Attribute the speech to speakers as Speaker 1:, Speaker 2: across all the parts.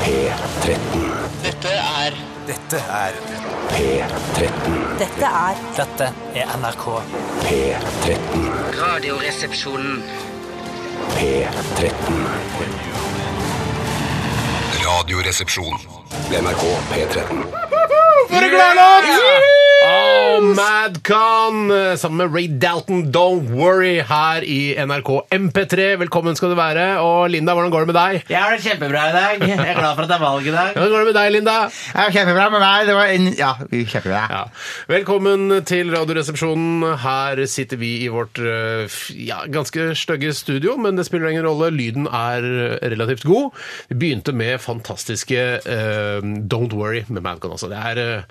Speaker 1: P13.
Speaker 2: Dette er
Speaker 3: Dette er
Speaker 1: P13.
Speaker 4: Dette er
Speaker 5: Dette er NRK.
Speaker 1: P13.
Speaker 2: Radioresepsjonen.
Speaker 1: P13.
Speaker 6: Radioresepsjon.
Speaker 1: NRK P13.
Speaker 7: For en glad låt! Oh, Madcon eh, sammen med Ray Dalton, Don't Worry, her i NRK MP3. Velkommen skal du være. Og Linda, hvordan går det med deg?
Speaker 8: Jeg har det kjempebra i dag. Jeg er glad for at det er valg i dag.
Speaker 7: Hvordan går det med deg, Linda?
Speaker 8: Jeg har kjempebra med meg. Det var en, ja, kjempebra.
Speaker 7: Ja. Velkommen til Radioresepsjonen. Her sitter vi i vårt eh, f- ja, ganske stygge studio, men det spiller ingen rolle. Lyden er eh, relativt god. Vi begynte med fantastiske eh, Don't Worry med Madcon. Altså. Det er eh,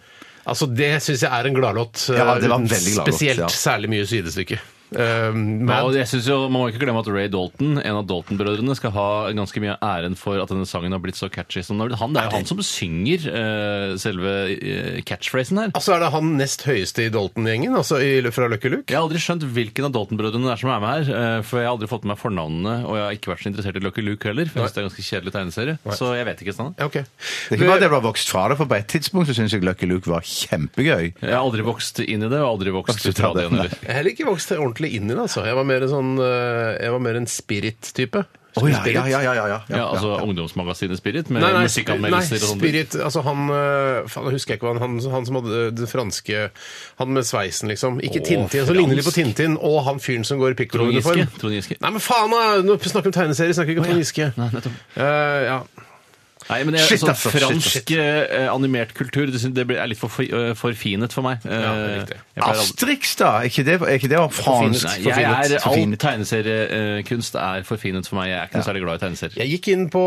Speaker 7: Altså, Det syns jeg er en gladlåt. eh,
Speaker 9: Ja, det var en
Speaker 7: uten
Speaker 9: veldig gladlåt,
Speaker 7: Spesielt
Speaker 9: ja.
Speaker 7: særlig mye sidestykke. Eh,
Speaker 10: Ja,
Speaker 7: men-
Speaker 10: og jeg synes jo, Man må ikke glemme at Ray Dalton, en av Dalton-brødrene, skal ha ganske mye av æren for at denne sangen har blitt så catchy som den har blitt. Han, det er jo han som synger eh, selve eh, catchphrasen her.
Speaker 7: Altså Er det han nest høyeste i Dalton-gjengen? Altså i, fra Lucky Luke?
Speaker 10: Jeg har aldri skjønt hvilken av Dalton-brødrene det er som er med her. eh, For jeg har aldri fått med meg fornavnene, og jeg har ikke vært så interessert i Lucky Luke heller. For jeg synes det er en ganske kjedelig tegneserie. Så jeg vet ikke. Sånn.
Speaker 7: Ja, ok.
Speaker 9: Det er ikke bare at jeg har vokst fra det, for på et tidspunkt så syns jeg Lucky Luke var kjempegøy.
Speaker 10: Jeg har aldri vokst inn i det, og aldri vokst
Speaker 9: Absolutt
Speaker 10: ut fra
Speaker 9: aldri,
Speaker 10: det igjen heller.
Speaker 7: Jeg har heller ikke vokst ordentlig inn i det. altså. Jeg var mer, sånn, eh, jeg var mer en spirit-type.
Speaker 9: Å ja,
Speaker 7: Spirit.
Speaker 9: ja, ja, ja, ja, ja,
Speaker 10: Ja,
Speaker 9: ja.
Speaker 10: altså Ungdomsmagasinet Spirit med
Speaker 7: Nei, nei,
Speaker 10: musikkanmeldelser
Speaker 7: nei,
Speaker 10: og sånn.
Speaker 7: Spirit, altså han eh, faen, jeg husker ikke hva han, han Han som hadde det franske Han med sveisen, liksom. Ikke
Speaker 10: Å,
Speaker 7: Tintin, som
Speaker 10: fransk.
Speaker 7: ligner litt på Tintin. Og han fyren som går i
Speaker 10: Trond Giske.
Speaker 7: pikkolo-uniform.
Speaker 10: Trond Giske.
Speaker 7: Nei, men faen, da! Nå snakker vi om tegneserier, snakker vi ikke om Trond Giske.
Speaker 10: Nei, nettopp.
Speaker 7: Eh, ja.
Speaker 10: Nei, men jeg,
Speaker 9: Shit,
Speaker 10: sånn
Speaker 9: altså, shit,
Speaker 10: fransk
Speaker 9: shit.
Speaker 10: eh, animert kultur det, synes- det blir- er litt for, for, eh, forfinet for meg. Eh,
Speaker 7: Ja, det er riktig.
Speaker 10: jeg pleier aldri-
Speaker 9: Asterix, da? Er ikke det, er ikke det var fransk?
Speaker 10: Nei, jeg er, all
Speaker 9: Forfinet.
Speaker 10: tegneseriekunst er forfinet for meg. Jeg er ikke noe særlig glad i tegneserier.
Speaker 7: Jeg gikk inn på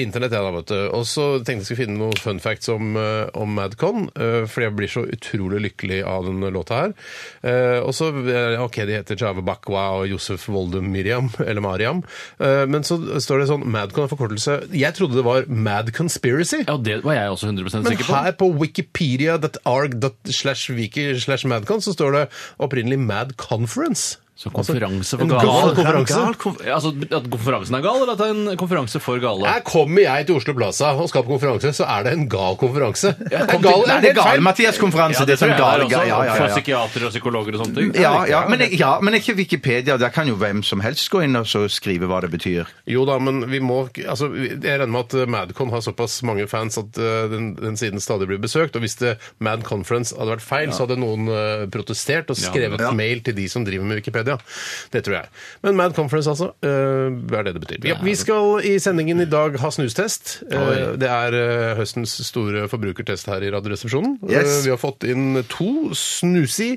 Speaker 7: internett, jeg da, vet du, og så tenkte jeg skulle finne noen fun facts om, eh, om Madcon, eh, fordi jeg blir så utrolig lykkelig av den låta her. Eh, Og så, eh, ok, de heter Jave Bakwa og Josef Voldum Miriam, eller Mariam, Eh, men så står det sånn Madcon er forkortelse. Jeg trodde det var Mad Conspiracy.
Speaker 10: Ja, det var jeg også 100
Speaker 7: Men
Speaker 10: sikker på.
Speaker 7: her på wikipedia.arg.slash-wiki-slash-madcon så står det opprinnelig Mad Conference. Altså
Speaker 10: Så konferanse
Speaker 9: altså,
Speaker 10: for
Speaker 7: en
Speaker 10: gale.
Speaker 7: gal konferanse.
Speaker 10: Gal konf- Altså, at konferansen er gal, eller at det er en konferanse for gale?
Speaker 9: altså,
Speaker 7: Her kommer jeg til Oslo Plaza og skal på konferanse, så er det en gal konferanse. Det er
Speaker 9: Kom
Speaker 7: gal-
Speaker 9: til- Nei, det er
Speaker 7: helt feil.
Speaker 9: Gale-Mathias-konferanse. det er sånn
Speaker 10: tror jeg
Speaker 9: gale,
Speaker 10: det
Speaker 9: ja,
Speaker 10: er
Speaker 9: ja, ja,
Speaker 10: også, For
Speaker 9: ja.
Speaker 10: psykiatere og psykologer og sånne ting.
Speaker 9: Ja, ja, men, ja, men ikke Wikipedia. Der kan jo hvem som helst gå inn og så skrive hva det betyr.
Speaker 7: Jo da, men vi må altså, Jeg regner med at eh, Madcon har såpass mange fans at eh, den, den siden stadig blir besøkt. Og hvis det Mad Conference hadde vært feil, så hadde noen eh, protestert og
Speaker 10: Ja,
Speaker 7: skrevet
Speaker 9: ja.
Speaker 7: mail til de som driver med Wikipedia. Det tror jeg. Men Mad Conference, altså, eh, er det det betyr. Ja, vi skal i sendingen i dag ha snustest. Eh,
Speaker 10: Oi.
Speaker 7: Det er eh, høstens store forbrukertest her i Radioresepsjonen.
Speaker 9: Yes.
Speaker 7: Eh, Vi har fått inn to snusi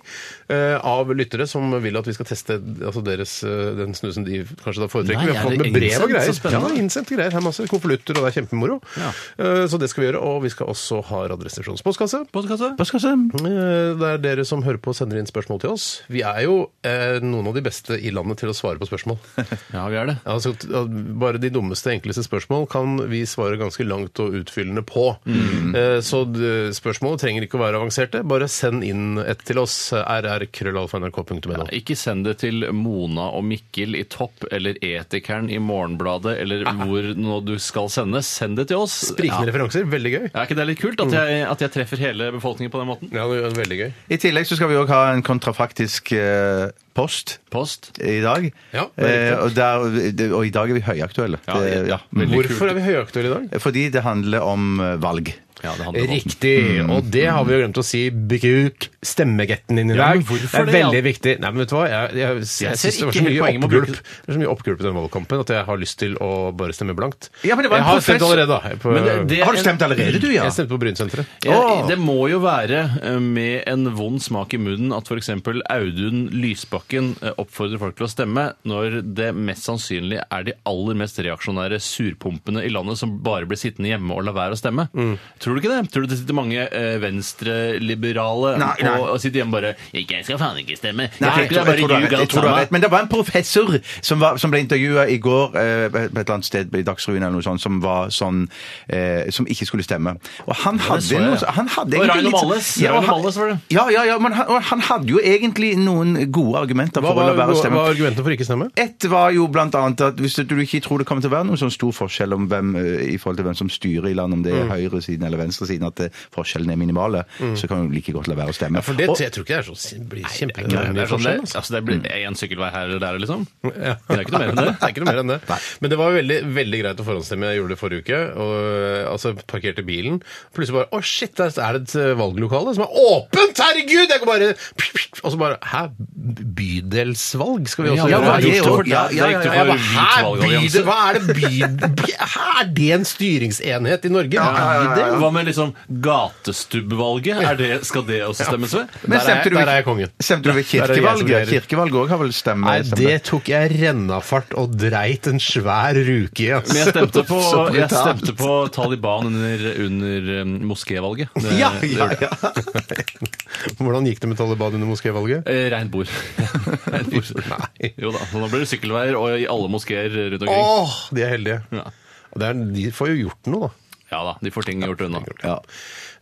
Speaker 7: eh, av lyttere som vil at vi skal teste altså deres, eh, den snusen de kanskje da foretrekker.
Speaker 10: Nei,
Speaker 7: vi
Speaker 10: er
Speaker 7: har fått
Speaker 10: det
Speaker 7: med brev
Speaker 10: innsendt?
Speaker 7: og greier.
Speaker 10: Så spennende.
Speaker 7: Ja, innsendte greier. Her er masse konvolutter, og det er kjempemoro.
Speaker 10: Ja.
Speaker 7: Eh, Så det skal vi gjøre. Og vi skal også ha Radioresepsjonens postkasse.
Speaker 10: Postkasse?
Speaker 7: Eh, Det er dere som hører på og sender inn spørsmål til oss. Vi er jo eh, noen av de beste i landet til å svare på spørsmål.
Speaker 10: Ja, vi er det.
Speaker 7: Altså, t- at bare de dummeste, enkleste spørsmål kan vi svare ganske langt og utfyllende på.
Speaker 10: Mm.
Speaker 7: Eh, Så d- spørsmål trenger ikke å være avanserte. Bare send inn et til oss. rrkrøllalfa.nrk.no.
Speaker 10: Ikke send det til Mona og Mikkel i Topp eller Etikeren i Morgenbladet eller
Speaker 9: Ah.
Speaker 10: hvor nå du skal sende. Send det til oss.
Speaker 7: Sprikende referanser. Veldig gøy.
Speaker 10: Ja. Er ikke det litt kult
Speaker 9: Mm.
Speaker 10: at jeg, at jeg treffer hele befolkningen på den måten?
Speaker 7: Ja, det er veldig gøy.
Speaker 9: I tillegg så skal vi òg ha en kontrafaktisk eh, post
Speaker 10: Post?
Speaker 9: i dag.
Speaker 7: Ja, det er riktig.
Speaker 9: eh, og, der, det- og i dag er vi høyaktuelle.
Speaker 10: Ja,
Speaker 9: Det-
Speaker 10: det-
Speaker 9: ja.
Speaker 10: veldig
Speaker 7: Hvorfor
Speaker 10: kult.
Speaker 7: er vi høyaktuelle i dag?
Speaker 9: Fordi det handler om eh, valg.
Speaker 10: Ja, det handler om
Speaker 7: Riktig. Og det har vi jo glemt å si. Bruk stemmeretten din i
Speaker 10: Ja,
Speaker 7: dag.
Speaker 10: men
Speaker 7: det
Speaker 10: hvorfor
Speaker 7: er
Speaker 10: det, ja?
Speaker 7: veldig viktig. Nei, men vet du hva? Jeg, jeg, jeg,
Speaker 10: Jeg ser
Speaker 7: synes det var
Speaker 10: ikke helt
Speaker 7: så mye
Speaker 10: poenget med å
Speaker 7: oppgulp
Speaker 10: bruke-
Speaker 7: Det er så mye oppgulp i den valgkampen at jeg har lyst til å bare stemme blankt.
Speaker 9: Ja, men det var en
Speaker 7: jeg har stemt
Speaker 9: professor-
Speaker 7: allerede, da. På,
Speaker 10: Men det- det-
Speaker 9: Har du stemt allerede, du, ja?
Speaker 7: Jeg stemte på Brynsenteret.
Speaker 10: Ja,
Speaker 9: Åh!
Speaker 10: det må jo være eh, med en vond smak i munnen at f.eks. Audun Lysbakken eh, oppfordrer folk til å stemme, når det mest sannsynlig er de aller mest reaksjonære surpumpene i landet som bare blir sittende hjemme og la være å stemme. Tror Tror du ikke det? Tror du det sitter mange eh, venstreliberale
Speaker 9: Nei, nei.
Speaker 10: på- og sitter hjemme bare Ikke, jeg skal faen ikke stemme. Jeg
Speaker 9: Nei, jeg
Speaker 10: tror ikke det
Speaker 9: tror-
Speaker 10: er
Speaker 9: jeg tror du
Speaker 10: bare
Speaker 9: har
Speaker 10: ljug
Speaker 9: rett, jeg
Speaker 10: alt
Speaker 9: tror du har rett.
Speaker 10: sammen.
Speaker 9: Men det var en professor som, var, som ble intervjua i går eh, på et eller annet sted i Dagsrevyen eller noe sånt, som var sånn eh, Som ikke skulle stemme. Og han hadde
Speaker 10: så jeg,
Speaker 9: noe
Speaker 10: ja.
Speaker 9: han hadde
Speaker 10: Og
Speaker 9: egentlig
Speaker 10: Ragnar
Speaker 9: litt sånn-
Speaker 10: Malles.
Speaker 9: Ja, og
Speaker 10: Ragnar
Speaker 9: han-
Speaker 10: Malles var det.
Speaker 9: Ja, ja, ja, men han, og han hadde jo egentlig noen gode argumenter for å
Speaker 7: Hva
Speaker 9: la
Speaker 7: var,
Speaker 9: være å
Speaker 7: hva
Speaker 9: stemme.
Speaker 7: var argumentet for ikke stemme?
Speaker 9: Ett var jo blant annet at hvis du ikke tror det kommer til å være noen sånn stor forskjell om hvem, eh, i forhold til hvem som styrer i landet, om
Speaker 7: Mm.
Speaker 9: det er høyresiden eller venstresiden, at eh, forskjellene er minimale, så kan du like godt la være å stemme.
Speaker 7: Ja, for det,
Speaker 9: Og-
Speaker 7: jeg tror ikke det er så
Speaker 10: Det
Speaker 7: blir
Speaker 10: er ikke- det er
Speaker 7: kjempemye
Speaker 10: sånn
Speaker 7: forskjell.
Speaker 10: det-
Speaker 7: altså.
Speaker 10: altså, Det blir én sykkelvei her eller der, liksom.
Speaker 7: Ja.
Speaker 10: Det er ikke noe mer enn det.
Speaker 7: Det er ikke noe mer enn det. Men det var jo veldig, veldig greit å forhåndsstemme. Jeg gjorde det forrige uke. Og, eh, altså, Parkerte bilen. Plutselig bare Å, shit, der er det et eh, valglokale som er åpent! Herregud! Jeg kan bare Og så bare Hæ? Bydelsvalg skal vi
Speaker 9: Ja,
Speaker 7: også gjøre?
Speaker 9: hva er det?
Speaker 10: for-
Speaker 9: Ja, ja, ja,
Speaker 10: det er
Speaker 9: ja,
Speaker 7: Jeg
Speaker 10: riktig
Speaker 7: bare,
Speaker 10: for
Speaker 7: hæ,
Speaker 10: hvit valgallianse.
Speaker 7: bydel, hva er det by, by, hæ, Er det en styringsenhet i Norge? Bydel?
Speaker 10: Hva med liksom gatestubbvalget? Er det, skal det også stemmes ved?
Speaker 9: Men
Speaker 7: Der er jeg-
Speaker 9: stemte du
Speaker 7: der
Speaker 9: ikke-
Speaker 7: er jeg kongen.
Speaker 9: Stemte du ved
Speaker 7: Der er det jeg som
Speaker 9: kirkevalget?
Speaker 7: greier.
Speaker 9: Kirkevalget òg har vel stemme?
Speaker 7: Nei,
Speaker 9: stemme.
Speaker 7: det tok jeg rennafart og dreit en svær ruke i.
Speaker 10: Men jeg stemte på,
Speaker 9: Så brutalt.
Speaker 10: jeg stemte på Taliban under, under um, moskévalget. Det-
Speaker 9: Ja,
Speaker 10: det
Speaker 9: ja,
Speaker 10: gjorde
Speaker 9: ja.
Speaker 10: jeg.
Speaker 7: Hvordan gikk det med Taliban under moskévalget?
Speaker 10: Eh, Reint bord. Reint bord.
Speaker 7: Nei.
Speaker 10: Jo da, så nå blir det sykkelveier og i alle moskeer rundt omkring.
Speaker 7: Åh, de er heldige.
Speaker 10: Ja.
Speaker 7: Og det er, de får jo gjort noe, da.
Speaker 10: Ja da, de får ting gjort unna.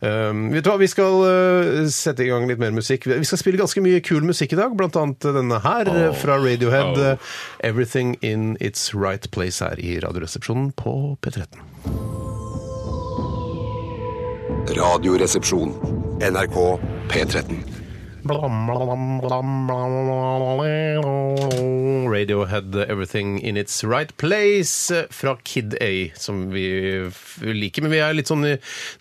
Speaker 7: Um, vet du hva, Vi skal uh, sette i gang litt mer musikk. Vi skal spille ganske mye kul musikk i dag, blant annet denne her uh, fra Radiohead.
Speaker 10: Oh.
Speaker 7: uh, 'Everything in Its Right Place' her i Radioresepsjonen på P13.
Speaker 6: Radioresepsjon. NRK P13.
Speaker 7: Radiohead, Everything in its right place fra Kid A, som vi f- liker. Men vi er litt sånn,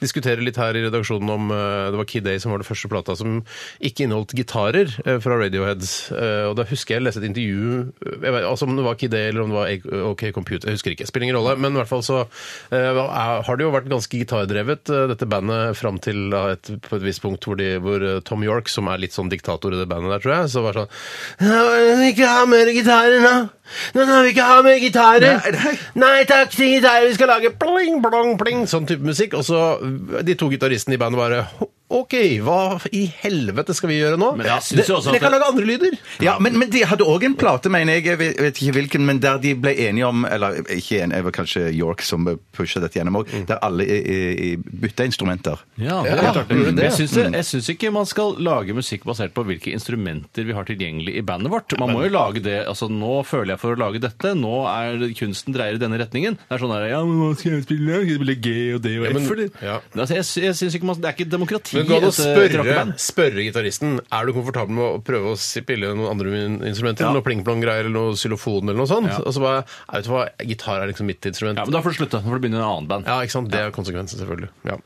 Speaker 7: diskuterer litt her i redaksjonen om eh, det var Kid A som var den første plata som ikke inneholdt gitarer eh, fra Radiohead. Eh, Og da husker jeg jeg leste et intervju eh, jeg vet, altså om det var Kid A eller om det var A- OK Computer, jeg husker ikke. Spiller ingen rolle. Men i hvert fall så eh, er- har det jo vært ganske gitardrevet, eh, dette bandet, fram til da et, på et visst punkt hvor, de, hvor eh, Tom York, som er litt sånn diktator i det bandet der, tror jeg, så var sånn Nå vil vi ikke ha mer gitarer nå! Nå vil vi ikke ha mer gitarer! Nei, takk til gitarer! Vi skal lage pling, plong, pling! Sånn type musikk. Og så eh, de to gitaristene i bandet bare OK, hva i helvete skal vi gjøre nå?
Speaker 10: Men jeg synes jo også at
Speaker 7: Dere kan
Speaker 10: det-
Speaker 7: lage andre lyder!
Speaker 9: Ja, men, men de hadde òg en plate, mener jeg, jeg vet vet ikke hvilken, men der de ble enige om Eller ikke enige, det var kanskje York som pusha dette gjennom
Speaker 7: Mm.
Speaker 9: òg, der alle eh, eh, bytta instrumenter.
Speaker 10: Ja, det
Speaker 7: Ja,
Speaker 10: er klart det.
Speaker 7: gjorde det. Mm.
Speaker 10: Jeg syns, det, jeg syns ikke man skal lage musikk basert på hvilke instrumenter vi har tilgjengelig i bandet vårt. Man må jo lage det altså Nå føler jeg for å lage dette, nå er kunsten dreier i denne retningen. Det er sånn der, ja, men hva skal jeg spille? Skal jeg spille G og D og
Speaker 7: Ja, men-
Speaker 10: F? eller?
Speaker 7: ja.
Speaker 10: Altså, jeg, sy- jeg syns ikke man, Det er ikke demokrati.
Speaker 7: Men gå an å
Speaker 10: et, eh,
Speaker 7: spørre,
Speaker 10: rockeband.
Speaker 7: spørre gitaristen Er du komfortabel med å prøve å spille noen andre min- instrumenter. Noe pling-plong-greier eller noe xylofon eller noe sånt. Og så bare «Nei, Vet du hva, gitar er liksom mitt instrument.
Speaker 10: Ja,
Speaker 7: Ja,
Speaker 10: men Da får du slutte. Da får du begynne i en annen band.
Speaker 7: ikke sant? Det er konsekvensen, selvfølgelig. Ja,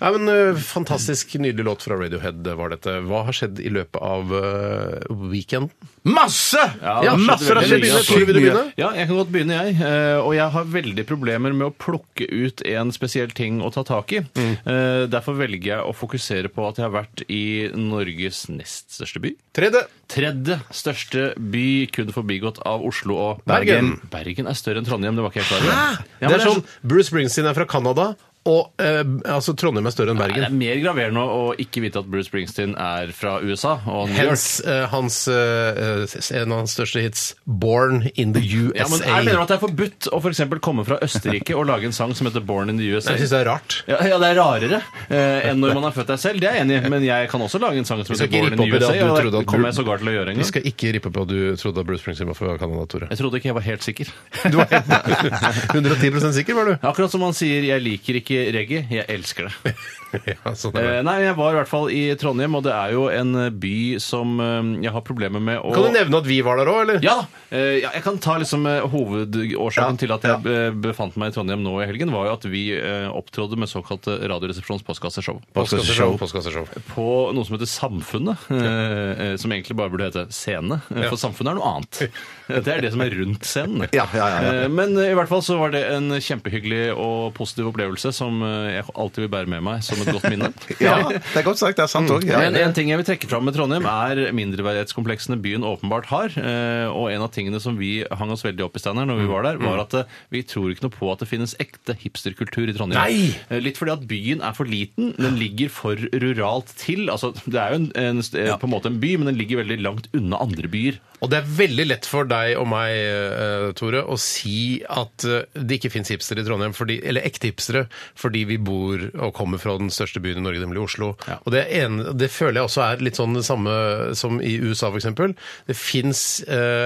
Speaker 7: ja men ø, Fantastisk nydelig låt fra Radiohead var dette. Hva har skjedd i løpet av ø, weekenden?
Speaker 9: Masse!
Speaker 10: Ja, det skjedde
Speaker 9: masse!
Speaker 10: veldig
Speaker 9: Det
Speaker 10: mye.
Speaker 9: skjedde
Speaker 10: Tore,
Speaker 9: sykt
Speaker 7: vil du
Speaker 9: mye.
Speaker 7: begynne?
Speaker 10: Ja, jeg kan godt begynne, jeg. Eh, Og jeg har veldig problemer med å plukke ut en spesiell ting å ta tak i.
Speaker 7: Mm.
Speaker 10: Eh, Derfor velger jeg å fokusere på at jeg har vært i Norges nest største by.
Speaker 7: Tredje.
Speaker 10: Tredje største by, kun forbigått av Oslo og
Speaker 7: Bergen.
Speaker 10: Bergen er større enn Trondheim, det var ikke jeg klar over. Ja, men
Speaker 7: det er sånn Bruce Springsteen er fra Canada, og ø, altså Trondheim er større enn
Speaker 10: Nei, det
Speaker 7: Bergen.
Speaker 10: er mer graverende å ikke vite at Bruce Springsteen er fra USA. Og New York.
Speaker 7: Hens ø, øh, hans, ø, ø, en av hans største hits, 'Born in the USA'.
Speaker 10: Ja, men jeg mener at det er forbudt å for eksempel komme fra Østerrike og lage en sang som heter 'Born in the USA'.
Speaker 7: Jeg syns det er rart.
Speaker 10: Ja, ja, det er rarere eh, enn når man er født der selv. Det er jeg enig i, men jeg kan også lage en sang som
Speaker 7: skal
Speaker 10: heter
Speaker 7: ikke
Speaker 10: Born in
Speaker 7: rippe opp i det
Speaker 10: USA.
Speaker 7: at du
Speaker 10: og
Speaker 7: trodde at
Speaker 10: Det kom
Speaker 7: Bru-
Speaker 10: jeg sågar til å gjøre en
Speaker 7: Vi
Speaker 10: gang.
Speaker 7: skal ikke rippe på at du trodde at Bruce Springsteen var fra Canada, Tore.
Speaker 10: Jeg trodde ikke jeg var helt sikker.
Speaker 7: Du var helt 110 sikker, var du?
Speaker 10: Akkurat som han sier 'jeg liker ikke reggae, jeg elsker det'.
Speaker 7: Ja, sånn er det.
Speaker 10: Eh, nei, jeg var i hvert fall i Trondheim, og det er jo en eh, by som eh, jeg har problemer med å
Speaker 7: Kan du nevne at vi var der òg, eller?
Speaker 10: Ja, da. Eh, ja, jeg kan ta liksom eh, hovedårsaken til at jeg eh, befant meg i Trondheim nå i helgen, var jo at vi eh, opptrådte med såkalt eh, Radioresepsjons postkasseshow.
Speaker 7: Postkasseshow. Postkasseshow.
Speaker 10: på noe som heter Samfunnet, eh, eh, som egentlig bare burde hete Scene. eh, For Samfunnet er noe annet. Det er det som er rundt scenen.
Speaker 9: Ja, ja, ja, ja.
Speaker 10: Eh, Men eh, i hvert fall så var det en kjempehyggelig og positiv opplevelse som eh, jeg alltid vil bære med meg som som et godt minne.
Speaker 9: Ja, det er godt sagt. Det er sant òg. Ja.
Speaker 10: Men en ting jeg vil trekke fram med Trondheim, er mindreverdighetskompleksene byen åpenbart har. Eh, Og en av tingene som vi hang oss veldig opp i Steiner,
Speaker 7: Mm,
Speaker 10: når vi var der, var at eh, vi tror ikke noe på at det finnes ekte hipsterkultur i Trondheim.
Speaker 7: Nei!
Speaker 10: Eh, Litt fordi at byen er for liten, den ligger for ruralt til. Altså, det er jo en, en, st- eh, på en måte en by, men den ligger veldig langt unna andre byer.
Speaker 7: Og det er veldig lett for deg og meg, eh, Tore, å si at eh, det ikke fins hipstere i Trondheim, fordi, eller ekte hipstere, fordi vi bor og kommer fra den største byen i Norge, nemlig Oslo.
Speaker 10: Ja.
Speaker 7: Og det, er en, det føler jeg også er litt sånn det samme som i USA, f.eks. Det fins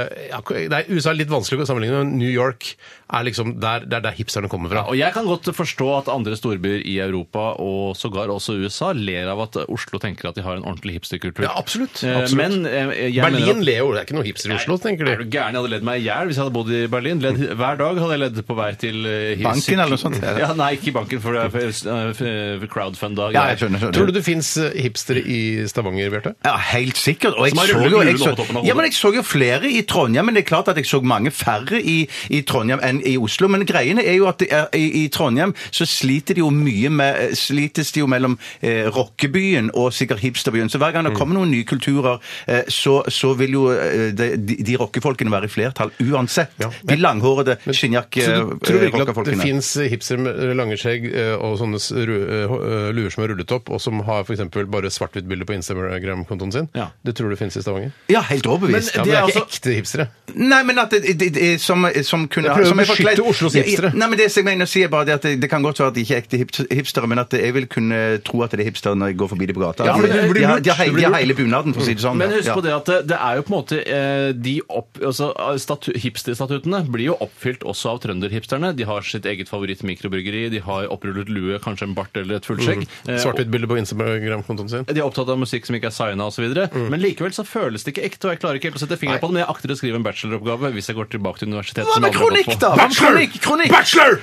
Speaker 7: Nei, USA er litt vanskelig å sammenligne, men New York er liksom der, der, der hipsterne kommer fra.
Speaker 10: Og jeg kan godt forstå at andre storbyer i Europa og sågar også USA ler av at Oslo tenker at de har en ordentlig hipsterkultur.
Speaker 7: Ja, absolutt.
Speaker 10: Eh,
Speaker 7: Absolutt.
Speaker 10: Men eh, jeg mener
Speaker 7: Berlin
Speaker 10: at
Speaker 7: ler jo, det er ikke noe hipster i Oslo, tenker
Speaker 10: Er
Speaker 7: de.
Speaker 10: du gæren? Jeg hadde ledd meg i hjel hvis jeg hadde bodd i Berlin. Ledd, hver dag hadde jeg ledd på vei til eh, his-
Speaker 9: Banken eller noe sånt?
Speaker 10: Ja, nei, ikke i banken, for det er for- eh, for crowdfunda.
Speaker 9: Ja, jeg skjønner. skjønner.
Speaker 7: Tror du det fins hipstere i Stavanger, Bjarte?
Speaker 9: Ja, helt sikkert. Og jeg
Speaker 10: Som har
Speaker 9: så,
Speaker 10: rullet
Speaker 9: jo, jeg,
Speaker 10: rullen over toppen av
Speaker 9: så,
Speaker 10: hodet.
Speaker 9: ja, men jeg så jo flere i Trondheim, men det er klart at jeg så mange færre i, i Trondheim enn i Oslo. Men greiene er jo at det er, i, i Trondheim så sliter de jo mye med eh, slites de jo mellom eh, rockebyen og sikkert hipsterbyen. Så hver gang
Speaker 7: Mm.
Speaker 9: det kommer noen nye kulturer, eh, så, så vil jo eh, de, de, de rockefolkene være i flertall uansett.
Speaker 7: Ja.
Speaker 9: De langhårede eh,
Speaker 7: Så du tror virkelig at det
Speaker 9: skinnjakke-rockerfolkene.
Speaker 7: fins hipstere med lange skjegg eh, og sånne s- ru- eh, luer som er rullet opp, og som har f.eks. bare svart-hvitt bilde på Instagram-kontoen sin?
Speaker 10: Ja.
Speaker 7: Det tror du fins i Stavanger?
Speaker 9: Ja, helt overbevist.
Speaker 7: Ja, men det er altså- ikke ekte hipstere.
Speaker 9: Nei, men at det, det, det som, som kunne
Speaker 7: Jeg prøver
Speaker 9: som
Speaker 7: å beskytte
Speaker 9: forkledd-
Speaker 7: Oslos hipstere.
Speaker 9: Nei, men det som jeg mener å si er bare det at det, det kan godt være at de ikke er ekte hips- hipstere, men at jeg vil kunne tro at det er hipstere når jeg går forbi dem på gata.
Speaker 10: Ja, men
Speaker 9: de,
Speaker 10: det- det blir
Speaker 9: de, har-
Speaker 10: lurt.
Speaker 9: de, har,
Speaker 10: Det
Speaker 9: hele-
Speaker 10: blir
Speaker 9: de har
Speaker 10: lurt.
Speaker 9: hele bunaden, for å si det sånn.
Speaker 10: Men husk
Speaker 9: ja.
Speaker 10: på det at det- det er jo på en måte eh, de opp, altså, statu, Hipsterstatuttene blir jo oppfylt også av trønderhipsterne. De har sitt eget favorittmikrobryggeri, de har opprullet lue, kanskje en bart eller et fullskjegg.
Speaker 9: Mm.
Speaker 10: Eh,
Speaker 7: Svart-hvitt bilde på Instagram-kontoen sin.
Speaker 10: De er opptatt av musikk som ikke er signa osv.
Speaker 9: Mm.
Speaker 10: Men likevel så føles det ikke ekte. og Jeg klarer ikke helt å sette fingeren på det, men jeg akter å skrive en bacheloroppgave hvis jeg går tilbake til universitetet.
Speaker 9: Hva
Speaker 10: som
Speaker 9: med
Speaker 10: jeg aldri har
Speaker 9: kronikk,
Speaker 10: gått på.
Speaker 9: da? Hva med Kronikk! kronikk?
Speaker 7: Bachelor!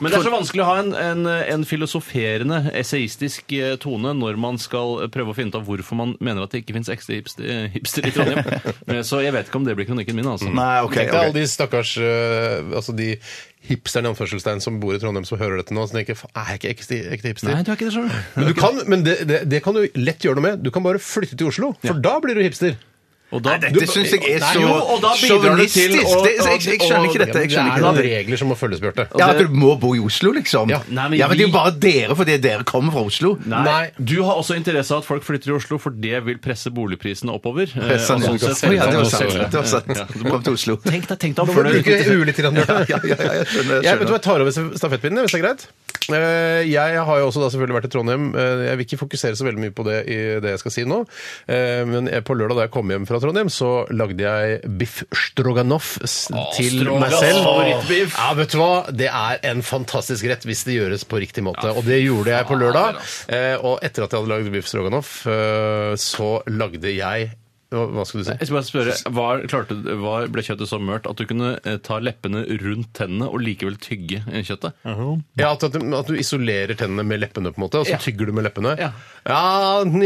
Speaker 10: Men det er så vanskelig å ha en, en, en filosoferende, essayistisk eh, tone når man skal prøve å finne ut av hvorfor man mener at det ikke fins ekte hipster, eh, hipster i Trondheim. Eh, Så jeg vet ikke om det blir kronikken min, altså.
Speaker 9: Nei, ok.
Speaker 7: Tenk deg alle
Speaker 9: ok.
Speaker 7: de stakkars eh, altså de hipsterne i anførselstegn som bor i Trondheim som hører dette nå. Som tenker, "Faen, er jeg ikke ekte, ekte hipster?
Speaker 10: Nei, du er ikke det, skjønner du.
Speaker 7: Men, du kan, men det, det, det kan du lett gjøre noe med. Du kan bare flytte til Oslo, for da blir du hipster.
Speaker 10: Og da,
Speaker 9: Dette syns jeg er
Speaker 10: Nei,
Speaker 9: så
Speaker 10: jo, og da bidrar du til
Speaker 9: sjåvinistisk.
Speaker 10: å-
Speaker 9: Det- Jeg jeg- jeg skjønner ikke
Speaker 7: Ja,
Speaker 9: dette. Jeg
Speaker 7: men det er
Speaker 9: skjønner
Speaker 7: noen
Speaker 9: ikke dette.
Speaker 7: regler som må følges, Bjarte.
Speaker 9: Ja, At du må bo i Oslo, liksom?
Speaker 7: Ja.
Speaker 9: Ja,
Speaker 10: Nei,
Speaker 9: men det er
Speaker 10: men vi-
Speaker 9: jo bare dere fordi dere kommer fra Oslo.
Speaker 10: Nei.
Speaker 7: Nei.
Speaker 10: Du har også interesse av at folk flytter til Oslo, for det vil presse boligprisene oppover. eh,
Speaker 9: Presse den,
Speaker 10: og
Speaker 9: ja.
Speaker 10: sånn sett
Speaker 9: Å, ja, det var sant.
Speaker 10: også-
Speaker 9: Det var sant.
Speaker 10: Ja, du må-
Speaker 9: Kom til Oslo.
Speaker 10: Tenk deg, tenk deg om
Speaker 7: Nå må
Speaker 10: før
Speaker 7: du
Speaker 10: du
Speaker 7: bruke huet litt. Grann, Bjarte.
Speaker 9: Ja, ja, ja, jeg skjønner. jeg
Speaker 7: Jeg, vet
Speaker 9: skjønner.
Speaker 7: du hva, jeg tar over stafettpinnen, hvis det er greit. Eh, Jeg har jo også da selvfølgelig vært i Trondheim. Eh, Jeg vil ikke fokusere så veldig mye på det i det jeg skal si nå. Eh, Men jeg- på lørdag da jeg kom hjem fra Trondheim, så lagde jeg biff stroganoff s- til meg selv.
Speaker 10: favorittbiff.
Speaker 7: Ja, vet du hva? Det er en fantastisk rett hvis det gjøres på riktig måte. Og det gjorde jeg på lørdag. Eh, Og etter at jeg hadde lagd biff stroganoff, eh, så lagde jeg Hva hva skulle du si?
Speaker 10: Jeg skal bare spørre, var, klarte, du- var, Ble kjøttet så mørt at du kunne eh, ta leppene rundt tennene og likevel tygge eh, kjøttet?
Speaker 7: Ja, at, at, du- at du isolerer tennene med leppene, på en måte, og så
Speaker 10: Ja.
Speaker 7: tygger du med leppene.
Speaker 10: Ja.
Speaker 7: Ja.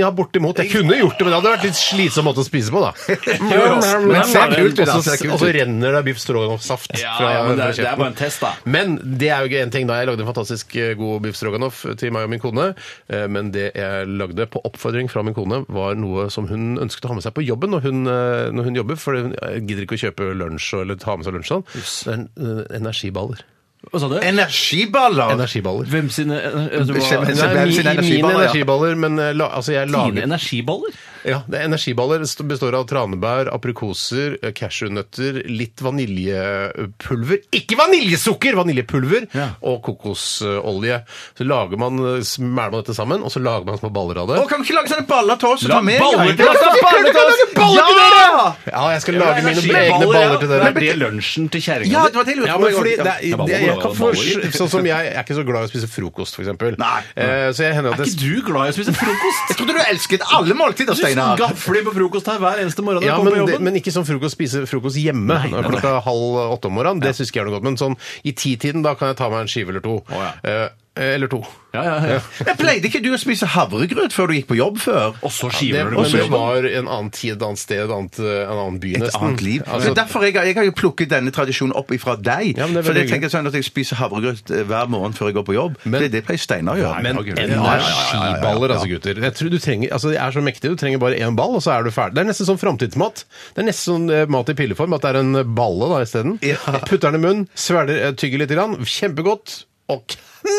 Speaker 7: ja, bortimot. Jeg kunne gjort det, men det hadde vært litt slitsom måte å spise på, da.
Speaker 10: Men
Speaker 7: Men
Speaker 10: det ser kult
Speaker 9: ut, da. Det
Speaker 7: Og
Speaker 9: ser kult
Speaker 7: så- altså. og så
Speaker 9: ut.
Speaker 7: renner det biff stroganoff-saft
Speaker 10: Ja,
Speaker 7: fra,
Speaker 10: ja, men det er-
Speaker 7: fra
Speaker 10: det er
Speaker 7: kjeften.
Speaker 10: bare en test, da.
Speaker 7: Men det er jo ikke en ting, da. Jeg lagde en fantastisk eh, god biff stroganoff til meg og min kone, eh, men det jeg lagde på oppfordring fra min kone, var noe som hun ønsket å ha med seg på jobben når hun, eh, når hun jobber, for hun eh, gidder ikke å kjøpe lunsj eller ta med seg lunsj og sånn. Det er, eh, Energiballer.
Speaker 10: Hva sa du?
Speaker 9: Energiballer!
Speaker 7: Energiballer.
Speaker 10: Hvem sine eh, eh,
Speaker 9: Hvem-
Speaker 10: hva-
Speaker 9: Så
Speaker 7: Nei,
Speaker 9: hvem
Speaker 7: min,
Speaker 9: sine energiballer,
Speaker 7: energiballer, mine
Speaker 9: ja.
Speaker 7: energiballer, men eh, la, altså jeg
Speaker 10: Dine
Speaker 7: lager
Speaker 10: energiballer?
Speaker 7: ja, det er Energiballer st- består av tranebær, aprikoser, eh, cashewnøtter, litt vaniljepulver Ikke vaniljesukker! Vaniljepulver og kokosolje. Så lager man, eh, smæler man dette sammen, og så lager man små baller av det.
Speaker 9: Å, kan vi ikke lage sånne baller til oss? og ta med?
Speaker 10: baller til
Speaker 9: Ja,
Speaker 10: oss, da,
Speaker 9: ja,
Speaker 10: baller til
Speaker 9: kan vi
Speaker 10: oss!
Speaker 9: lage baller til dere?
Speaker 7: Ja, jeg skal lage mine egne
Speaker 10: Energiballer, ja.
Speaker 7: baller til dere.
Speaker 10: Er det lunsjen til kjerringa
Speaker 9: Ja,
Speaker 10: di?
Speaker 9: det var det jeg lurte
Speaker 7: Ja,
Speaker 9: på.
Speaker 7: men fordi
Speaker 9: Ja.
Speaker 7: det, er-
Speaker 10: Ja, baller,
Speaker 7: det, jeg kan
Speaker 10: baller, baller.
Speaker 7: for, sånn som jeg, jeg er ikke så glad i å spise frokost, f.eks.
Speaker 9: Nei.
Speaker 7: Så jeg hender at
Speaker 10: Er
Speaker 7: jeg
Speaker 10: ikke du glad i å spise frokost?
Speaker 9: Jeg trodde du elsket alle måltider, Steinar.
Speaker 10: Gafler på frokost her hver eneste morgen. når jeg
Speaker 7: Ja, men,
Speaker 10: kommer på
Speaker 7: det,
Speaker 10: jobben.
Speaker 7: men ikke sånn frokost, spise frokost hjemme klokka halv åtte om morgenen. Det syns ikke jeg er noe godt. Men sånn i titiden, da kan jeg ta meg en skive eller to.
Speaker 10: Å, ja.
Speaker 7: Eh, eh, eller to.
Speaker 10: Ja, ja, ja.
Speaker 9: Jeg pleide ikke du å spise havregrøt før du gikk på jobb før?
Speaker 10: Og så
Speaker 7: Det,
Speaker 10: skiver du
Speaker 7: men
Speaker 10: det.
Speaker 7: det var en annen tid, et annet sted, et annet, eh, en annen by,
Speaker 9: Et
Speaker 7: nesten.
Speaker 9: annet liv.
Speaker 7: Altså,
Speaker 9: Men derfor jeg, jeg har jo plukket denne tradisjonen opp ifra deg.
Speaker 7: Ja, men det er
Speaker 9: for
Speaker 7: veldig
Speaker 9: jeg tenker sånn at jeg spiser havregrøt eh, hver morgen før jeg går på jobb.
Speaker 7: Men-
Speaker 9: det er det pleier Steinar å gjøre.
Speaker 7: men
Speaker 10: Ja, ja, ja, ja,
Speaker 7: energiballer, altså, gutter. Jeg tror du trenger, altså, De er så mektige. Du trenger bare én ball, og så er du ferdig. Det er nesten sånn framtidsmat. Det er nesten sånn eh, mat i pilleform, at det er en balle da isteden.
Speaker 9: Ja.
Speaker 7: Putter den i munnen, svelger, eh, tygger litt, grann, kjempegodt, og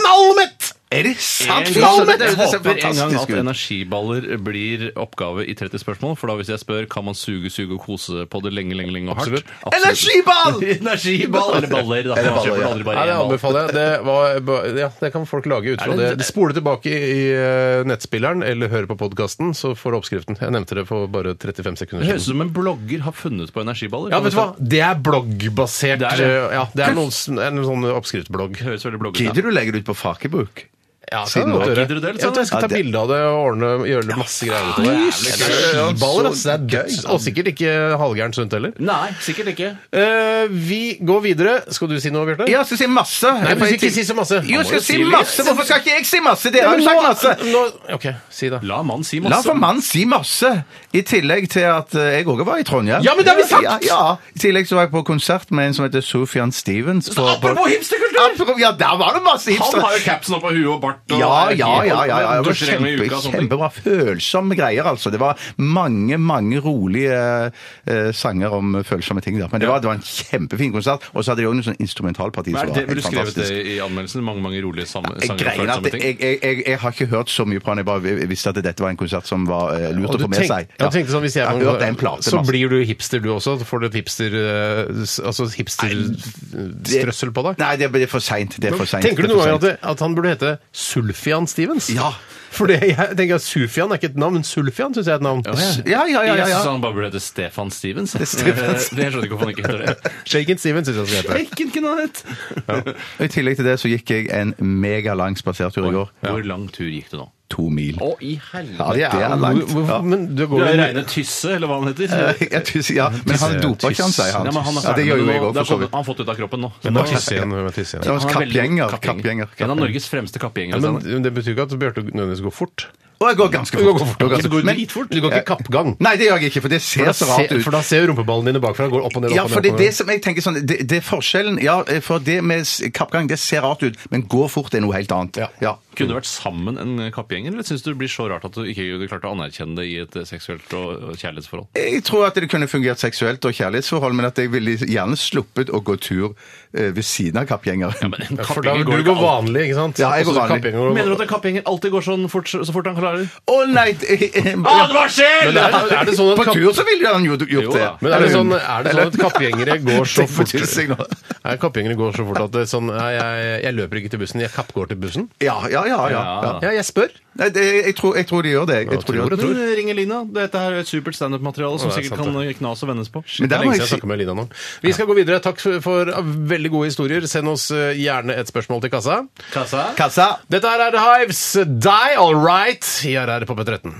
Speaker 7: knallmett!
Speaker 9: Er det sant? Fy
Speaker 10: Jeg
Speaker 9: søren,
Speaker 10: håper
Speaker 9: det er jo- det ser
Speaker 10: en gang
Speaker 9: fantastisk
Speaker 10: at
Speaker 9: ut.
Speaker 10: energiballer blir oppgave i 30 spørsmål. For da hvis jeg spør kan man suge, suge og kose på det lenge, lenge, lenge og hardt
Speaker 7: Absolutt.
Speaker 10: Absolutt.
Speaker 9: Energiball!
Speaker 10: Energiball! Eller baller, da. Man kjøper aldri
Speaker 7: Nei,
Speaker 10: bare
Speaker 7: det
Speaker 10: én ball.
Speaker 7: anbefaler jeg. Det, var, ba- ja, det kan folk lage ut fra
Speaker 10: Er
Speaker 7: det.
Speaker 10: det-
Speaker 7: Spole tilbake i eh, nettspilleren eller hør på podkasten, så får du oppskriften. Jeg nevnte det for bare 35
Speaker 10: Det
Speaker 7: sekunder
Speaker 10: høres
Speaker 7: siden.
Speaker 10: ut som en blogger har funnet på energiballer.
Speaker 7: Ja, vet du hva? Det er bloggbasert.
Speaker 10: Det er det.
Speaker 7: eh, Ja, det er noen, sn- en sånn oppskriftblogg.
Speaker 10: Det høres veldig blogger ut.
Speaker 9: Gidder du legge det ut på Fakebook?
Speaker 7: Ja,
Speaker 9: Siden nå.
Speaker 7: det kan jeg godt gjøre.
Speaker 10: Gidder du det, eller
Speaker 7: Jeg tror jeg skal
Speaker 9: sånn?
Speaker 7: ta bilde av det og ordne, gjøre det masse greier ut av det.
Speaker 9: Jævlig gøy.
Speaker 7: Energiballer, altså. Det er
Speaker 9: Så
Speaker 7: døds.
Speaker 9: gøy.
Speaker 7: Og sikkert ikke halvgærent sunt heller.
Speaker 10: Nei, sikkert ikke.
Speaker 7: Eh, vi går videre. Skal du si noe, Bjarte?
Speaker 9: Ja, jeg skal si masse.
Speaker 7: Nei, du skal ikke si så masse.
Speaker 9: Jo, jeg
Speaker 7: Man må jo
Speaker 9: skal si
Speaker 7: si litt.
Speaker 9: masse. Hvorfor skal ikke jeg si masse? Dere
Speaker 7: Ja,
Speaker 9: har
Speaker 7: men
Speaker 9: jo sagt masse.
Speaker 7: nå, nå, OK, si det.
Speaker 10: La mann si
Speaker 9: La
Speaker 10: masse.
Speaker 9: for mann si masse, i tillegg til at eh, jeg òg var i Trondheim.
Speaker 7: Ja, men det har vi sagt!
Speaker 9: Ja, ja. I tillegg så var jeg på konsert med en som heter Sofian Stevens. på-
Speaker 10: Apropos
Speaker 9: på-
Speaker 10: hipsterkultur!
Speaker 9: Apropos- Ja, der var det masse
Speaker 10: Han har
Speaker 9: hipster!
Speaker 10: jo capsen opp av huet og bart. Og
Speaker 9: Ja, ja, ja. ja, ja, Det var
Speaker 10: og- Børster en gang i
Speaker 9: kjempe,
Speaker 10: uka og
Speaker 7: sånn
Speaker 10: sånne ting.
Speaker 9: kjempebra. Følsomme greier, altså. Det var mange, mange rolige eh, sanger om følsomme ting der. Men det var, det var en kjempefin konsert. Og så hadde de òg noe sånn instrumentalparti
Speaker 10: Men
Speaker 9: som
Speaker 10: er
Speaker 9: var
Speaker 10: det,
Speaker 9: helt
Speaker 10: vil du skrevet
Speaker 9: fantastisk.
Speaker 10: det i anmeldelsen? Mange mange rolige sam
Speaker 9: Jeg,
Speaker 10: sanger. og
Speaker 9: greier
Speaker 10: følsomme
Speaker 9: at
Speaker 10: ting.
Speaker 9: jeg, jeg, jeg, jeg har ikke hørt så mye på han, jeg bare visste at dette var en konsert som var eh, lurt
Speaker 7: Og
Speaker 9: å
Speaker 7: du
Speaker 9: få med
Speaker 7: tenk-
Speaker 9: seg.
Speaker 7: Jeg tenkte sånn, hvis jeg,
Speaker 9: har hørt altså. en plate,
Speaker 7: så
Speaker 9: masse.
Speaker 7: blir du hipster du også? Så får du et hipster eh, s- altså hipsterstrøssel på deg?
Speaker 9: Nei, det det er for seint. Det er for seint.
Speaker 7: Tenker du noen ganger at, det- at han burde hete Sulfian Stevens?
Speaker 9: Ja.
Speaker 7: For det, jeg tenker at Sufian er ikke et navn, men Sulfian syns jeg er et navn.
Speaker 9: Ja, ja, ja. ja,
Speaker 10: Jeg synes
Speaker 9: ja.
Speaker 10: han bare burde hete Stefan Stevens. jeg.
Speaker 9: Stefan
Speaker 10: Eh, Jeg skjønner ikke hvorfor han ikke heter det.
Speaker 7: Shaken Stevens syns jeg skal hete.
Speaker 10: Ikke kunne han hett.
Speaker 9: Og I tillegg til det så gikk jeg en megalang spasertur i går.
Speaker 10: Hvor lang tur gikk det nå?
Speaker 9: To mil.
Speaker 10: Å, i helvete.
Speaker 9: Ja, det er langt.
Speaker 7: Hvor-
Speaker 9: Ja.
Speaker 7: hvorfor- Men du
Speaker 10: Du
Speaker 7: går
Speaker 10: er
Speaker 7: jo
Speaker 10: reine Tysse, eller hva han heter.
Speaker 9: Jeg tyss- ja, men han dopa ikke, han sier
Speaker 10: Ja,
Speaker 9: han.
Speaker 10: men han
Speaker 9: Eh, Ja,
Speaker 10: er
Speaker 9: det
Speaker 10: ferdig
Speaker 9: gjør jo
Speaker 10: med det
Speaker 9: jeg
Speaker 10: nå.
Speaker 9: òg,
Speaker 10: Det
Speaker 9: for
Speaker 10: er
Speaker 9: så
Speaker 10: sånn-
Speaker 9: vidt.
Speaker 10: Han har fått det ut av kroppen nå. Så
Speaker 7: Hun
Speaker 10: nå
Speaker 7: er tisse igjen, hun er tisse igjen.
Speaker 9: Ja,
Speaker 10: han er veldig-
Speaker 9: Kappgjenger, kappgjenger,
Speaker 10: En av
Speaker 9: kappgjenger.
Speaker 10: Norges fremste kappgjengere.
Speaker 7: Ja, men
Speaker 10: Steinar.
Speaker 7: men det betyr ikke at Bjarte nødvendigvis går fort.
Speaker 9: Og jeg går ganske
Speaker 7: Du går
Speaker 9: fort.
Speaker 7: fort. Du går
Speaker 9: ganske fort. Men-
Speaker 10: dritfort.
Speaker 7: Du går ikke kappgang.
Speaker 9: Nei, det gjør jeg ikke, for det
Speaker 7: For da
Speaker 9: ser så rart
Speaker 7: ser,
Speaker 9: ut.
Speaker 7: for da ser jo rumpeballen dine bakfra går opp og ned. Opp
Speaker 9: Ja,
Speaker 7: og ned,
Speaker 9: for det
Speaker 7: opp
Speaker 9: er
Speaker 7: og ned.
Speaker 9: det som jeg tenker sånn Det, det er forskjellen. Ja, for det med s- kappgang, det ser rart ut, men gå fort er noe helt annet.
Speaker 7: Ja.
Speaker 9: Ja.
Speaker 10: Kunne du vært sammen en kappgjenger, eller syns du det blir så rart at du ikke klarte å anerkjenne det i et seksuelt og og kjærlighetsforhold?
Speaker 9: Jeg tror at det kunne fungert seksuelt og kjærlighetsforhold, men at jeg ville gjerne sluppet å gå tur eh, ved siden av kappgjenger.
Speaker 10: Ja, men en
Speaker 7: For da
Speaker 10: kappgjenger
Speaker 7: vil
Speaker 10: går
Speaker 7: du
Speaker 10: ikke
Speaker 7: gå
Speaker 10: alltid.
Speaker 7: vanlig, ikke sant?
Speaker 9: Ja, jeg går
Speaker 7: Også
Speaker 9: vanlig.
Speaker 7: kappgjenger går-
Speaker 10: Mener du at en kappgjenger alltid går sånn fort, så fort han klarer?
Speaker 9: Å nei! eh,
Speaker 7: Men er, er det sånn at
Speaker 9: På
Speaker 7: kapp-
Speaker 9: tur så ville han jo
Speaker 10: Jo
Speaker 9: gjort det.
Speaker 10: da.
Speaker 7: Men er det sånn,
Speaker 9: Eller hun.
Speaker 7: er det sånn at kappgjengere går så
Speaker 9: Tenk på
Speaker 7: fort
Speaker 9: tissing nå.
Speaker 7: Er kappgjengere går så fort at det er sånn nei, jeg, jeg løper ikke til bussen, jeg kappgår til bussen?
Speaker 9: Ja, ja, ja. ja. ja.
Speaker 7: Ja, jeg spør.
Speaker 9: Nei, det, jeg, tror, jeg tror de gjør det. Jeg, tror de gjør det.
Speaker 10: Men ring Elina. Dette her er et supert standup-materiale som
Speaker 7: Ja, det er
Speaker 10: sikkert
Speaker 7: sant,
Speaker 10: kan knas og vendes på.
Speaker 9: Men
Speaker 7: Det
Speaker 9: der må
Speaker 7: er lenge siden
Speaker 9: jeg
Speaker 7: jeg
Speaker 9: si
Speaker 7: snakket med Elina nå. Vi skal gå videre. Takk for, for ah, veldig gode historier. Send oss eh, gjerne et spørsmål til kassa.
Speaker 9: Kassa!
Speaker 7: Dette her er Hives Die All Right i RR på P13.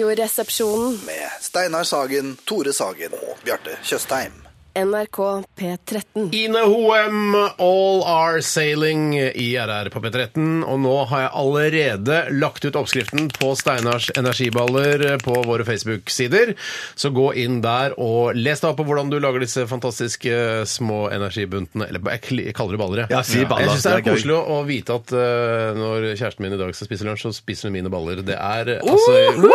Speaker 3: Radioresepsjonen.
Speaker 4: med Steinar Sagen, Tore Sagen og Bjarte Tjøstheim.
Speaker 3: NRK P13.
Speaker 7: Ine Hoem, All Are Sailing i RR på P13. Og nå har jeg allerede lagt ut oppskriften på Steinars energiballer på våre Facebook-sider. Så gå inn der og les deg opp på hvordan du lager disse fantastiske små energibuntene. Eller jeg kli- jeg kaller det baller, jeg.
Speaker 9: Ja, si baller,
Speaker 7: Jeg syns det er
Speaker 9: det er gøy.
Speaker 7: koselig å å vite at eh, når kjæresten min i dag skal spise lunsj, så spiser hun mine baller. Det er eh, altså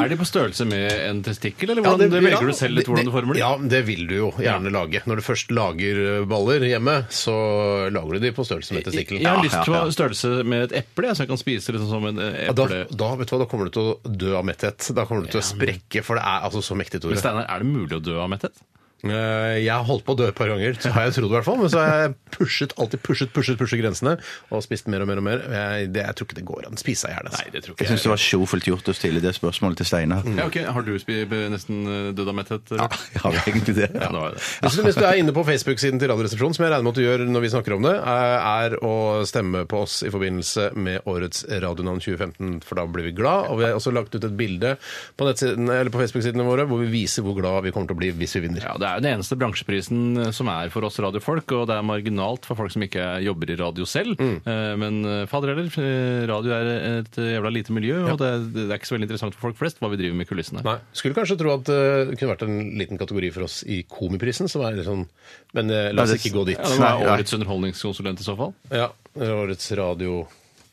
Speaker 10: Er de på størrelse med en testikkel, eller hvordan det, velger du selv litt hvordan du former det?
Speaker 7: Ja, det vil du jo gjerne lage. Når du først lager eh, baller hjemme, så lager du de på størrelse med testikkelen.
Speaker 10: Jeg har lyst til å ha størrelse med et eple, jeg, så jeg kan spise det sånn som en eh,
Speaker 7: Ja, Da,
Speaker 10: eple.
Speaker 7: da, vet du hva, da kommer du til å dø av metthet. Da kommer du til å sprekke, for det er altså så mektig,
Speaker 10: Men
Speaker 7: Tore.
Speaker 10: Steinar, er det mulig å dø av metthet?
Speaker 7: Eh, Jeg har holdt på å dø et par ganger, så har jeg trodd i hvert fall. Men så har jeg pushet, alltid pushet, pushet, pushet grensene, og spist mer og mer og mer. Jeg, det, jeg altså. tror ikke det går an. Spise av hjernen.
Speaker 10: det tror
Speaker 9: Jeg syns det var sjofelt gjort å stille det spørsmålet til Steinar.
Speaker 10: Ja, ok. Har du spi- be- nesten eh, dødd av metthet? eller?
Speaker 9: Ja, det er egentlig det.
Speaker 10: Mm. Ja, det var det.
Speaker 7: Hvis du, hvis du er inne på Facebook-siden til Radioresepsjonen, som jeg regner med at du gjør når vi snakker om det, er er å stemme på oss i forbindelse med årets Radionavn 2015, for da blir vi glad. Og vi har også lagt ut et bilde på, nettsiden- eller på Facebook-sidene våre hvor vi viser hvor glad vi kommer til å bli hvis vi vinner.
Speaker 10: Ja, det er jo den eneste bransjeprisen eh, som er for oss radiofolk, og det er marginalt for folk som ikke jobber i radio selv.
Speaker 9: Mm.
Speaker 10: Eh, Men eh, fader heller, eh, radio er et jævla lite miljø, og det, er- det er ikke så veldig interessant for folk flest hva vi driver med i kulissene.
Speaker 7: Nei. Skulle kanskje tro at eh, det kunne vært en liten kategori for oss i Komiprisen, som er litt sånn Men eh, la
Speaker 9: Nei,
Speaker 7: oss
Speaker 9: det-
Speaker 7: ikke gå dit.
Speaker 10: Ja, det var
Speaker 9: Nei, nei.
Speaker 10: årets underholdningskonsulent i så fall.
Speaker 7: Ja, Årets radio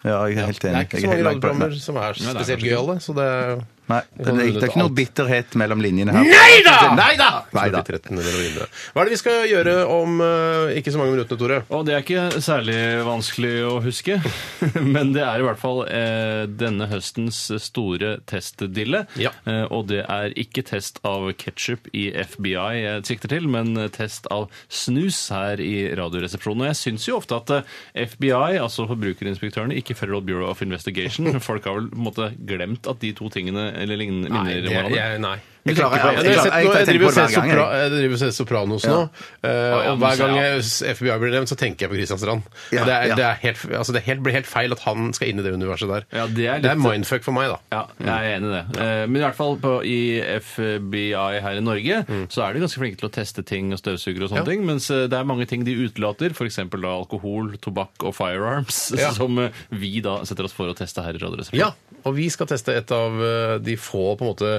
Speaker 9: Ja, jeg er helt
Speaker 7: Det er
Speaker 9: enig.
Speaker 7: ikke
Speaker 9: Jeg
Speaker 7: så
Speaker 9: er
Speaker 7: mange
Speaker 9: helt langt bak-
Speaker 7: radioprogrammer som er
Speaker 10: Nei, det er
Speaker 7: spesielt
Speaker 10: kanskje
Speaker 7: gøyale, så det er
Speaker 9: Nei,
Speaker 7: vi
Speaker 9: det er,
Speaker 7: kan runde
Speaker 9: det er
Speaker 7: ut
Speaker 9: ikke noe
Speaker 7: alt.
Speaker 9: bitterhet mellom linjene her. Nei da! Nei da!
Speaker 7: Snart i 13 eller noe lignende. Hva er det vi skal gjøre om eh, ikke så mange minuttene, Tore?
Speaker 10: Og det er ikke særlig vanskelig å huske, men det er i hvert fall eh, denne høstens store testdille.
Speaker 7: Ja.
Speaker 10: Eh, og det er ikke test av ketsjup i FBI jeg sikter til, men test av snus her i Radioresepsjonen. Og jeg syns jo ofte at eh, FBI, altså forbrukerinspektørene, ikke Federal Bureau of Investigation Folk har vel på en måte glemt at de to tingene eller lignende, minner om
Speaker 7: jeg,
Speaker 10: hverandre.
Speaker 7: jeg, nei.
Speaker 9: Jeg klarer-
Speaker 7: Ja,
Speaker 9: jeg-
Speaker 7: men Jeg, har sett
Speaker 9: jeg-
Speaker 7: nå-
Speaker 9: jeg
Speaker 7: jeg
Speaker 9: tenker
Speaker 7: driver
Speaker 9: på
Speaker 7: og
Speaker 9: det
Speaker 7: ser
Speaker 9: hver gang, jeg.
Speaker 7: sopra- jeg driver og ser Sopranos nå. eh,
Speaker 10: ja,
Speaker 7: Og
Speaker 10: men
Speaker 7: hver
Speaker 10: så-
Speaker 7: gang
Speaker 10: ja.
Speaker 7: jeg- FBI blir nevnt, så tenker jeg på Kristiansand.
Speaker 9: Ja,
Speaker 7: Og Det, er,
Speaker 9: ja.
Speaker 7: det, er helt, altså det er helt, blir helt feil at han skal inn i det universet der.
Speaker 10: Ja, det er litt-
Speaker 7: mindfuck for meg, da.
Speaker 10: Ja, jeg er enig i det. Eh, Men i hvert fall på, i FBI her i Norge så er de ganske flinke til å teste ting og støvsugere og sånne
Speaker 7: Ja.
Speaker 10: ting, mens eh, det er mange ting de utelater, f.eks. alkohol, tobakk og firearms,
Speaker 7: Ja.
Speaker 10: som eh, vi da setter oss for å teste her i Radioresepsjonen.
Speaker 7: Ja, og vi skal teste et av eh, de få på en måte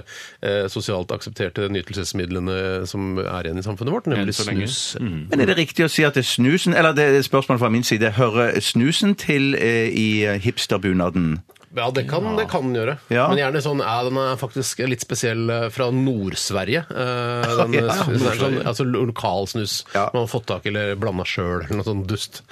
Speaker 7: eh, sosialt aksepterte nytelsesmidlene som er igjen i samfunnet vårt,
Speaker 10: Enn
Speaker 7: nemlig
Speaker 10: så lenge. Mm.
Speaker 7: snus.
Speaker 9: Men er det riktig å si at det er snusen, eller det er spørsmålet fra min side, hører snusen til eh, i hipsterbunaden?
Speaker 7: Ja, det kan, det kan den gjøre.
Speaker 9: Ja.
Speaker 7: Men gjerne sånn ja, Den er faktisk litt spesiell eh, fra Nord-Sverige. Eh, den,
Speaker 9: Ja,
Speaker 7: snusen er sånn,
Speaker 10: Nord-Sverige.
Speaker 7: altså lo- lokalsnus
Speaker 9: Ja.
Speaker 7: man har fått tak i eller blanda sjøl, eller noe sånn dust.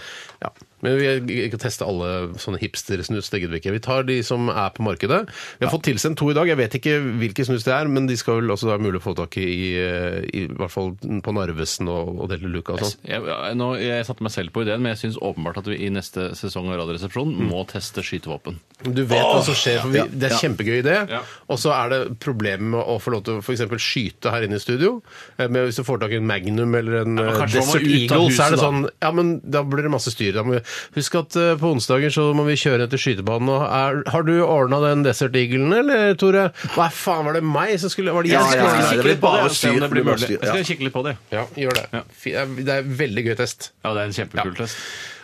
Speaker 7: Ja. Men vi vi kan teste alle sånne hipstersnus. Det gidder vi ikke. Vi tar de som er på markedet. Vi har fått tilsendt to i dag. Jeg vet ikke hvilke snus det er, men de skal vel også da være mulig å få tak i, eh, i hvert fall på Narvesen og, og Delle Luca og sånn.
Speaker 10: Jeg, jeg, nå, jeg satte meg selv på ideen, men jeg syns åpenbart at vi i neste sesong av Radioresepsjonen må teste skytevåpen.
Speaker 7: Du vet hva som skjer, for vi, det er
Speaker 10: Ja.
Speaker 7: kjempegøy idé.
Speaker 10: Ja.
Speaker 7: Og så er det problemet med å få lov til å for eksempel skyte her inne i studio. eh, Men hvis du får tak i en Magnum eller en
Speaker 10: men
Speaker 7: eh,
Speaker 10: kanskje man må
Speaker 7: Desert
Speaker 10: ut av
Speaker 7: Eagle, så er det
Speaker 10: huset, da.
Speaker 7: sånn Ja, men da blir det masse styr. Da må vi, husk at eh, på onsdager så må vi kjøre etter skytebanen. Og er, har du ordna den Desert Eaglen, eller, Tore? Hva faen, var det meg som skulle Var det jeg
Speaker 9: Ja,
Speaker 7: som
Speaker 9: ja,
Speaker 7: skulle
Speaker 9: ja,
Speaker 7: kikke
Speaker 9: det blir
Speaker 7: litt på
Speaker 9: bare
Speaker 7: det?
Speaker 10: Og se om det
Speaker 9: Styr-
Speaker 10: blir mulig. Jeg skal kikke litt på det.
Speaker 7: Ja, gjør det. Fi- Det er- det er en veldig gøy test.
Speaker 10: Ja, det er en kjempekul test.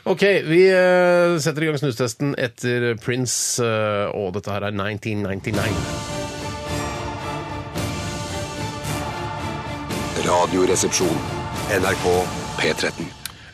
Speaker 7: Ok, vi eh, setter i gang snustesten etter Prince, eh, og dette her er 1999.
Speaker 6: Radioresepsjon. NRK P13.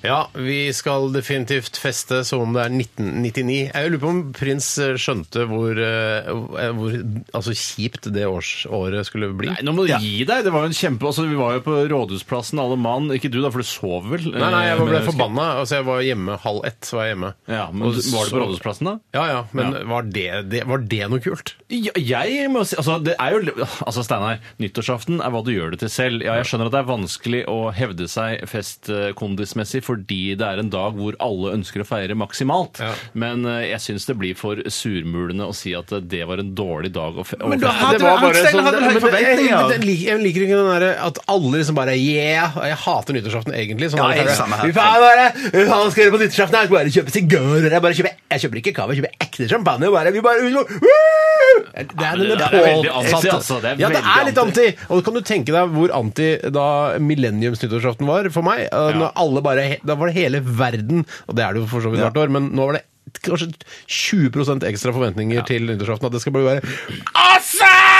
Speaker 7: Ja, vi skal definitivt feste som om det er 1999. Jeg lurer på om prins eh, skjønte hvor, eh, hvor altså kjipt det års, året skulle bli.
Speaker 10: Nei, nå må du gi deg! Det var jo en kjempe... Altså, vi var jo på Rådhusplassen, alle mann. Ikke du, da, for du sover vel?
Speaker 7: Nei, nei, jeg
Speaker 10: Eh,
Speaker 7: var- ble
Speaker 10: men-
Speaker 7: forbanna. Altså, jeg var hjemme halv ett. var jeg hjemme.
Speaker 10: Ja, men
Speaker 7: Og
Speaker 10: Var det på
Speaker 7: så-
Speaker 10: Rådhusplassen, da?
Speaker 7: Ja, ja, men
Speaker 10: Ja.
Speaker 7: Var, det, det, var det noe kult?
Speaker 10: Ja, jeg må si, altså det er jo, altså Steinar, nyttårsaften er hva du gjør det til selv. Ja, jeg skjønner at det er vanskelig å hevde seg festkondismessig fordi det er en dag hvor alle ønsker å feire maksimalt.
Speaker 7: Ja.
Speaker 10: Men eh, jeg syns det blir for surmulende å si at eh, det var en dårlig dag å fe- å
Speaker 9: Men da
Speaker 10: feste.
Speaker 9: hadde
Speaker 7: Det var
Speaker 9: du- han
Speaker 7: bare
Speaker 9: selv
Speaker 7: sånn-
Speaker 9: hadde
Speaker 7: men
Speaker 9: høye
Speaker 7: det-
Speaker 9: forventninger.
Speaker 7: Jeg, jeg, lik- jeg liker ikke den derre at alle liksom bare Yeah! og Jeg hater nyttårsaften egentlig. Sånn
Speaker 9: Ja,
Speaker 7: er det
Speaker 9: jeg er
Speaker 7: bare,
Speaker 9: samme her.
Speaker 7: «Fy faen, bare, hva faen skal dere på nyttårsaften? Jeg skal bare kjøpe sigarer. Jeg, bare kjøper, jeg kjøper ikke kava, jeg kjøper ekte champagne. og Bare, vi bare, liksom, Woo!» det er,
Speaker 10: det
Speaker 7: denne
Speaker 10: er veldig anti,
Speaker 7: påsatte-
Speaker 10: altså. Det er
Speaker 7: ja, det
Speaker 10: veldig
Speaker 7: er litt anti. Og kan du tenke deg hvor anti da millenniums-nyttårsaften var for meg? Eh, Når alle bare, he- da var det hele verden, og det er det jo for så vidt hvert år, men nå var det kanskje 20 ekstra forventninger til nyttårsaften. At det skal bare være Awesome!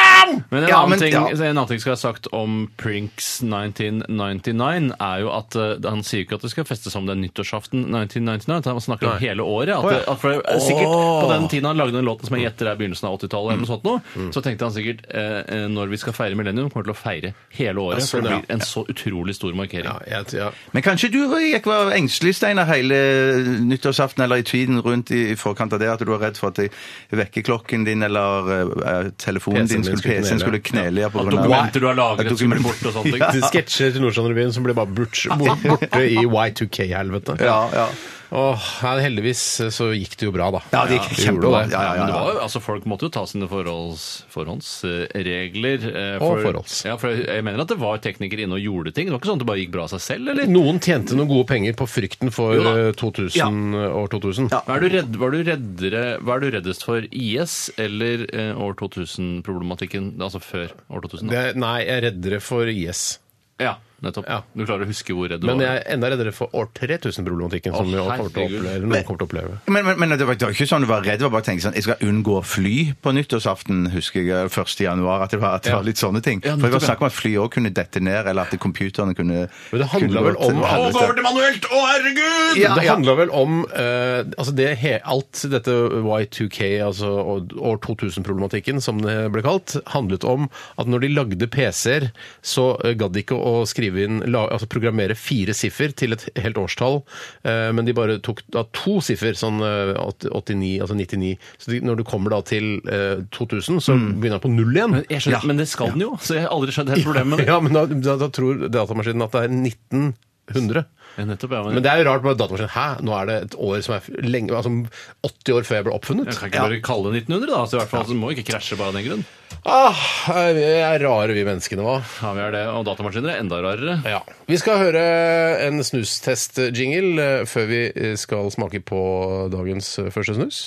Speaker 10: Men en,
Speaker 9: Ja,
Speaker 10: annen
Speaker 9: men-
Speaker 10: ting,
Speaker 9: ja.
Speaker 10: en annen ting skal jeg ha sagt om Prinks 1999, er jo at eh, han sier jo ikke at det skal festes som det er nyttårsaften 1999. Han snakker om hele året. At,
Speaker 7: Å, ja.
Speaker 10: det- at for, det er sikkert På den tiden han lagde den låten som jeg gjetter er begynnelsen av 80-tallet, eller noe sånt noe,
Speaker 7: Mm.
Speaker 10: så tenkte han sikkert eh, eh, når vi skal feire millennium, kommer vi til å feire hele året.
Speaker 7: Ja,
Speaker 10: for det
Speaker 7: sånn, ja.
Speaker 10: blir en så utrolig stor markering.
Speaker 7: Ja, jeg, ja.
Speaker 9: Men kanskje du Røyek, var engstelig, Steinar, hele nyttårsaften eller i tiden rundt i, i forkant av det, at du var redd for at vekkerklokken din eller eh, telefonen
Speaker 7: PC-en
Speaker 9: din, skulle,
Speaker 7: skulle knele.
Speaker 9: PC-en skulle knele. Ja. på
Speaker 10: At
Speaker 9: grunn av-
Speaker 10: dokumenter du har lagret,
Speaker 9: At
Speaker 10: skulle
Speaker 9: dokument-
Speaker 10: bort og sånn. sånne ting.
Speaker 9: Ja.
Speaker 7: til sketsjer til Nordstrandrevyen som ble bare bort, bort, borte i Y2K-helvete.
Speaker 9: Ja, ja.
Speaker 7: Åh, nei, heldigvis så gikk det jo bra, da.
Speaker 9: Ja, det gikk
Speaker 7: gjorde
Speaker 9: kjempebra.
Speaker 7: det.
Speaker 9: Ja, ja, ja,
Speaker 10: Men det
Speaker 9: ja.
Speaker 10: var, jo- altså, folk måtte jo ta sine forholds, forhåndsregler. eh,
Speaker 7: Og forholds.
Speaker 10: Ja, for jeg, jeg mener at det var teknikere inne og gjorde ting. Det var ikke sånn at det bare gikk bra av seg selv, eller?
Speaker 7: Noen tjente noen gode penger på frykten for
Speaker 10: Jo da.
Speaker 7: eh, 2000, år 2000.
Speaker 10: Hva Er du redd, var, du reddere, hva er du reddest for? IS eller eh, år 2000-problematikken? Altså før år 2000? da?
Speaker 7: Det, nei, jeg er reddere for IS.
Speaker 10: Ja. nettopp.
Speaker 7: Ja.
Speaker 10: Du klarer å huske hvor redd du
Speaker 7: Men jeg
Speaker 10: var.
Speaker 7: er enda reddere for år 3000-problematikken, som
Speaker 10: Å,
Speaker 7: jo kommer til å
Speaker 10: herregud.
Speaker 7: oppleve, eller noen kommer til å oppleve.
Speaker 9: Men, men, men det, var, det var ikke sånn du var redd, det var bare å tenke sånn Jeg skal unngå fly på nyttårsaften, husker jeg, eller 1. januar, at det var, at det
Speaker 7: Ja.
Speaker 9: var litt sånne ting.
Speaker 10: Ja,
Speaker 9: For det var
Speaker 10: nettopp,
Speaker 9: snakk om at fly også kunne dette ned, eller at computerne kunne
Speaker 7: Men det handla vel om
Speaker 9: å
Speaker 7: Å, gå over
Speaker 10: til manuelt! Å, herregud!
Speaker 9: Ja,
Speaker 7: det
Speaker 9: ja.
Speaker 7: handla vel om eh, altså det he, alt dette Y2K, altså og- år 2000-problematikken som det ble kalt, handlet om at når de lagde PC-er, så eh, gadd de ikke å skrive inn la, altså programmere fire siffer til et helt årstall, eh, men de bare tok da to siffer, sånn eh, åt- 89, altså 99. Så de, når du kommer da til eh, 2000, så begynner den på null igjen.
Speaker 10: Mm. Men, jeg skjønner, men det skal den jo, så jeg har aldri skjønt helt problemet med det.
Speaker 7: Ja, men da, da, da tror datamaskinen at det er 1900.
Speaker 10: Ja, nettopp, ja, men-
Speaker 7: Men det er jo rart med datamaskinen. Hæ, nå er det et år som er f- lenge, altså 80 år før jeg ble
Speaker 10: Jeg
Speaker 7: oppfunnet?
Speaker 10: kan ikke bare kalle det 1900, da. Så i hvert fall, så må vi ikke krasje bare av den grunn.
Speaker 7: Ah, vi er rare vi menneskene, hva?
Speaker 10: Ja, vi er det, Og datamaskiner er enda rarere.
Speaker 7: Ja. Vi skal høre en snustest-jingle eh, før vi eh, skal smake på dagens eh, første snus.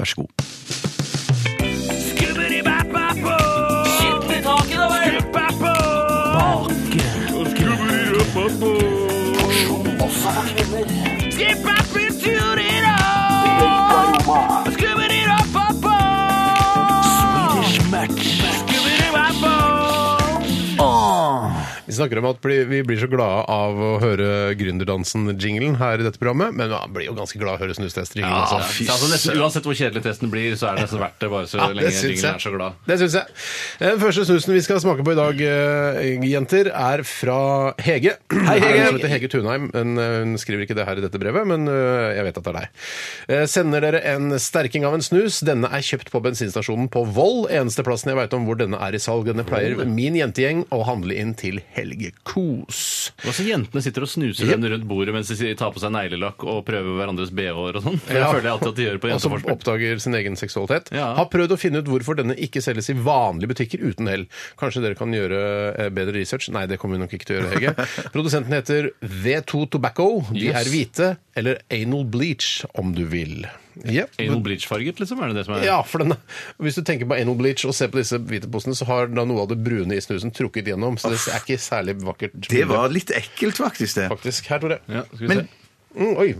Speaker 9: Vær så god.
Speaker 7: Vi snakker om at bli- vi blir så glade av å høre gründerdansen-jinglen her i dette programmet, men man blir jo ganske glad av å høre snustest-jinglen.
Speaker 10: Ja,
Speaker 7: altså.
Speaker 10: så altså, nesten, uansett hvor kjedelig testen blir, så er det nesten verdt det, bare så
Speaker 7: Ja,
Speaker 10: lenge
Speaker 7: syns
Speaker 10: ringen
Speaker 7: jeg.
Speaker 10: er så glad.
Speaker 7: Det syns jeg. Den første snusen vi skal smake på i dag, eh, jenter, er fra Hege. Hei, Hege. Hun heter Hege Tunheim. men, eh, Hun skriver ikke det her i dette brevet, men eh, jeg vet at det er deg. Eh, Sender dere en sterking av en snus. Denne er kjøpt på bensinstasjonen på Voll. Eneste plassen jeg veit om hvor denne er i salg. Denne pleier min jentegjeng å handle inn til helgekos.
Speaker 10: Og så Jentene sitter og snuser den rundt bordet mens de sier- tar på seg neglelakk og prøver hverandres bh-er og sånn. Det
Speaker 7: Ja.
Speaker 10: føler jeg alltid at de gjør på
Speaker 7: Og som
Speaker 10: jenteforspill.
Speaker 7: oppdager sin egen seksualitet.
Speaker 10: Ja.
Speaker 7: Har prøvd å finne ut hvorfor denne ikke selges i vanlige butikker uten hell. Kanskje dere kan gjøre eh, bedre research? Nei, det kommer vi nok ikke til å gjøre, Hege. Produsenten heter V2 Tobacco. De
Speaker 10: Yes.
Speaker 7: er hvite, eller anal bleach, om du vil. Ja.
Speaker 10: Anal bleach-farget, liksom? Er det det som er
Speaker 7: Ja, for den, Hvis du tenker på anal bleach og ser på disse hvite posene, så har da noe av det brune i snusen trukket gjennom, så det er ikke særlig vakkert.
Speaker 9: Det var litt ekkelt, faktisk, det.
Speaker 7: Faktisk. Her, Tore.
Speaker 10: Ja, skal vi
Speaker 9: Men-
Speaker 10: se.
Speaker 7: Mm, oi,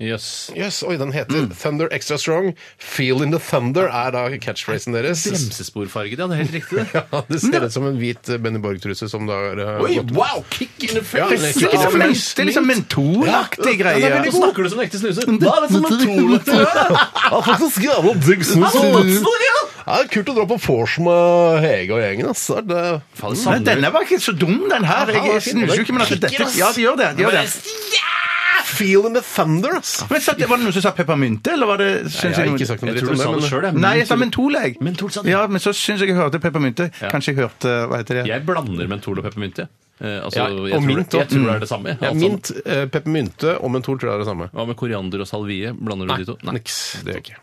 Speaker 10: Jøss.
Speaker 7: Yes, oi, den heter
Speaker 10: Mm.
Speaker 7: Thunder Extra Strong. Feel in the Thunder er da catchphrasen deres.
Speaker 10: Bremsesporfarget, ja. Det er helt riktig, det.
Speaker 7: Ja, det ser ut som en hvit eh, Benny Borg-truse som da er eh,
Speaker 9: Oi,
Speaker 7: gått-
Speaker 9: wow! Kick in the
Speaker 7: Ja,
Speaker 9: Det
Speaker 7: den er
Speaker 9: er
Speaker 7: ikke-
Speaker 9: liksom, det er liksom mentolaktig greie.
Speaker 10: Ja, Nå snakker du som en ekte snuser. Da er det som en
Speaker 7: Ja, faktisk, ja, noe digg snus.
Speaker 10: tolete.
Speaker 7: Ja, det er kult å dra på vors med Hege og gjengen. ass. Det er det- Mm.
Speaker 9: Nei, denne var ikke så dum, den her. Jeg, jeg snuser jo ikke, men altså, dette Ja, de gjør det. De gjør det.
Speaker 7: Feel in the Thunder, ass.
Speaker 9: Men satt, var det noen som sa peppermynte, eller var det
Speaker 7: Nei,
Speaker 9: synes
Speaker 7: jeg har
Speaker 9: noen-
Speaker 7: ikke sagt noe
Speaker 10: Jeg
Speaker 7: dritt
Speaker 10: tror
Speaker 7: om
Speaker 10: du
Speaker 7: det.
Speaker 10: sa det sjøl,
Speaker 7: men-
Speaker 9: Nei, jeg sa mentol, jeg.
Speaker 10: Mentol sa du.
Speaker 9: Ja, men så syns jeg jeg hørte peppermynte. Kanskje jeg hørte eh, Hva heter det?
Speaker 10: Jeg blander mentol og peppermynte. Eh, altså,
Speaker 7: Ja,
Speaker 10: jeg,
Speaker 7: og
Speaker 10: tror,
Speaker 7: mint også.
Speaker 10: jeg tror det er det samme. altså.
Speaker 7: Ja,
Speaker 10: alt sammen.
Speaker 7: mint, eh, peppermynte og mentol tror jeg er det samme.
Speaker 10: Hva med koriander og salvie? Blander du de to? Nei.
Speaker 7: Niks. Det gjør jeg ikke.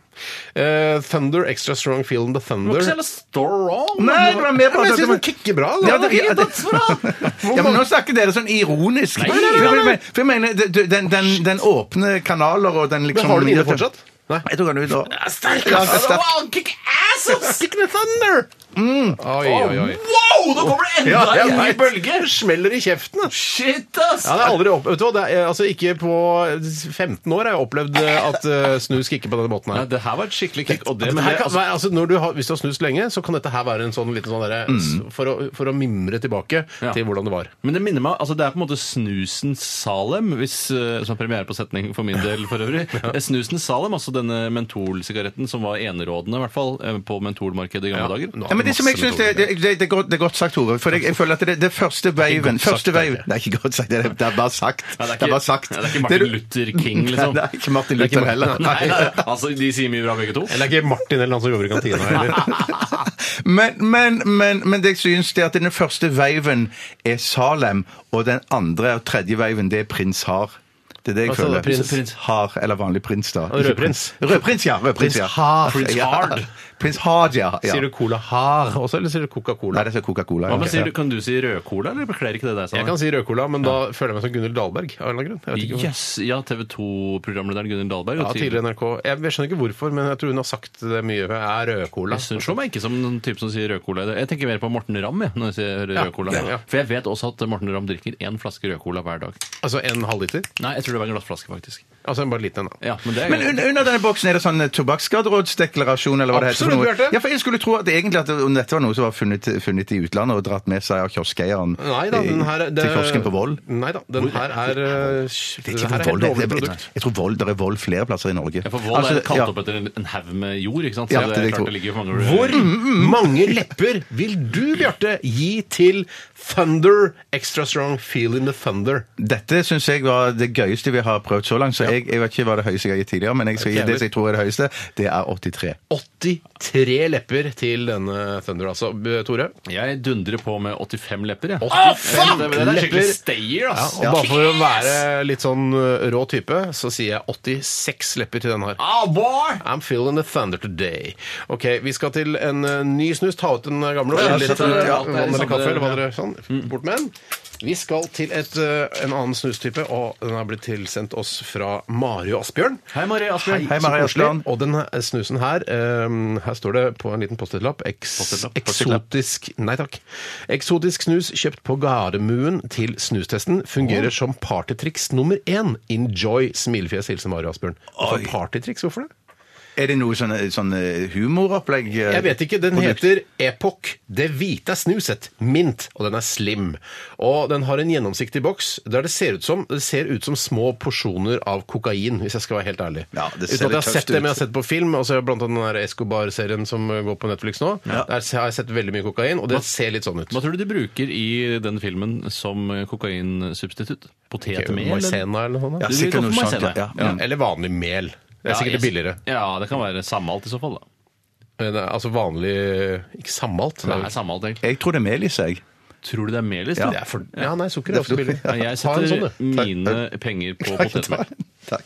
Speaker 7: Eh, thunder, Extra Strong, Feel in the
Speaker 10: Det
Speaker 7: Thunder.
Speaker 10: var ikke så jævla strong!
Speaker 9: Nei, det var mer på
Speaker 7: men jeg
Speaker 9: at det
Speaker 7: synes
Speaker 9: var-
Speaker 7: den kicker bra. Da.
Speaker 9: Ja, det- ja, det-
Speaker 7: Hvor
Speaker 9: Ja, men Nå
Speaker 7: mange-
Speaker 9: snakker dere sånn ironisk.
Speaker 10: Nei, nei, nei, nei,
Speaker 9: For jeg- For jeg mener, det- det- den, den, den åpne kanaler og den liksom
Speaker 7: Men har du den inne fortsatt? Nei.
Speaker 9: Jeg tok den ut nå.
Speaker 7: Sterk,
Speaker 9: Ja, det er sterk.
Speaker 10: Kick asses!
Speaker 7: Kick the thunder! Oi, oi, oi.
Speaker 10: Wow, nå kommer det
Speaker 7: Ja,
Speaker 10: enda
Speaker 7: jeg
Speaker 10: en ny
Speaker 7: vet.
Speaker 10: bølge!
Speaker 7: Smeller i kjeften, ass.
Speaker 10: Shit, ass!
Speaker 7: Ja, det er aldri opp... Vet du hva, det er, altså ikke på 15 år har jeg opplevd eh, at eh, snus kicker på denne måten
Speaker 10: Nei,
Speaker 7: her.
Speaker 10: det her var et skikkelig kick. Og det,
Speaker 7: Det
Speaker 10: men
Speaker 7: her
Speaker 10: det,
Speaker 7: kan,
Speaker 10: altså,
Speaker 7: være- altså, når du har, hvis du har snust lenge, så kan dette her være en sånn liten sånn derre
Speaker 9: Mm.
Speaker 7: s- for, å- for å mimre tilbake
Speaker 10: Ja.
Speaker 7: til hvordan det var.
Speaker 10: men det minner meg altså Det er på en måte Snusens Salem, hvis, eh, som er premiere på setning for min del for øvrig. Eh, Snusens Salem, altså denne mentolsigaretten som var enerådende, i hvert fall, eh, på mentolmarkedet i gamle dager.
Speaker 7: Nå har
Speaker 9: Ja, men
Speaker 7: vi
Speaker 9: det som jeg
Speaker 7: masse
Speaker 9: synes det,
Speaker 7: metoder.
Speaker 9: det, det, det, er godt, det er godt sagt, Tore. For jeg, jeg føler at det, det er første waven
Speaker 7: godt sagt,
Speaker 9: første waven.
Speaker 7: det er
Speaker 9: Det er ikke godt sagt, det er, det er bare sagt.
Speaker 10: Nei,
Speaker 9: det, er bare sagt.
Speaker 10: Nei, det er ikke Martin
Speaker 9: du-
Speaker 10: Luther King, liksom.
Speaker 9: Nei, det er ikke Martin Luther heller.
Speaker 10: Nei, nei, altså, De sier mye bra, begge to.
Speaker 7: Eller ikke Martin eller han som jobber i kantina heller.
Speaker 9: Men, men, men, men det jeg synes det er at den første waven er Salem, og den andre og tredje waven det er prins Har. Det er det jeg
Speaker 7: Hva sa du,
Speaker 9: føler.
Speaker 7: prins?
Speaker 9: Prins Har, eller vanlig prins, da. Ikke
Speaker 7: rødprins.
Speaker 9: prins. Rødprins, ja. Rødprins,
Speaker 7: Prins
Speaker 9: ja. Altså,
Speaker 7: Hard. Prins
Speaker 9: Ja.
Speaker 7: Hard.
Speaker 9: Prins Hard, ja. ja.
Speaker 7: Sier du Cola Har også, eller sier du
Speaker 9: Nei,
Speaker 7: Coca-Cola?
Speaker 9: det sånn? er Coca-Cola.
Speaker 10: Hva
Speaker 9: ja.
Speaker 10: med, sier du, kan du si rødcola, eller bekler ikke det deg? Sanne?
Speaker 7: Jeg kan si Rød-Cola, men da føler jeg meg som Gunhild Dahlberg. av en eller annen grunn. Jeg vet ikke hvorfor.
Speaker 10: Yes, ja, TV 2-programlederen Gunhild Dahlberg.
Speaker 7: Ja, tidligere NRK. Jeg, jeg skjønner ikke hvorfor, men jeg tror hun har sagt det mye. Jeg er Rød-Cola.
Speaker 10: Jeg synes- slår meg ikke som den type som sier rødcola. Jeg tenker mer på Morten Ramm jeg, når jeg sier rødcola.
Speaker 7: ja, ja.
Speaker 10: For jeg vet også at Morten Ramm drikker én flaske rødcola hver dag.
Speaker 7: Altså en halvliter?
Speaker 10: Nei, jeg tror det var en glassflaske, faktisk.
Speaker 7: Altså en bare liten en, da.
Speaker 10: Ja, men det er
Speaker 9: Men un under denne boksen er det sånn tobakksskaderådsdeklarasjon, eller hva det heter. for
Speaker 7: Absolutt,
Speaker 9: noe.
Speaker 7: Bjarte.
Speaker 9: Ja, for jeg skulle tro at egentlig at om dette var noe som var funnet, funnet i utlandet og dratt med seg av kioskeieren
Speaker 7: Nei da, den her
Speaker 9: eh, til kiosken på Voll.
Speaker 7: Nei da, den her er
Speaker 9: Det
Speaker 7: Det
Speaker 9: er ikke
Speaker 7: her er
Speaker 9: hvor Voll
Speaker 7: helt
Speaker 9: det
Speaker 7: lovlig
Speaker 9: er. Jeg, jeg,
Speaker 7: produkt.
Speaker 9: jeg tror Voll, det er Voll flere plasser i Norge.
Speaker 10: Ja, for Vold
Speaker 9: Altså,
Speaker 10: er kalt
Speaker 9: ja.
Speaker 10: opp etter en, en haug med jord, ikke sant? Så
Speaker 9: Ja,
Speaker 10: det,
Speaker 9: det
Speaker 10: er
Speaker 9: vil jeg
Speaker 10: klart
Speaker 9: tro.
Speaker 10: det ligger mange
Speaker 7: Hvor mange lepper vil du, Bjarte, gi til Thunder Extra Strong Feel in the Thunder?
Speaker 9: Dette syns jeg var det gøyeste vi har prøvd så langt. Så jeg, jeg vet ikke hva det høyeste jeg har gitt tidligere, men jeg skal gi
Speaker 7: Ok,
Speaker 9: det som jeg tror er det høyeste. Det er 83.
Speaker 7: 83 lepper til denne Thunder, altså. B- Tore?
Speaker 10: Jeg dundrer på med 85 lepper, jeg.
Speaker 7: Åh,
Speaker 10: fuck! Det, det er skikkelig
Speaker 7: Lepper.
Speaker 10: stayer,
Speaker 7: Ja,
Speaker 10: ass!
Speaker 7: og bare for å være litt sånn uh, rå type, så sier jeg 86 lepper til den her.
Speaker 10: Ah, boy!
Speaker 7: I'm feeling the thunder today. Ok, vi skal til en eh, ny snus. Ta ut den uh, gamle. og
Speaker 10: Ja,
Speaker 7: litt
Speaker 10: sett Mm. den,
Speaker 7: eh,
Speaker 10: ja.
Speaker 7: vann eller kaffe, eller hva
Speaker 10: Ja.
Speaker 7: dere sånn. Bort med den. Vi skal til et, eh, en annen snustype, og den har blitt tilsendt oss fra Mari og Asbjørn.
Speaker 10: Hei, Marie Asbjørn.
Speaker 9: Hei,
Speaker 7: Så
Speaker 9: Mari
Speaker 7: koselig.
Speaker 9: Asbjørn.
Speaker 7: Og den eh, snusen her, eh, her står det på en liten post-it-lapp eks-
Speaker 10: Post-it-lapp, post-it-lapp.
Speaker 7: Eksotisk Nei takk. Eksotisk snus kjøpt på Gardermuen til snustesten fungerer som partytriks nummer én. Enjoy smilefjes. Hilsen Mari og Asbjørn. Altså,
Speaker 9: Oi.
Speaker 7: partytriks, hvorfor det?
Speaker 9: Er det noe sånn, sånn eh, humoropplegg? eh,
Speaker 7: Jeg vet ikke. Den
Speaker 9: produkt?
Speaker 7: heter Epoch Det hvite snuset. Mint. Og den er slim. Og den har en gjennomsiktig boks der det ser ut som, det ser ut som små porsjoner av kokain, hvis jeg skal være helt ærlig.
Speaker 9: Ja, det ser
Speaker 7: Uten at jeg
Speaker 9: litt
Speaker 7: har
Speaker 9: tøft
Speaker 7: sett det,
Speaker 9: ut.
Speaker 7: men jeg har sett på film. Og så har jeg blant annet den der Escobar-serien som går på Netflix nå. Der har jeg sett veldig mye kokain, og det ser litt sånn ut.
Speaker 10: Hva tror du de bruker i den filmen som kokainsubstitutt? Potetmel? eller?
Speaker 7: Maizena eller noe
Speaker 9: Ja,
Speaker 7: sånt?
Speaker 10: Du vil gå
Speaker 9: sikkert
Speaker 10: for
Speaker 9: noe sånt.
Speaker 10: maizena.
Speaker 9: Ja.
Speaker 7: Ja,
Speaker 9: Mm.
Speaker 7: eller vanlig mel. Det er
Speaker 10: Ja,
Speaker 7: sikkert
Speaker 10: jeg-
Speaker 7: billigere.
Speaker 10: Ja, det kan være sammalt i så fall, da.
Speaker 7: Men, eh, Altså vanlig Ikke sammalt.
Speaker 10: Det er sammalt, egentlig.
Speaker 9: Jeg tror det er melis, jeg.
Speaker 10: Tror du det er liksom? melis?
Speaker 7: Det er for, ja, nei, sukker er også billig.
Speaker 10: Men jeg
Speaker 7: Ta en sånn,
Speaker 10: setter
Speaker 7: du.
Speaker 10: mine penger på potetmel.
Speaker 9: Takk.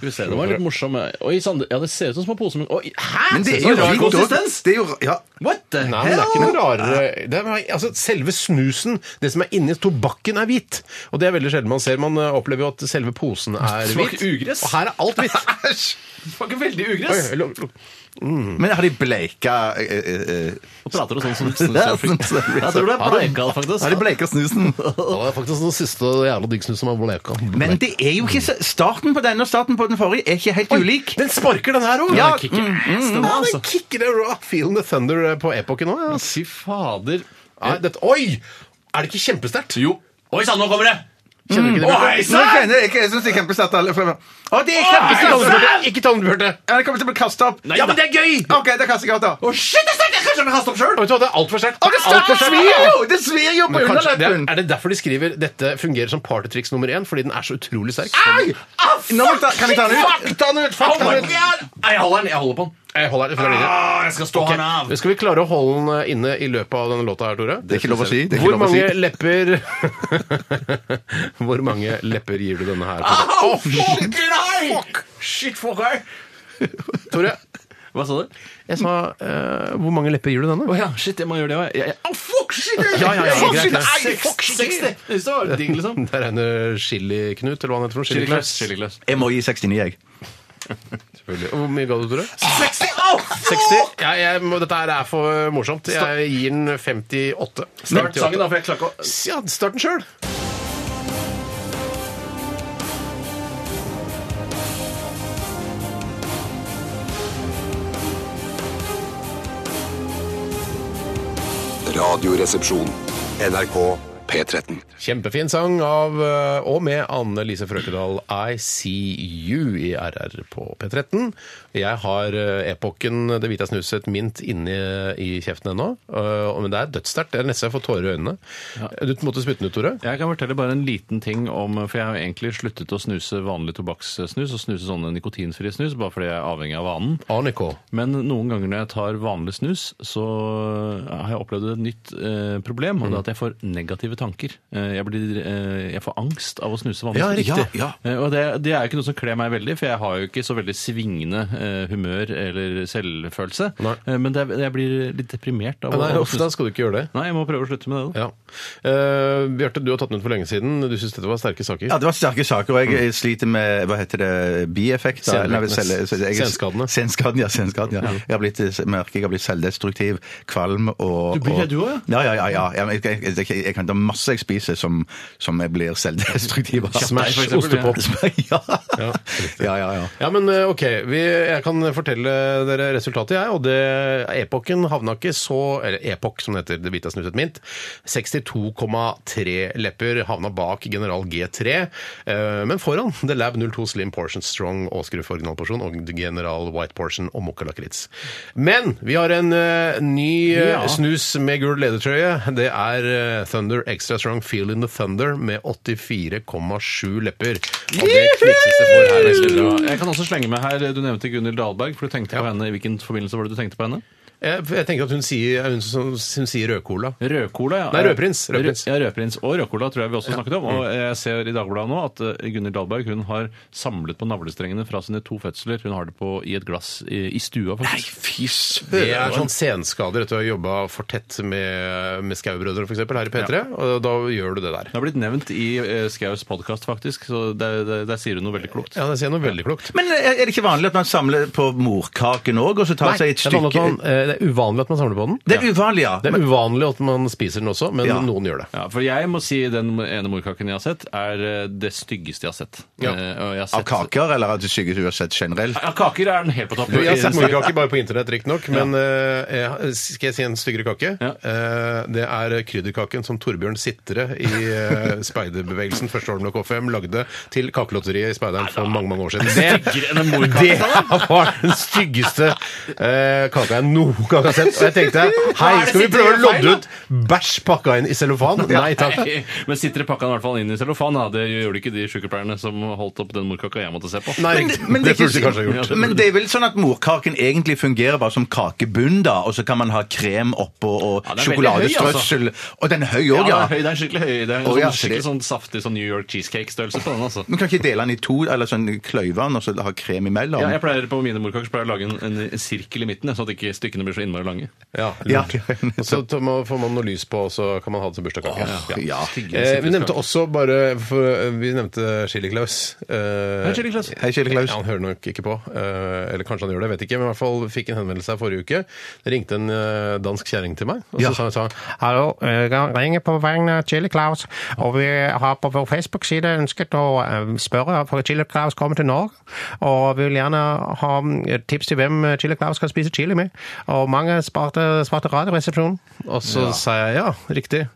Speaker 10: Skal vi se, det var litt morsom. eh. Oi, Sande, ja, det ser ut som små poser, men Oi, hæ?!
Speaker 9: Men det
Speaker 10: Ser
Speaker 9: er jo
Speaker 10: ut som rar
Speaker 9: fint
Speaker 10: konsistens!
Speaker 9: også. Det er jo, ja.
Speaker 10: What the
Speaker 7: Nei, men det
Speaker 10: hell?
Speaker 7: er ikke noe rarere det er, altså, Selve snusen, det som er inni tobakken, er hvit. Og det er veldig sjelden man ser. Man eh, opplever jo at selve posen er
Speaker 10: Smaker
Speaker 7: hvit.
Speaker 10: ugress.
Speaker 7: Og her er alt hvitt.
Speaker 10: Smaker veldig
Speaker 7: Oi,
Speaker 10: ugress!
Speaker 7: luk- luk.
Speaker 10: Mm.
Speaker 9: Men har de bleika eh, eh, eh,
Speaker 10: Og prater du sånn som
Speaker 9: sånn som-
Speaker 10: Jeg tror det er bleikal, faktisk.
Speaker 9: Har de bleika snusen?
Speaker 7: Ja, Det er faktisk den siste jævla diggsnus som er bleka.
Speaker 9: Men det er jo ikke så Starten på denne og starten på den forrige er ikke helt ulik.
Speaker 7: Den sparker, den her òg!
Speaker 9: Ja,
Speaker 7: den kicker
Speaker 10: Mm,
Speaker 7: ass, den, mm. ja, den kicker det raw. Feeling the thunder eh, på epoken òg. Ja.
Speaker 10: altså. Fy fader.
Speaker 7: Nei, dette- Oi! Er det ikke kjempesterkt?
Speaker 10: Jo. Oi sann, nå kommer det! Mm.
Speaker 7: Kjenner du ikke det?
Speaker 10: Å, hei,
Speaker 7: Bjørte?
Speaker 9: Nå kjenner jeg, jeg synes det er kjempesterkt. alle fra- Å, det er
Speaker 7: Ikke ta den,
Speaker 9: kjempesterkt!
Speaker 7: Bjørte! Ikke ta den, Bjørte!
Speaker 9: Ja, det kommer til å bli kastet opp.
Speaker 10: Nei, ja, men det er gøy!
Speaker 9: OK, da kaster jeg opp, da.
Speaker 10: Å, shit, det er sterkt! Jeg kanskje jeg vil kaste opp sjøl!
Speaker 7: Vet du hva, Det er altfor sterkt.
Speaker 9: Å, det
Speaker 7: Alt for sterkt.
Speaker 9: svir jo! Det svir jo på
Speaker 7: Men kanskje, det er,
Speaker 9: underleppen!
Speaker 7: er det derfor de skriver dette fungerer som partytriks nummer én? Fordi den er så utrolig sterk?
Speaker 9: Nå må jeg ta- Kan jeg ta den ut?
Speaker 7: Fuck, ta den ut! Fuck,
Speaker 10: Oh
Speaker 7: ta
Speaker 10: my
Speaker 7: den ut!
Speaker 10: god! Nei, Jeg holder den. Jeg holder på den.
Speaker 7: Jeg holder den fra linja.
Speaker 10: Ah, jeg skal stå
Speaker 7: Ok,
Speaker 10: han av.
Speaker 7: Skal vi klare å holde den eh, inne i løpet av denne låta her, Tore?
Speaker 9: Det er ikke lov å si. Det er ikke
Speaker 7: Hvor
Speaker 9: lov å si.
Speaker 7: mange lepper Hvor mange lepper gir du denne her?
Speaker 9: Ah!
Speaker 7: Tore?
Speaker 10: Oh, fucking hell! Shit, fuck her!
Speaker 7: Tore,
Speaker 10: Hva sa du?
Speaker 7: jeg sa eh, Hvor mange lepper gir du
Speaker 10: Å
Speaker 7: denne?
Speaker 10: ja, shit, jeg må gjøre det òg. Au, fuck, shit!
Speaker 7: Ja, ja, ja,
Speaker 10: fuck,
Speaker 7: greit,
Speaker 10: shit,
Speaker 7: greit.
Speaker 10: nei, fuck, shit. 60. Det var digg, liksom.
Speaker 7: Det er en eh, chili-knut, eller hva han heter. for noe? Chili-klaus.
Speaker 10: Chiliklaus.
Speaker 9: Jeg må gi 69, jeg.
Speaker 7: Selvfølgelig. Hvor mye ga du, Tore?
Speaker 10: 60! Au,
Speaker 7: 60? Ja, jeg, må- dette her er for morsomt. Jeg gir den 58.
Speaker 10: Start sangen, da, for jeg klarer ikke å
Speaker 7: Ja, start den sjøl.
Speaker 6: Radioresepsjon. NRK P13.
Speaker 7: Kjempefin sang av eh, og med Anne Lise Frøkedal, I See You i RR på P13. Jeg har eh, epoken Det hvite er snuset mint inni i kjeften ennå. eh, Men det er dødssterkt. Det er nesten jeg får tårer i øynene. Du måtte spytte den ut, Tore.
Speaker 10: Jeg kan fortelle bare en liten ting om For jeg har jo egentlig sluttet å snuse vanlig tobakkssnus og snuse sånne nikotinfrie snus, bare fordi jeg er avhengig av vanen.
Speaker 7: Arnico.
Speaker 10: Men noen ganger når jeg tar vanlig snus, så har jeg opplevd et nytt eh, problem. Og det er at jeg får negative tanker. Eh, Jeg, blir, eh, jeg får angst av å snuse
Speaker 7: Ja,
Speaker 10: vanlig.
Speaker 7: riktig.
Speaker 10: Ja, ja. Eh, Og det, det er jo ikke noe som kler meg veldig, for jeg har jo ikke så veldig svingende eh, humør eller selvfølelse.
Speaker 7: Nei.
Speaker 10: Eh, Men det, er- jeg blir litt deprimert av å-
Speaker 7: Nei,
Speaker 10: av å
Speaker 7: uff, da
Speaker 10: snuse.
Speaker 7: skal du ikke gjøre det.
Speaker 10: Nei, jeg må prøve å slutte med det. da.
Speaker 7: Ja. Eh, Bjarte, du har tatt den ut for lenge siden. Du syns dette var sterke saker.
Speaker 9: Ja, det var sterke saker, og jeg sliter med hva heter det, bieffekter.
Speaker 7: Senvirknings-
Speaker 9: Nei, selv- selv- jeg-
Speaker 7: senskadene.
Speaker 9: Senskaden, ja. senskaden, ja. Jeg har blitt, jeg merker jeg har blitt selvdestruktiv, kvalm og
Speaker 10: Du blir det,
Speaker 9: og-
Speaker 10: du også,
Speaker 9: Ja, ja, ja. ja. Jeg, jeg, jeg, jeg, jeg kan ta masse jeg spiser som, som jeg blir selvdestruktiv av.
Speaker 7: Smash,
Speaker 10: for eksempel,
Speaker 7: ostepop.
Speaker 9: Ja.
Speaker 7: Ja,
Speaker 9: ja, ja, ja.
Speaker 7: Ja, men eh, ok, vi, jeg kan fortelle dere resultatet, jeg. Og det epoken havna ikke så Eller Epok, som det heter. Det hvite har snuset mint. 62,3 lepper havna bak General G3, eh, men foran The Lab 02 Slim Portion Strong Åskruf original porsjon og General White Portion og Mokka Lakritz. Men vi har en eh, ny eh,
Speaker 10: Ja.
Speaker 7: snus med gul ledertrøye. Det er eh, Thunder Extra Strong Feel in the Thunder med 84,7 lepper. Og det knipses det for her.
Speaker 10: Veldig
Speaker 7: Eskil.
Speaker 10: bra. Jeg kan også slenge med her, Du nevnte Gunhild Dahlberg. for du tenkte på henne, I hvilken forbindelse var det du tenkte på henne?
Speaker 7: Jeg, jeg tenker at hun sier, hun, som, hun sier rødcola.
Speaker 10: Rødcola, ja.
Speaker 7: Nei, rødprins, rødprins. Mm.
Speaker 10: Rød, ja, rødprins og rødcola tror jeg vi også snakket om. Og jeg ser i Dagbladet nå at eh, Gunhild Dahlberg hun har samlet på navlestrengene fra sine to fødsler. Hun har det på i et glass i, i stua, faktisk.
Speaker 9: Fy
Speaker 7: Det
Speaker 9: søren!
Speaker 7: er sånn senskader etter å ha jobba for tett med, med Skau-brødre for eksempel, her i P3. Og da gjør du det der.
Speaker 10: Det har blitt nevnt i eh, Skaus podkast, faktisk, så der, der, der sier hun noe veldig klokt.
Speaker 7: Ja, det sier noe veldig klokt.
Speaker 9: Men eh, er er det ikke vanlig at man samler på morkaken òg, og så tar seg altså, et
Speaker 7: det er, vanlig at
Speaker 9: stykke
Speaker 7: man, eh, det er uvanlig at man samler på den.
Speaker 9: Det er uvanlig, ja.
Speaker 7: Det er uvanlig at man spiser den også, men
Speaker 9: Ja.
Speaker 7: noen gjør det.
Speaker 10: Ja, For jeg må si den ene morkaken jeg har sett, er eh, det styggeste jeg har sett. Eh,
Speaker 7: Ja.
Speaker 10: og jeg har
Speaker 9: Av
Speaker 10: sett
Speaker 9: kaker, eller av skygget uansett generelt?
Speaker 10: Ja, kaker er den helt på topp.
Speaker 7: Du, jeg har sett morkake bare på internett, riktignok, men eh, jeg- skal jeg si en styggere kake?
Speaker 10: Ja.
Speaker 7: Eh, det er krydderkaken som Torbjørn Sitre i eh, speiderbevegelsen Første Holmlo KFM lagde til kakelotteriet i Speideren for mange mange år siden.
Speaker 10: Styggere enn en morkake,
Speaker 7: det var den styggeste eh, kaka jeg noen gang har sett. Og jeg tenkte hei,
Speaker 10: Hva er det
Speaker 7: skal vi
Speaker 10: Sitre
Speaker 7: prøve å
Speaker 10: gjør feil,
Speaker 7: lodde ut bæsj pakka inn i cellofan? Nei takk.
Speaker 10: Nei, Men sitter det pakka den i hvert fall inn i cellofan? Da. Det gjorde ikke de sykepleierne som holdt opp den morkaka jeg måtte se på.
Speaker 7: Nei,
Speaker 9: Men,
Speaker 7: riktig.
Speaker 9: men, det
Speaker 7: det
Speaker 9: er
Speaker 7: burde de
Speaker 9: ikke,
Speaker 7: kanskje ha gjort.
Speaker 10: det
Speaker 9: men det er vel sånn at morkaken egentlig fungerer bare som kakebunn, da, og så kan man ha krem oppå og
Speaker 10: Ja, den er veldig altså.
Speaker 9: sjokoladestrøssel. Og den er høy
Speaker 10: Ja,
Speaker 9: òg,
Speaker 10: det
Speaker 9: ja.
Speaker 10: er, høy, det er skikkelig høy. Det er en
Speaker 9: Å,
Speaker 10: sånn,
Speaker 9: ja,
Speaker 10: skikkelig
Speaker 9: det-
Speaker 10: sånn saftig sånn New York cheesecake-størrelse på den. altså.
Speaker 9: Man kan ikke dele den i to, eller sånn kløyve den og så ha krem imellom.
Speaker 10: Ja, jeg pleier På mine morkaker så pleier jeg å lage en, en sirkel i midten, sånn at ikke stykkene blir så innmari lange.
Speaker 7: Ja,
Speaker 9: Ja.
Speaker 7: lurt. Og så tar man- får man noe lys på, og så kan man ha det som bursdagskake.
Speaker 9: Åh, ja.
Speaker 7: Eh, vi nevnte også bare for, eh, Vi nevnte Chili Claus. Eh,
Speaker 10: Hei, Chili Claus.
Speaker 9: Hei, Kjell Klaus.
Speaker 7: ja, han hører nok ikke på. Eh, eller kanskje han gjør det, jeg vet ikke. Men i hvert fall fikk en henvendelse her forrige uke. Det ringte en eh, dansk kjerring til meg, og så
Speaker 9: Ja.
Speaker 7: sa sa han Hallo, øh, jeg ringer på vegne av Chili Claus, og vi har på vår Facebook-side ønsket å eh, spørre for Chili Claus kommer til Norge, og vi vil gjerne ha mm, tips til hvem Chili Claus skal spise chili med. Og mange sparte, svarte Radioresepsjonen. Og så sa jeg ja, riktig.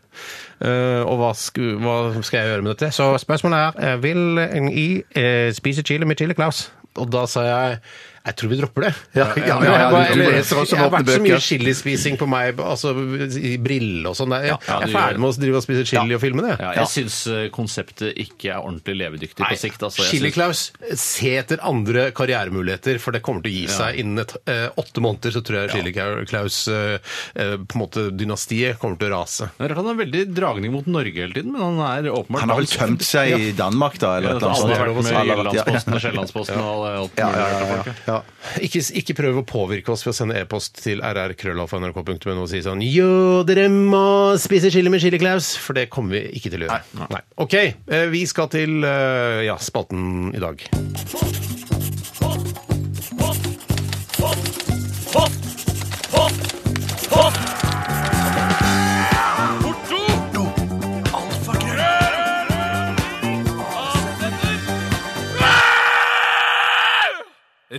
Speaker 7: Eh, og hva, sku, hva skal jeg gjøre med dette? Så spørsmålet er eh, Vil en i eh, spise chili med Chili Claus? Og da sa jeg jeg tror vi dropper det. Eh,
Speaker 9: Ja, ja, ja, ja,
Speaker 7: Jeg bare-
Speaker 9: du leser også
Speaker 7: jeg har
Speaker 9: åpne
Speaker 7: vært så
Speaker 9: bøker.
Speaker 7: mye chilispising på meg altså, i brille og sånn. Jeg,
Speaker 10: ja,
Speaker 7: jeg
Speaker 10: du
Speaker 7: er
Speaker 10: gjør det.
Speaker 7: ferdig med å drive og spise chili og filme det.
Speaker 10: Ja, jeg syns eh, konseptet ikke er ordentlig levedyktig på sikt. Altså, jeg
Speaker 7: Chili
Speaker 10: synes-
Speaker 7: Claus, se etter andre karrieremuligheter, for det kommer til å gi seg innen et, eh, åtte måneder. Så tror jeg Chili Claus, eh, eh, på en måte dynastiet, kommer til å rase.
Speaker 10: Det er rart Han har veldig dragning mot Norge hele tiden, men han er åpenbart
Speaker 9: Han har vel tømt seg i Danmark, da?
Speaker 10: Ja,
Speaker 9: Eller
Speaker 10: det har
Speaker 9: noe
Speaker 10: alle
Speaker 9: sånt.
Speaker 10: vært med i
Speaker 9: Alle har vært- ja.
Speaker 10: Jyllandsposten og Sjællandsposten og alt
Speaker 9: Ja,
Speaker 10: mulig
Speaker 9: ja,
Speaker 10: rart av
Speaker 9: ja,
Speaker 10: folk, ja.
Speaker 9: ja, ja.
Speaker 7: Ikke, ikke prøv å påvirke oss ved å sende e-post til rrkrøllalfa.nrk.no og si sånn Jo, dere må spise chili med Chili Claus! For det kommer vi ikke til å gjøre. Nei. OK, eh, vi skal til eh, ja, spalten i dag.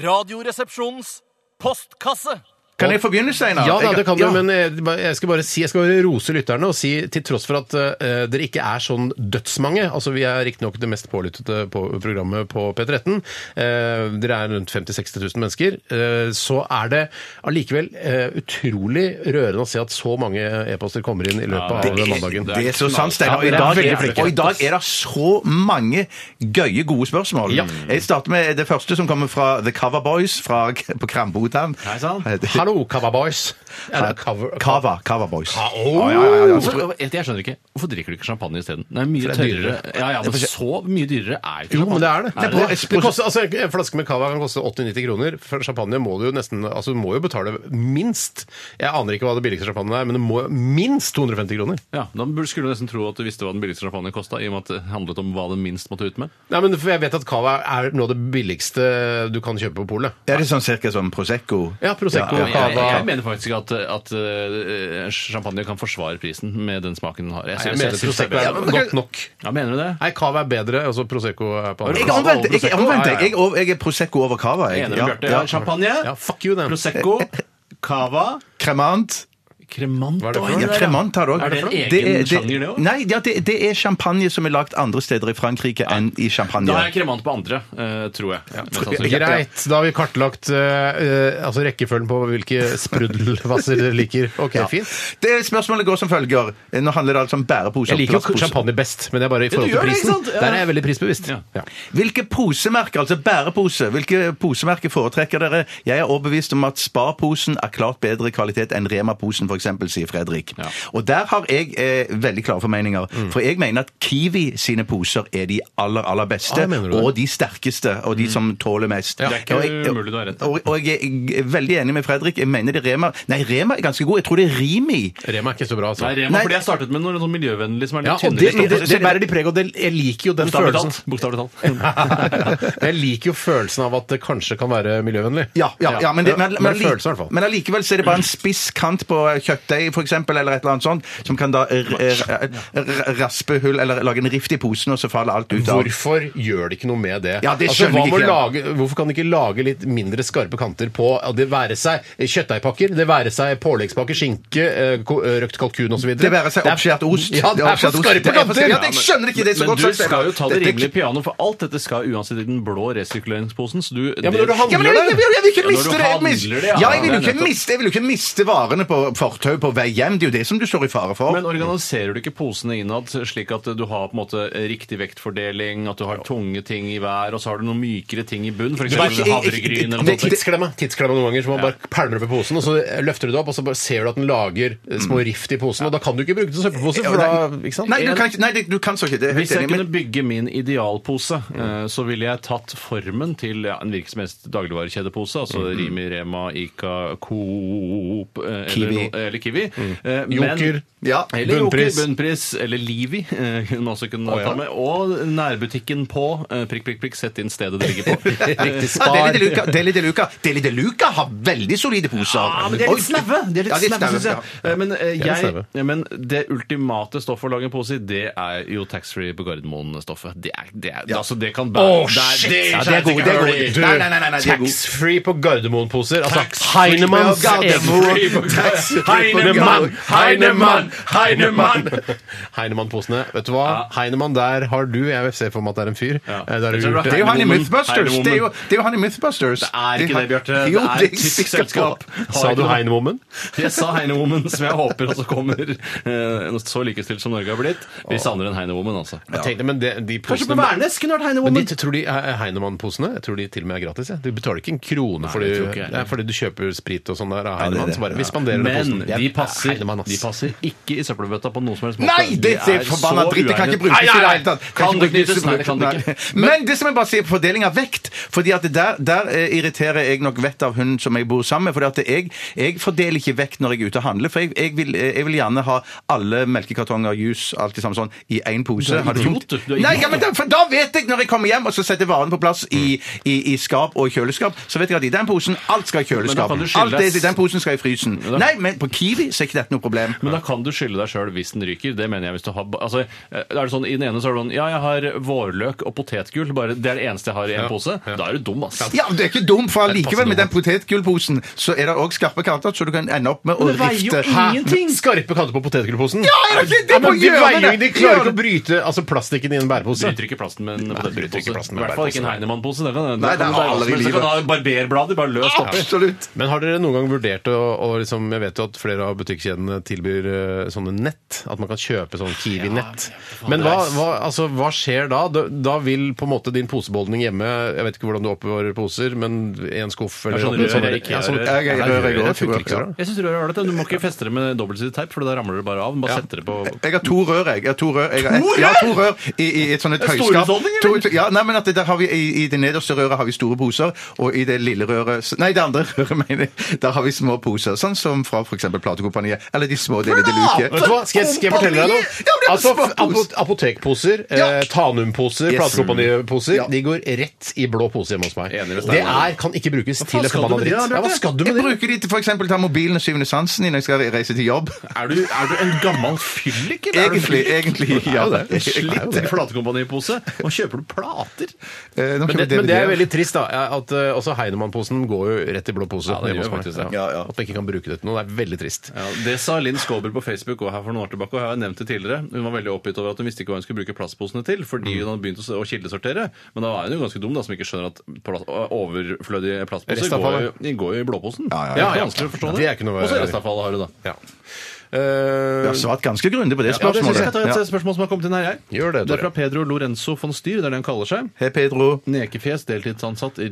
Speaker 5: Radioresepsjonens postkasse.
Speaker 9: Kan jeg få begynne, Steinar?
Speaker 7: Ja da,
Speaker 9: Jeg-
Speaker 7: det kan du,
Speaker 9: ja.
Speaker 7: men eh, jeg skal bare si, jeg skal bare rose lytterne og si, til tross for at eh, dere ikke er sånn dødsmange, altså vi er riktignok det mest pålyttede på programmet på P13, eh, dere er rundt 50-60 000 mennesker, eh, så er det allikevel eh, utrolig rørende å se at så mange e-poster kommer inn i løpet av den mandagen.
Speaker 9: Det er så sant, Steinar. Og, i
Speaker 7: Ja, dere er
Speaker 9: dag
Speaker 7: veldig
Speaker 9: er-
Speaker 7: flinke.
Speaker 9: og i dag er det så mange gøye, gode spørsmål.
Speaker 7: Ja.
Speaker 9: Jeg starter med det første som kommer fra The Cover Boys fra, på Krambotan.
Speaker 10: Hei sann.
Speaker 9: Hei,
Speaker 7: Hallo, Kava Boys. Er det cover?
Speaker 9: Cava. Cava Boys.
Speaker 7: Ah, oh.
Speaker 9: Ja, ja, ja, ja. Så-
Speaker 10: Hvorfor, jeg, jeg skjønner ikke. Hvorfor drikker du ikke champagne isteden? Det er mye
Speaker 7: For det er
Speaker 10: tørrere. Ja, ja, men så mye dyrere er ikke
Speaker 7: Jo, men det er det.
Speaker 10: Er
Speaker 7: det, koster, altså, en flaske med cava kan koste 80-90 kroner. For champagne må du jo nesten altså, du må jo betale minst Jeg aner ikke hva det billigste champagne er, men det må minst 250 kroner.
Speaker 10: Ja, Da burde- skulle du nesten tro at du visste hva den billigste champagnen kosta, i og med at det handlet om hva den minst måtte ut med.
Speaker 7: Nei, men for Jeg vet at cava er noe av det billigste du kan kjøpe på polet.
Speaker 9: Er det sånn cirka som Prosecco?
Speaker 7: Ja, Prosecco,
Speaker 10: Jeg, jeg,
Speaker 7: cava
Speaker 10: jeg mener faktisk ikke at, at eh, champagne kan forsvare prisen med den smaken den har.
Speaker 7: Nei, Jeg mener
Speaker 10: altså, synes det er
Speaker 7: Prosecco er
Speaker 10: bedre.
Speaker 7: godt nok.
Speaker 10: Ja, mener du det?
Speaker 7: Nei, cava er bedre. altså Prosecco er på
Speaker 9: Jeg er
Speaker 7: andre plass.
Speaker 9: omvendt. Jeg, jeg, er omvendt, jeg, jeg, er over- jeg er Prosecco over Cava.
Speaker 10: Jeg
Speaker 9: Jeg.
Speaker 10: er enig med Bjarte. Ja, champagne,
Speaker 7: Ja, fuck you, den.
Speaker 10: Prosecco, Cava,
Speaker 9: Cremant.
Speaker 10: Cremant
Speaker 7: Hva er det for
Speaker 10: Oi,
Speaker 7: noe?
Speaker 9: Ja,
Speaker 10: der,
Speaker 9: Cremant har det òg.
Speaker 10: Er det en egen sjanger, det òg?
Speaker 9: Nei, ja, det, det er champagne som er lagd andre steder i Frankrike enn i champagne.
Speaker 10: Da er jeg kremant på andre, eh, tror jeg. Mest sannsynlig.
Speaker 7: Greit, da har vi kartlagt eh, eh, altså rekkefølgen på hvilke spruddelvasser dere liker. Ok, fint.
Speaker 9: Det Spørsmålet går som følger. Nå handler det altså om bærepose.
Speaker 7: Jeg
Speaker 9: og
Speaker 7: liker jo
Speaker 9: plastpose.
Speaker 7: champagne best, men det er bare i forhold
Speaker 10: gjør
Speaker 7: til
Speaker 10: det,
Speaker 7: prisen.
Speaker 10: ikke sant? Ja.
Speaker 7: Der er jeg veldig prisbevisst.
Speaker 10: Ja.
Speaker 7: Ja.
Speaker 9: Hvilke posemerker, altså bærepose, hvilke posemerker foretrekker dere? Jeg er overbevist om at Spar-posen er klart bedre i kvalitet enn Rema-posen, f.eks., sier Fredrik.
Speaker 10: Ja. Mm.
Speaker 9: Og der har jeg eh, veldig klare formeninger. For jeg mener at Kiwi sine poser er de aller, aller beste,
Speaker 7: Ah, mener du det?
Speaker 9: og de sterkeste, og de som tåler mest.
Speaker 10: Mm. Det er ikke
Speaker 9: Og jeg-
Speaker 10: umulig du har rett.
Speaker 9: Og, og jeg er veldig enig med Fredrik. Jeg mener det Rema Nei, Rema er ganske god. Jeg tror det er Rimi.
Speaker 7: Rema er ikke så bra, altså.
Speaker 10: Nei, Rema,
Speaker 9: Nei.
Speaker 10: fordi jeg startet med noe sånn miljøvennlig som er
Speaker 7: ja,
Speaker 10: litt
Speaker 7: og det,
Speaker 10: tynnere.
Speaker 7: det, det bærer de preg, og det, jeg liker jo den
Speaker 10: Bokstavelig
Speaker 7: følelsen.
Speaker 10: talt. Bokstavelig talt.
Speaker 7: jeg liker jo følelsen av at det kanskje kan være miljøvennlig.
Speaker 9: Ja, ja, ja, men, det, men, men,
Speaker 7: følelsen i hvert fall.
Speaker 9: men allikevel så er det bare en spiss kant på eh, kjøttdeig, for eksempel, eller et eller annet sånt, som kan da r- r- r- raspe hull, eller lage en rift i posen, og så faller alt ut av.
Speaker 7: Hvorfor gjør de ikke noe med det?
Speaker 9: Ja, det
Speaker 7: altså,
Speaker 9: skjønner
Speaker 7: hva
Speaker 9: jeg
Speaker 7: med å
Speaker 9: ikke.
Speaker 7: lage, hvorfor kan de ikke lage litt mindre skarpe kanter på ja, det være seg kjøttdeigpakker, det være seg påleggspakker, skinke, eh, ko- eh, røkt kalkun osv.?
Speaker 9: Det være seg oppskjært ost.
Speaker 7: Ja, det er
Speaker 9: oppskjært
Speaker 7: for
Speaker 9: ost.
Speaker 7: skarpe
Speaker 9: Det er for-
Speaker 7: kanter!
Speaker 9: Ja, jeg skjønner ikke det så
Speaker 10: men
Speaker 9: godt.
Speaker 10: du
Speaker 9: sagt,
Speaker 10: skal jo ta det
Speaker 9: Dette-
Speaker 10: rimelige piano, for alt dette skal uansett i den blå resirkuleringsposen. Så du,
Speaker 7: Ja, men når du
Speaker 9: Ja, men jeg,
Speaker 7: handler
Speaker 9: jeg, jeg,
Speaker 7: det
Speaker 9: jeg vil ikke miste det!
Speaker 10: Ja, når du
Speaker 9: Jeg, mis-
Speaker 10: handler det, ja.
Speaker 9: ja, jeg, vil jo
Speaker 10: Det er
Speaker 9: ikke
Speaker 10: nettopp.
Speaker 9: miste, jeg vil jo ikke miste varene på fortau på vei hjem. Det er jo det som du står i fare for.
Speaker 10: Men organiserer du ikke posene innad slik at du har på en måte riktig vektfordeling, at du har tunge ting i hver, og så har du noen mykere ting i bunn, f.eks.
Speaker 9: Det er ikke-
Speaker 10: havregryn eller noe
Speaker 9: det-
Speaker 10: sånt?
Speaker 7: Tidsklemma tidsklemma noen ganger, så man bare pælmer opp i posen, og så løfter du det opp, og så bare ser du at den lager eh, små
Speaker 9: Mm.
Speaker 7: rift i posen, og da kan du ikke bruke det som søppelpose, for da ikke sant?
Speaker 9: Nei, du kan ikke, nei, det- du kan så ikke. Det er
Speaker 10: Hvis
Speaker 9: helt
Speaker 10: jeg
Speaker 9: enig.
Speaker 10: kunne
Speaker 9: men-
Speaker 10: bygge min idealpose, eh, så ville jeg tatt formen til ja, en hvilken som helst dagligvarekjedepose. Altså
Speaker 7: Mm,
Speaker 10: Rimi, Rema, Ica, Coop eh,
Speaker 9: Kiwi.
Speaker 10: Eller, noe- eller Kiwi. Eh, men-
Speaker 7: Mm. Joker.
Speaker 9: Ja.
Speaker 10: Eller bunnpris.
Speaker 7: Bunnpris.
Speaker 10: Joker, bunnpris eller Livi. eh, kunne også kunne
Speaker 7: Å, ja.
Speaker 10: ta med. Og nærbutikken på. eh, Prikk, prikk, prikk. Sett inn stedet det ligger på. Eh,
Speaker 7: Riktig
Speaker 9: Ja,
Speaker 7: spar.
Speaker 9: Deli de Luca, Deli de Luca. Deli de Luca har veldig solide poser.
Speaker 10: Ja, men de er litt
Speaker 9: Oi.
Speaker 10: snaue, de er litt
Speaker 9: Ja, de er
Speaker 10: snaue,
Speaker 9: snaue,
Speaker 10: synes jeg. Eh, Men, eh,
Speaker 7: er litt
Speaker 10: jeg,
Speaker 7: snaue.
Speaker 10: ja, men det ultimate stoffet å lage en pose i, det er jo taxfree på Gardermoen-stoffet. Det, er, det, er, altså, det kan bære
Speaker 7: Åh,
Speaker 10: det er-
Speaker 7: shit!
Speaker 10: det-
Speaker 9: Ja, det er god, det er god.
Speaker 7: Du,
Speaker 9: Nei, nei, nei, nei, nei, de er god.
Speaker 7: Taxfree på Gardermoen-poser. Altså
Speaker 10: Taxfree
Speaker 7: Heinemanns
Speaker 9: på Gardermoen.
Speaker 7: egen-
Speaker 9: Taxfree på
Speaker 7: Heinemann!
Speaker 9: Gardermoen.
Speaker 7: Heinemann! Heinemann! Heinemann-posene. Vet du hva? Heinemann, der har du Jeg ser for meg at det er en fyr.
Speaker 10: Ja.
Speaker 7: Eh, Der har
Speaker 10: Jeg
Speaker 7: du
Speaker 10: tror
Speaker 7: gjort
Speaker 10: det
Speaker 9: Det er jo han i
Speaker 10: Heidewoman.
Speaker 9: Mythbusters! Det er jo, det er jo han i Mythbusters.
Speaker 10: Det er ikke det, Bjarte.
Speaker 9: Jo, det
Speaker 10: Det er
Speaker 9: er
Speaker 10: typisk
Speaker 9: sikkert
Speaker 10: selskap.
Speaker 9: på.
Speaker 10: Har
Speaker 7: Sa
Speaker 10: ikke
Speaker 7: du
Speaker 10: noe-
Speaker 7: Heinewoman?
Speaker 10: Jeg sa Heinewoman, som jeg håper også kommer. eh, Så likestilt som Norge har blitt. Vi savner en Heinewoman, altså.
Speaker 7: Jeg tenkte, men det- de
Speaker 10: Kanskje
Speaker 7: posene
Speaker 10: på Værnes kunne vært
Speaker 7: men de,
Speaker 10: Heinewoman?
Speaker 7: tror de eh, Heinemann-posene jeg tror de til og med er gratis. jeg. Du betaler ikke en krone for
Speaker 10: det
Speaker 7: det-
Speaker 10: tror ikke jeg.
Speaker 7: det er fordi du kjøper sprit og sånn der av Heinemann. Så bare, vi spanderer den
Speaker 10: Men
Speaker 7: posen.
Speaker 10: de passer,
Speaker 7: Heinemann, ass.
Speaker 10: de passer ikke i søppelbøtta på noen som helst måte.
Speaker 9: Nei! Det
Speaker 10: De
Speaker 9: er forbanna
Speaker 10: så
Speaker 9: dritt! Det kan ikke
Speaker 10: uegnet.
Speaker 9: brukes i
Speaker 10: Nei,
Speaker 9: det
Speaker 10: nei,
Speaker 9: hele tatt.
Speaker 10: Kan
Speaker 9: ikke
Speaker 10: det
Speaker 9: brukes
Speaker 10: knyttes?
Speaker 9: til-
Speaker 10: Nei, kan det
Speaker 9: Nei.
Speaker 10: ikke.
Speaker 9: Men det som jeg bare sier på fordeling av vekt fordi at det der, der eh, irriterer jeg nok vettet av hun som jeg bor sammen med. fordi at jeg, jeg fordeler ikke vekt når jeg er ute og handler. For jeg, jeg, vil, eh, jeg vil gjerne ha alle melkekartonger, juice, alt det samme sånn i én pose. Ha det tungt.
Speaker 10: idiot, du. Du er
Speaker 9: Nei,
Speaker 10: idiot,
Speaker 9: ja, men da, for da vet jeg når jeg kommer hjem og så setter varene på plass i, i, i skap og kjøleskap, så vet jeg at i den posen alt skal i
Speaker 10: Men da
Speaker 9: kjøleskap.
Speaker 10: kan du skille
Speaker 9: Alt det
Speaker 10: deg-
Speaker 9: i den posen skal i frysen.
Speaker 10: da-
Speaker 9: Nei, men på Kiwi så er ikke dette noe problem.
Speaker 10: Men da kan du skylde deg sjøl hvis den ryker. Det mener jeg hvis du har ba- altså, eh, er det sånn, I den ene så er det sånn Ja, jeg har vårløk og potetgull. Bare, det er det eneste jeg har i en pose. Da er du dum, ass.
Speaker 9: Ja, men det er ikke dumt, for allikevel
Speaker 7: passende
Speaker 9: med den potetgullposen så er det òg skarpe kanter, så du kan ende opp med å
Speaker 10: det veier jo
Speaker 9: rifte.
Speaker 7: Hæ?
Speaker 10: Ingenting.
Speaker 7: Skarpe kanter på potetgullposen?
Speaker 9: Ja, er det ikke- det
Speaker 7: Ja, men
Speaker 9: må
Speaker 7: de
Speaker 9: gjøre
Speaker 7: veier jo
Speaker 9: det.
Speaker 7: ikke- De klarer
Speaker 9: Gjør
Speaker 7: ikke å bryte altså, plastikken i en bærepose.
Speaker 10: Bryter ikke plasten med en
Speaker 7: bryter ikke
Speaker 10: potetgullpose.
Speaker 7: plasten
Speaker 10: I
Speaker 7: med
Speaker 10: hvert fall ikke en
Speaker 7: bærepose.
Speaker 10: Heinemann-pose. Det kan,
Speaker 9: Nei, det er
Speaker 10: kan du ha-
Speaker 9: aldri i
Speaker 10: men så
Speaker 9: livet.
Speaker 10: kan du ha barberblader bare løst oppi.
Speaker 9: Absolutt.
Speaker 7: Men har dere noen gang vurdert å, å liksom, Jeg vet jo at flere av butikkjedene tilbyr eh, sånne nett. At man kan kjøpe sånn Kiwi-nett. Men hva, hva, altså, hva skjer da? da? Da vil på en måte din posebeholdning hjemme Jeg vet ikke hvordan du oppbevarer poser, men en skuff eller
Speaker 10: Ja, sånn
Speaker 7: noe sånt.
Speaker 10: rør, ikke
Speaker 7: Ja, sånn-
Speaker 10: rør.
Speaker 9: Ja,
Speaker 7: Ja, ja,
Speaker 9: rør,
Speaker 7: rør,
Speaker 9: rør,
Speaker 7: det funker ikke så bra.
Speaker 10: Jeg synes rør er ålreit. Du må ikke feste det med dobbeltsidig teip, for da ramler det bare av. Bare setter det på
Speaker 9: Jeg har to rør, jeg. jeg har to rør, jeg har et,
Speaker 10: To
Speaker 9: ja, to rør i, i et sånt et høyskap.
Speaker 10: Storhusholdning,
Speaker 9: To, to, ja, nei, men at det, der har vi, i, I det nederste røret har vi store poser, og i det lille røret Nei, det andre røret, mener jeg. Der har vi små poser. Sånn som fra f.eks. Platekompaniet. Eller de små delene de
Speaker 7: Vet du
Speaker 9: luke.
Speaker 7: hva? Skal jeg, skal jeg fortelle deg
Speaker 9: Ja, men det
Speaker 7: noe?
Speaker 9: er
Speaker 7: Altså,
Speaker 9: små pose.
Speaker 7: apo- Apotekposer, eh, Tanum-poser,
Speaker 9: Yes.
Speaker 7: platekompaniposer,
Speaker 9: Ja.
Speaker 7: de går rett i blå pose hjemme hos meg.
Speaker 10: Enig med
Speaker 7: Det
Speaker 10: Steinar.
Speaker 7: er, kan ikke brukes til en
Speaker 10: skal du
Speaker 7: forbanna
Speaker 10: med det,
Speaker 7: dritt.
Speaker 10: Bjarte?
Speaker 7: Ja, hva skal du
Speaker 9: Jeg
Speaker 7: med det?
Speaker 9: bruker de til f.eks. ta mobilen og syvende sansen når jeg skal reise til jobb. Eh,
Speaker 10: Er du, er du en gammel fyllik? eller er du
Speaker 9: Egentlig,
Speaker 10: fyllik?
Speaker 9: egentlig, ja.
Speaker 10: Det er jo det.
Speaker 9: Jeg- jeg-
Speaker 10: Slitt platekompanipose. Og kjøper du plater?
Speaker 9: Eh, nå
Speaker 7: Men
Speaker 9: kjøper
Speaker 7: det,
Speaker 9: jeg
Speaker 7: men det er
Speaker 9: DVD.
Speaker 7: veldig trist, da. er At eh, også Heinemann-posen går jo rett i blå pose.
Speaker 10: Ja, den gjør
Speaker 7: hjemme hos meg.
Speaker 10: faktisk det.
Speaker 7: Ja, ja. At man ikke kan bruke det til noe. Det er veldig trist.
Speaker 10: Ja, det sa Linn Skåber på Facebook også her for noen år tilbake. og jeg har nevnt det tidligere. Hun var veldig oppgitt over at hun visste ikke hva hun skulle bruke plastposene til, fordi hun hadde begynt å s- å kildesortere. Men da er hun jo ganske dum, da, som ikke skjønner at plast, overflødige plastposer går,
Speaker 7: Restavfallet.
Speaker 10: jo- de går jo i blåposen.
Speaker 9: ja, ja.
Speaker 10: Det er vanskelig å forstå det.
Speaker 7: Det er ikke noe-
Speaker 10: Og så restavfallet har hun, da.
Speaker 7: Ja. Eh,
Speaker 9: Jeg har svart ganske grundig på det
Speaker 10: Ja, det synes
Speaker 9: spørsmålet.
Speaker 10: jeg skal ta
Speaker 9: Ja.
Speaker 10: et spørsmål som har kommet inn her, jeg.
Speaker 7: Gjør det,
Speaker 10: det er
Speaker 7: Tore.
Speaker 10: fra Pedro Lorenzo von Styr, det er det han kaller seg.
Speaker 9: Hei, Pedro.
Speaker 10: Nekefjes, deltidsansatt i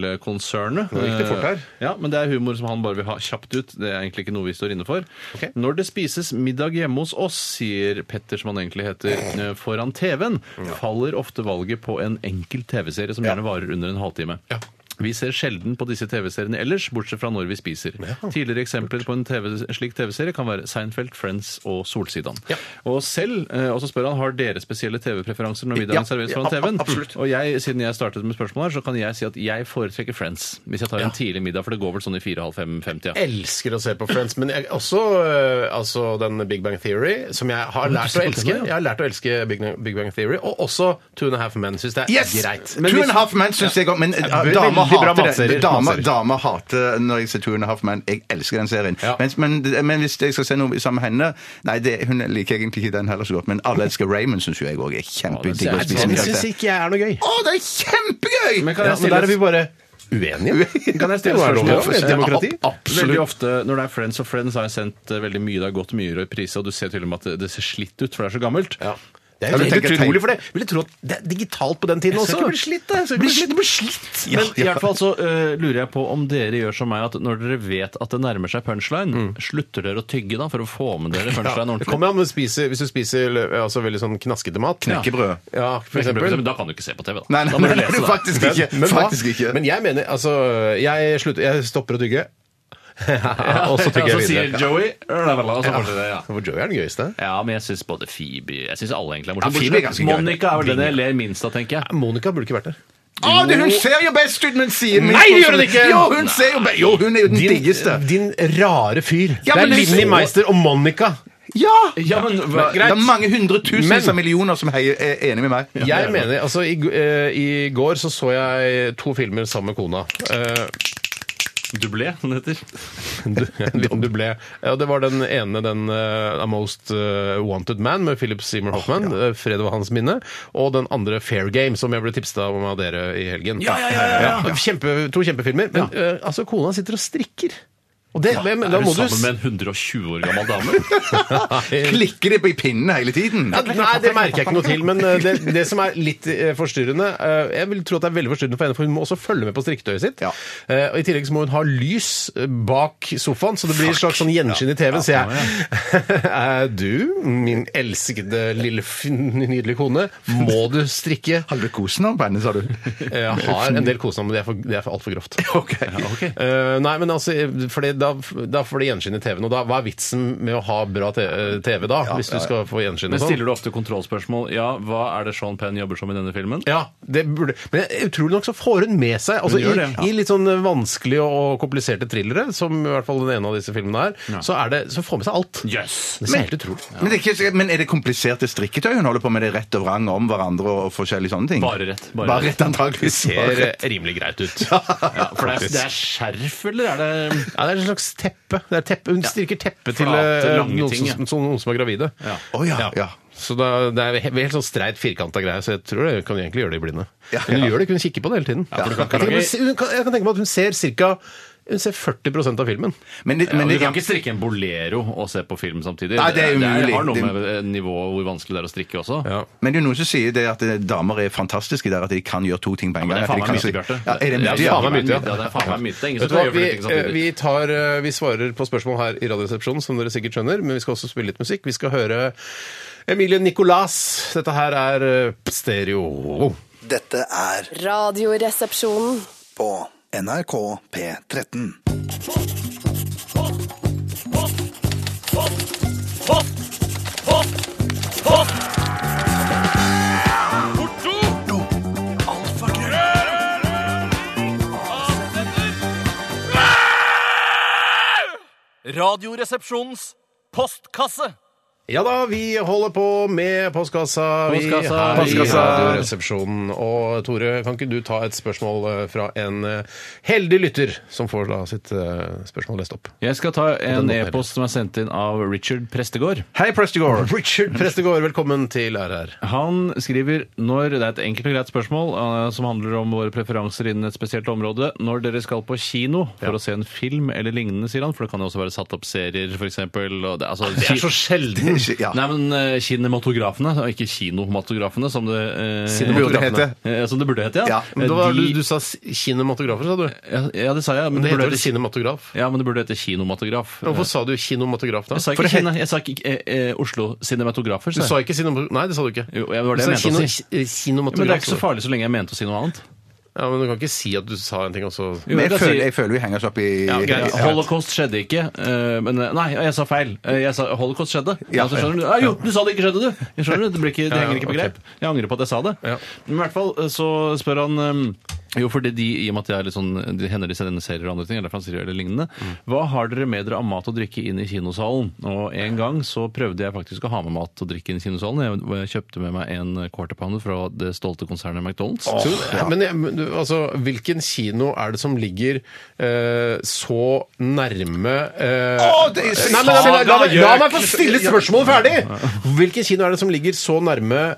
Speaker 10: Gmail-konsernet.
Speaker 7: Nå gikk det fort her.
Speaker 10: Ja, men det er humor som han bare vil ha kjapt ut. Det er egentlig ikke noe vi står inne for.
Speaker 7: Ok.
Speaker 10: Når det spises middag hjemme hos oss, sier Petter, som han egentlig heter, eh, foran TV-en, faller ofte valget på en enkel TV-serie som gjerne varer under en halvtime.
Speaker 7: Ja.
Speaker 10: Vi ser sjelden på disse TV-seriene ellers, bortsett fra når vi spiser. Tidligere eksempler på en TV, slik TV-serie kan være Seinfeld, Friends og Solsidan.
Speaker 7: Ja.
Speaker 10: Og selv, eh, og så spør han, har dere spesielle TV-preferanser når middagen
Speaker 9: Ja,
Speaker 10: serveres
Speaker 9: ja,
Speaker 10: foran
Speaker 9: ab-
Speaker 10: TV-en?
Speaker 9: absolutt.
Speaker 10: Og jeg, siden jeg startet med spørsmålet her, så kan jeg si at jeg foretrekker Friends. Hvis jeg tar en tidlig middag, for det går vel sånn i 4.30-5.50. Ja.
Speaker 7: elsker å se på Friends, men jeg, også eh, altså den Big Bang Theory, som jeg har lært å
Speaker 10: ser på
Speaker 7: elske.
Speaker 10: den, ja.
Speaker 7: Jeg har lært å elske Big Bang, Big Bang Theory, og også Two and a Half Men syns det er
Speaker 9: Yes!
Speaker 7: greit.
Speaker 9: Two and a half men syns jeg òg. Men eh, damer
Speaker 7: Veldig bra
Speaker 9: hater
Speaker 7: matserier.
Speaker 9: det. Damer,
Speaker 7: Matserier.
Speaker 9: damer hater når jeg ser Two and a half men. Jeg elsker den serien.
Speaker 7: Ja.
Speaker 9: Mens- Men, men, hvis jeg skal se noe sammen med henne Nei, det, hun liker egentlig ikke den heller så godt. Men alle elsker Raymond, syns jo jeg òg er kjempedigg å spise
Speaker 7: Den
Speaker 9: med
Speaker 7: syns
Speaker 9: karakter.
Speaker 7: ikke jeg er noe gøy.
Speaker 9: Å, det er kjempegøy!
Speaker 10: Men kan jeg
Speaker 9: Ja,
Speaker 10: stille
Speaker 9: der er
Speaker 10: et-
Speaker 9: vi bare
Speaker 7: Uenige?
Speaker 10: Kan jeg stille
Speaker 7: Det var lov,
Speaker 10: spørsmål?
Speaker 7: ja. Demokrati?
Speaker 10: Ja, ab- Veldig ofte når det er Friends og Friends, har jeg sendt eh, veldig mye. Det har gått mye i reprise, og du ser til og med at det- det ser slitt ut, for det er så gammelt.
Speaker 7: Ja. Det
Speaker 9: Ja,
Speaker 7: er
Speaker 9: du
Speaker 7: helt
Speaker 9: tenker
Speaker 7: utrolig
Speaker 9: tegn.
Speaker 7: for det. Vil du tro at det er digitalt på den tiden også?
Speaker 10: Jeg skal ikke bli slitt, da. Jeg skal ikke bli
Speaker 7: Bli slitt.
Speaker 10: slitt.
Speaker 7: bli slitt.
Speaker 10: Men i hvert fall så eh, lurer jeg på om dere gjør som meg at når dere vet at det nærmer seg punchline, slutter dere å tygge da for å få med dere
Speaker 7: Mm. Ja.
Speaker 10: punchline
Speaker 7: Det
Speaker 10: ordentlig?
Speaker 7: kommer an på om du spiser, hvis du spiser eh, altså, veldig sånn knaskete mat.
Speaker 9: Knekkebrød.
Speaker 7: Ja, for eksempel.
Speaker 10: Men Da kan du ikke se på TV, da.
Speaker 9: Nei, nei,
Speaker 10: da må
Speaker 9: nei,
Speaker 10: du
Speaker 9: nei,
Speaker 10: lese det.
Speaker 9: faktisk ikke.
Speaker 7: Men, hva?
Speaker 9: faktisk ikke.
Speaker 7: men jeg mener, altså Jeg, slutter, jeg stopper å tygge. og så tygger jeg
Speaker 10: sier
Speaker 7: videre.
Speaker 10: Joey og så fortsetter det, ja.
Speaker 7: For Joey er den gøyeste.
Speaker 10: Ja, men jeg syns både Phoebe Jeg synes alle egentlig er morsomme.
Speaker 9: Ja, Phoebe er ganske gøy.
Speaker 10: Monica er vel den jeg ler minst av, tenker jeg.
Speaker 7: Monica burde ikke vært der.
Speaker 9: Å, det, hun ser jo best ut, men sier minst
Speaker 7: Nei, det gjør hun
Speaker 9: hvordan-
Speaker 7: ikke!
Speaker 9: Jo, hun ser jo be- Jo, hun er jo den diggeste.
Speaker 7: din rare fyr.
Speaker 9: Ja,
Speaker 7: det er
Speaker 9: men det-
Speaker 7: Linni Meister og Monica.
Speaker 9: Ja!
Speaker 10: Ja, men hva-
Speaker 9: Det er mange hundretusenvis
Speaker 7: Men-
Speaker 9: av millioner som heier, er enig med meg.
Speaker 7: Jeg mener, altså i, g- eh, I går så så jeg to filmer sammen med kona. Eh,
Speaker 10: Dublé, som det heter.
Speaker 7: du- en liten dublé. Ja, det var den ene, den eh, A Most eh, Wanted Man med Philip Seymour Hoffman. eh, Fred var hans minne. Og den andre Fair Game, som jeg ble tipsa om av dere i helgen.
Speaker 10: Ja, ja, ja, ja, ja.
Speaker 7: Kjempe, to kjempefilmer. Men eh, altså, kona sitter og strikker. Og det, men,
Speaker 10: Er
Speaker 7: da
Speaker 10: du
Speaker 7: må du
Speaker 10: sammen med en 120 år gammel dame?
Speaker 9: Klikker de på i pinnen hele tiden?
Speaker 7: Ja, Nei, det merker jeg ikke noe til. Men eh, det, det som er litt eh, forstyrrende eh, Jeg vil tro at det er veldig forstyrrende for henne, for hun må også følge med på strikketøyet sitt.
Speaker 9: Ja.
Speaker 7: Eh, Og I tillegg så må hun ha lys eh, bak sofaen, så det blir et slags sånn gjenskinn i TV-en. Så jeg Er du, min elskede lille fin- nydelige kone, må du strikke?
Speaker 9: Har du kosen om bandet, sa du?
Speaker 10: Eh,
Speaker 7: Jeg har en del kosenavn, men det er for- det er for altfor grovt.
Speaker 9: Ok.
Speaker 7: Eh, nei, men altså, fordi da, da får det gjenskinn i TV-en. Og da, hva er vitsen med å ha bra te- TV da, hvis du skal få gjenskinn? og
Speaker 10: Men
Speaker 7: sånn?
Speaker 10: stiller du ofte kontrollspørsmål? Ja, hva er det Sean Penn jobber som i denne filmen?
Speaker 7: Ja, det burde Men utrolig nok så får hun med seg altså,
Speaker 10: Hun gjør
Speaker 7: i,
Speaker 10: det, ja.
Speaker 7: I litt sånn vanskelige og kompliserte thrillere, som i hvert fall den ene av disse filmene er, så, er det, så får hun med seg alt.
Speaker 10: Yes.
Speaker 7: Det er så helt utrolig.
Speaker 9: Men, det er ikke, men er det kompliserte strikketøy hun holder på med? Det er rett og vrang om hverandre og forskjellige sånne ting?
Speaker 10: Bare rett. Bare
Speaker 9: Bare, rett, antageligvis. Bare
Speaker 7: Ser
Speaker 9: rett.
Speaker 7: rimelig greit ut.
Speaker 10: Ja, for det er, det er skjerf, eller er det
Speaker 7: Ja, det er et slags teppe. Det er teppe. Hun styrker teppet til
Speaker 10: Flate,
Speaker 7: eh,
Speaker 10: lange
Speaker 7: noen,
Speaker 10: ting,
Speaker 7: som, som, noen som er gravide.
Speaker 9: Å ja, ja.
Speaker 7: Så da, det er he- helt sånn streit firkanta greie, så jeg tror jeg kan egentlig gjøre det i blinde.
Speaker 9: Ja,
Speaker 7: Men
Speaker 9: ja.
Speaker 7: hun gjør det ikke, hun kikker på det hele tiden.
Speaker 10: for du kan ikke
Speaker 7: jeg, tenker,
Speaker 10: lage-
Speaker 7: på- hun kan, jeg kan tenke meg at hun ser ca. Hun ser 40 av filmen.
Speaker 9: Men, det-
Speaker 10: Ja,
Speaker 9: men
Speaker 10: du
Speaker 9: det,
Speaker 10: kan ikke strikke en bolero og se på film samtidig.
Speaker 9: Nei, det er umulig.
Speaker 10: har noe
Speaker 9: Det-
Speaker 10: med eh, nivået hvor vanskelig det er å strikke også.
Speaker 7: Ja.
Speaker 9: men det er jo noen som sier det at eh, damer er fantastiske der, at de kan gjøre to ting på en
Speaker 10: Men
Speaker 9: gang.
Speaker 10: det er
Speaker 9: at
Speaker 10: faen
Speaker 9: de
Speaker 10: meg
Speaker 9: kan
Speaker 10: myte,
Speaker 9: si-
Speaker 10: Bjarte.
Speaker 9: Ja, er det myte,
Speaker 10: Det
Speaker 9: ja?
Speaker 10: er faen meg myte, ja. Ja, det er faen meg myte. Det er ingen
Speaker 7: Vet
Speaker 10: som
Speaker 7: du hva,
Speaker 10: gjør
Speaker 7: vi,
Speaker 10: flere ting
Speaker 7: eh,
Speaker 10: samtidig.
Speaker 7: vi, tar, eh, vi svarer på spørsmål her i Radioresepsjonen, som dere sikkert skjønner, men vi skal også spille litt musikk. Vi skal høre Emilie Nicolas. Dette her er eh, stereo.
Speaker 4: Dette er
Speaker 3: Radioresepsjonen.
Speaker 4: på NRK P13.
Speaker 5: Radioresepsjonens postkasse.
Speaker 7: Ja da, vi holder på med postkassa, vi
Speaker 10: Postkassa.
Speaker 7: her
Speaker 10: Postkassa.
Speaker 7: i Radioresepsjonen. Og Tore, kan ikke du ta et spørsmål eh, fra en eh, heldig lytter, som får da sitt eh, spørsmål lest opp?
Speaker 10: Jeg skal ta en
Speaker 7: måten,
Speaker 10: e-post som er sendt inn av Richard Prestegård.
Speaker 9: Hei, Prestegård.
Speaker 7: Richard Prestegård, velkommen til RR.
Speaker 10: Han skriver når Det er et enkelt og greit spørsmål eh, som handler om våre preferanser innen et spesielt område. Når dere skal på kino for å se en film eller lignende, sier han, for det kan jo også være satt opp serier, f.eks. Altså, det er så sjelden!
Speaker 9: Ja.
Speaker 10: Nei, men eh, kinematografene, og ikke kinomatografene, som det eh,
Speaker 9: Cinematografene.
Speaker 10: burde hete. Eh, Som det burde hete, ja.
Speaker 9: Ja,
Speaker 7: Men da,
Speaker 10: Eh,
Speaker 7: du,
Speaker 10: de-
Speaker 7: du sa s- kinematografer, sa du?
Speaker 10: ja, ja, det sa jeg. Men
Speaker 7: Det
Speaker 10: det,
Speaker 7: heter
Speaker 10: burde
Speaker 7: vel
Speaker 10: hete,
Speaker 7: kinematograf?
Speaker 10: ja, men det burde hete kinomatograf.
Speaker 7: Hvorfor sa du kinematograf da?
Speaker 10: Jeg sa
Speaker 7: For
Speaker 10: ikke,
Speaker 7: det het-
Speaker 10: Kine, jeg sa ikke eh, eh, Oslo Cinematografer.
Speaker 7: Du
Speaker 10: sa jeg.
Speaker 7: sa ikke kinematograf? Nei, det sa du ikke.
Speaker 10: Jo, det var det
Speaker 7: Du
Speaker 10: jeg
Speaker 7: sa
Speaker 10: mente å
Speaker 7: kino-
Speaker 10: si.
Speaker 7: eh,
Speaker 10: Men det er
Speaker 7: Kinematograf.
Speaker 10: ikke så farlig så lenge jeg mente å si noe annet.
Speaker 7: Ja, men du kan ikke si at du sa en ting, og så
Speaker 10: Jo,
Speaker 9: Men jeg
Speaker 10: kan
Speaker 9: føler,
Speaker 10: si-
Speaker 9: jeg føler vi henger oss opp i
Speaker 10: Ja, greit.
Speaker 9: i-
Speaker 10: Holocaust skjedde ikke. eh, Men eh, nei, jeg sa feil. Eh, Jeg sa holocaust skjedde.
Speaker 9: Ja.
Speaker 10: altså, skjønner du? Ah, jo, du sa det ikke skjedde, du! Jeg skjønner, Det, blir ikke, det
Speaker 7: Ja, ja,
Speaker 10: henger ikke på
Speaker 7: ok.
Speaker 10: greip. Jeg angrer på at jeg sa det.
Speaker 7: Ja.
Speaker 10: Men i hvert fall eh, så spør han eh, jo, fordi de, I og med at det er litt sånn, de hender de sender serier og andre ting, eller franserier eller lignende,
Speaker 9: Mm.
Speaker 10: hva har dere med dere av mat og drikke inn i kinosalen? Og en gang så prøvde jeg faktisk å ha med mat og drikke inn i kinosalen. Jeg, jeg kjøpte med meg en quarter pounder fra det stolte konsernet McDonald's.
Speaker 7: Så, Men jeg, men du, altså, hvilken kino er det som ligger eh, så nærme eh,
Speaker 9: Å, det er-
Speaker 7: Nei, men, la, meg- la, meg- la meg få stille spørsmålet ferdig! Hvilken kino er det som ligger så nærme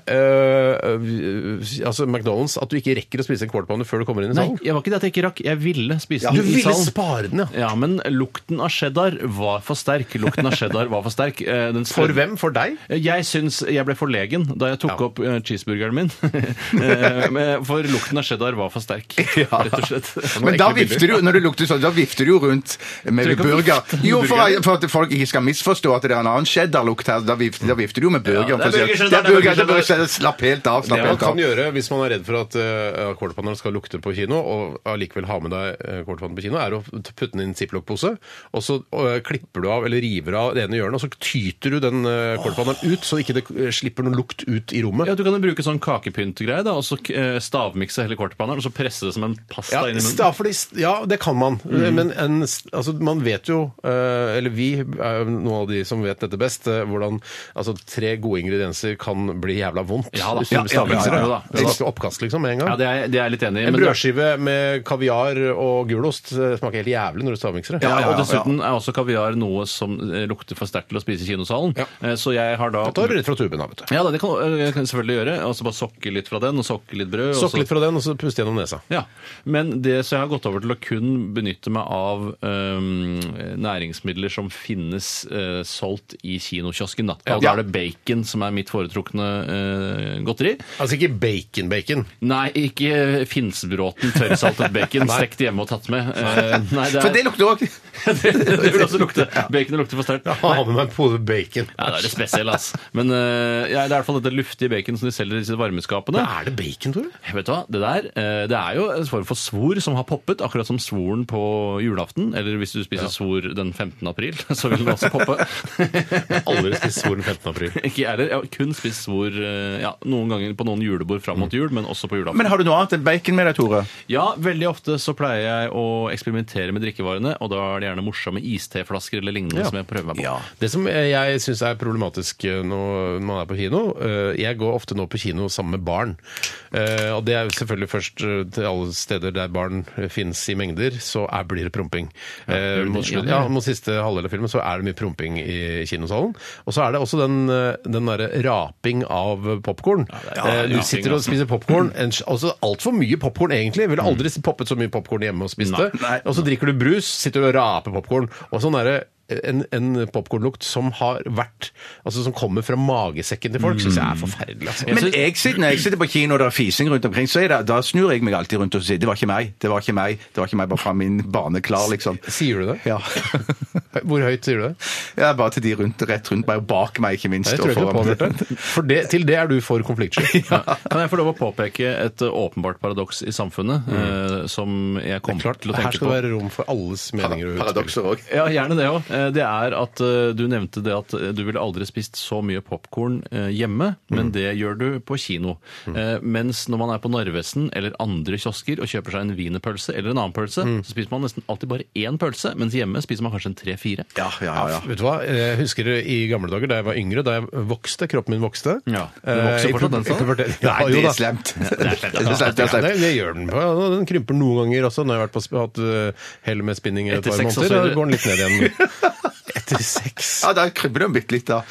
Speaker 7: eh, eh, altså McDonald's at du ikke rekker å spise en quarter pounder før du kommer inn i
Speaker 10: Nei,
Speaker 7: salen?
Speaker 10: jeg var ikke det at jeg ikke rakk. Jeg ville spise
Speaker 7: du
Speaker 10: den i
Speaker 7: ville
Speaker 10: salen.
Speaker 7: spare den, ja.
Speaker 10: Ja, men lukten av cheddar var for sterk. Lukten av cheddar var for sterk. Eh, Den
Speaker 7: For hvem? For deg?
Speaker 10: Jeg syns jeg ble forlegen da jeg tok
Speaker 7: Ja.
Speaker 10: opp eh, cheeseburgeren min. Eh, men- for lukten av cheddar var for sterk, rett og slett.
Speaker 9: Men da vifter du når du lukter sånn, da vifter du jo rundt med
Speaker 10: Trykker på
Speaker 9: burger.
Speaker 10: viften.
Speaker 9: Jo, for, for at folk ikke skal misforstå at det er en annen cheddarlukt her, da vifter, da vifter du jo med burger.
Speaker 10: Ja, det er burger,
Speaker 9: det
Speaker 10: cheddar,
Speaker 9: er burger, det er
Speaker 10: cheddar.
Speaker 9: burger, cheddar. Slapp helt av,
Speaker 7: Det
Speaker 9: slapp
Speaker 7: man
Speaker 9: helt
Speaker 7: kan
Speaker 9: av.
Speaker 7: gjøre hvis man er redd for at uh, quarterpanneren skal lukte på kino, og allikevel ha med deg eh, quarterpannen på kino, er å t- putte den i en ziplock-pose, og så eh, klipper du av eller river av det ene hjørnet, og så tyter du den uh, quarterpanneren ut, så ikke det eh, slipper noe lukt ut i rommet.
Speaker 10: Ja, Du kan jo bruke sånn kakepyntgreie, da, og så eh, stavmikse hele quarterpanneren og så presse det som en Mm. pasta
Speaker 7: Ja,
Speaker 10: inn i munnen.
Speaker 7: sta- fordi, ja, det kan man. Men en, altså, man vet jo, eh, eller vi er jo noen av de som vet dette best, eh, hvordan altså, tre gode ingredienser kan bli jævla vondt.
Speaker 10: Ja da.
Speaker 7: hvis du
Speaker 10: Ja, ja,
Speaker 7: stavmikser det.
Speaker 10: ja, ja, ja.
Speaker 7: Det smaker oppkast liksom med en gang.
Speaker 10: Ja, det er, det er jeg litt enig i.
Speaker 7: En
Speaker 10: men det-
Speaker 7: brødskive med kaviar og gulost eh, smaker helt jævlig når du stavmikser det.
Speaker 10: Ja, og dessuten er også kaviar noe som eh, lukter for sterkt til å spise i kinosalen.
Speaker 7: Ja.
Speaker 10: Eh, Så jeg har da
Speaker 7: Da tar du rett fra tuben, da, vet du.
Speaker 10: Ja, da, det kan eh, jeg kan selvfølgelig gjøre. Og så bare sokke litt fra den, og sokke litt brød. og så-
Speaker 7: Sokke litt fra den, og så puste gjennom nesa.
Speaker 10: Ja, Men det, så jeg har gått over til å kun benytte meg av øhm, næringsmidler som finnes eh, solgt i kinokiosken. Da. da
Speaker 7: Ja.
Speaker 10: er det bacon som er mitt foretrukne eh, godteri.
Speaker 7: Altså ikke bacon-bacon.
Speaker 10: Nei, ikke Finnsbråten tørrsaltet bacon stekt hjemme og tatt med. Eh, nei, det
Speaker 9: For det
Speaker 10: er,
Speaker 9: lukter òg.
Speaker 10: det, vil også lukte. Baconet lukter for sterkt.
Speaker 7: Ha med meg en pose bacon.
Speaker 10: Ja, det er det spesielle, ass. Men eh, ja, det er i hvert fall dette luftige bacon som de selger i disse varmeskapene.
Speaker 7: Er det bacon, Tore?
Speaker 10: Vet du hva, det der eh, det er jo en form for svor som har poppet, akkurat som svoren på julaften. Eller hvis du spiser svor den 15. april, så vil den også poppe.
Speaker 7: Aldri spist svoren 15. april.
Speaker 10: Ikke jeg heller. Jeg har kun spist svor eh, ja, noen ganger på noen julebord fram mot jul, Mm. men også på julaften.
Speaker 9: Men har du noe annet enn bacon med deg, Tore?
Speaker 10: Ja, veldig ofte så pleier jeg å eksperimentere med drikkevarene, og da er det gjerne morsomme isteflasker eller lignende som jeg prøver meg på.
Speaker 7: Det som jeg syns er problematisk eh, når man er på kino eh, Jeg går ofte nå på kino sammen med barn. Eh, Og det er jo selvfølgelig først eh, til alle steder der barn fins i mengder, så er, blir det promping. Eh, Mot, slutt, ja, mot siste halvdel av filmen så er det mye promping i kinosalen. Og så er det også den, eh, den derre raping av popkorn.
Speaker 10: det er-
Speaker 7: Eh, Du
Speaker 10: raping,
Speaker 7: sitter og
Speaker 10: altså.
Speaker 7: spiser popkorn, altfor altså, mye popkorn popkorn, egentlig. Ville aldri poppet så mye popkorn hjemme og spist det.
Speaker 9: Nei.
Speaker 7: Og så drikker du brus, sitter du og raper popkorn. Og sånn er det en, en popkornlukt som har vært Altså som kommer fra magesekken til folk, syns jeg er forferdelig. Altså.
Speaker 9: Men jeg sitter, når jeg sitter på kino og det er fising rundt omkring, så er det, da snur jeg meg alltid rundt og sier 'det var ikke meg', 'det var ikke meg', det var ikke meg, bare fra min bane klar, liksom.
Speaker 7: Sier du det?
Speaker 9: Ja.
Speaker 7: Hvor høyt sier du det?
Speaker 9: ja, bare til de rundt, rett rundt meg, og bak meg, ikke minst.
Speaker 7: Nei, Det tror jeg ikke
Speaker 9: og
Speaker 7: på,
Speaker 9: foran.
Speaker 7: Bjarte. For det, til det er du for konfliktsky.
Speaker 10: Kan jeg få lov å påpeke et eh, åpenbart paradoks i samfunnet eh, som jeg kom til å
Speaker 7: Her
Speaker 10: tenke
Speaker 7: skal
Speaker 10: på?
Speaker 7: det være rom for alles meninger. og utspill.
Speaker 9: Paradokser òg.
Speaker 10: Ja, gjerne det òg. Det er at eh, du nevnte det at eh, du ville aldri spist så mye popkorn hjemme, men det gjør du på kino. Eh, Mens når man er på Narvesen eller andre kiosker og kjøper seg en wienerpølse eller en annen pølse, så spiser man nesten alltid bare én pølse, mens hjemme spiser man kanskje en tre-fire.
Speaker 9: Ja, ja, ja. ja.
Speaker 7: Vet du hva? Jeg husker i gamle dager da jeg var yngre, da jeg vokste, kroppen min vokste.
Speaker 10: Ja. Den vokser
Speaker 7: Eh, i
Speaker 10: fortsatt,
Speaker 7: pu-
Speaker 10: den, sa
Speaker 7: i
Speaker 10: du?
Speaker 7: pubertet- Ja,
Speaker 9: Nei, sånn?
Speaker 7: jo
Speaker 9: det
Speaker 7: da.
Speaker 9: er slemt.
Speaker 10: det er slemt,
Speaker 9: Det
Speaker 10: ja.
Speaker 9: er slemt, det er
Speaker 7: Ja,
Speaker 9: slemt.
Speaker 7: det, det gjør den. på. Ja, Den krymper noen ganger også. Når jeg har vært på, sp- hatt eh, hell med spinning i et
Speaker 10: Etter
Speaker 7: par
Speaker 10: seks,
Speaker 7: måneder,
Speaker 10: altså,
Speaker 7: da går den litt ned igjen. Etter seks?
Speaker 9: Ja, da krybber det bitte litt, da.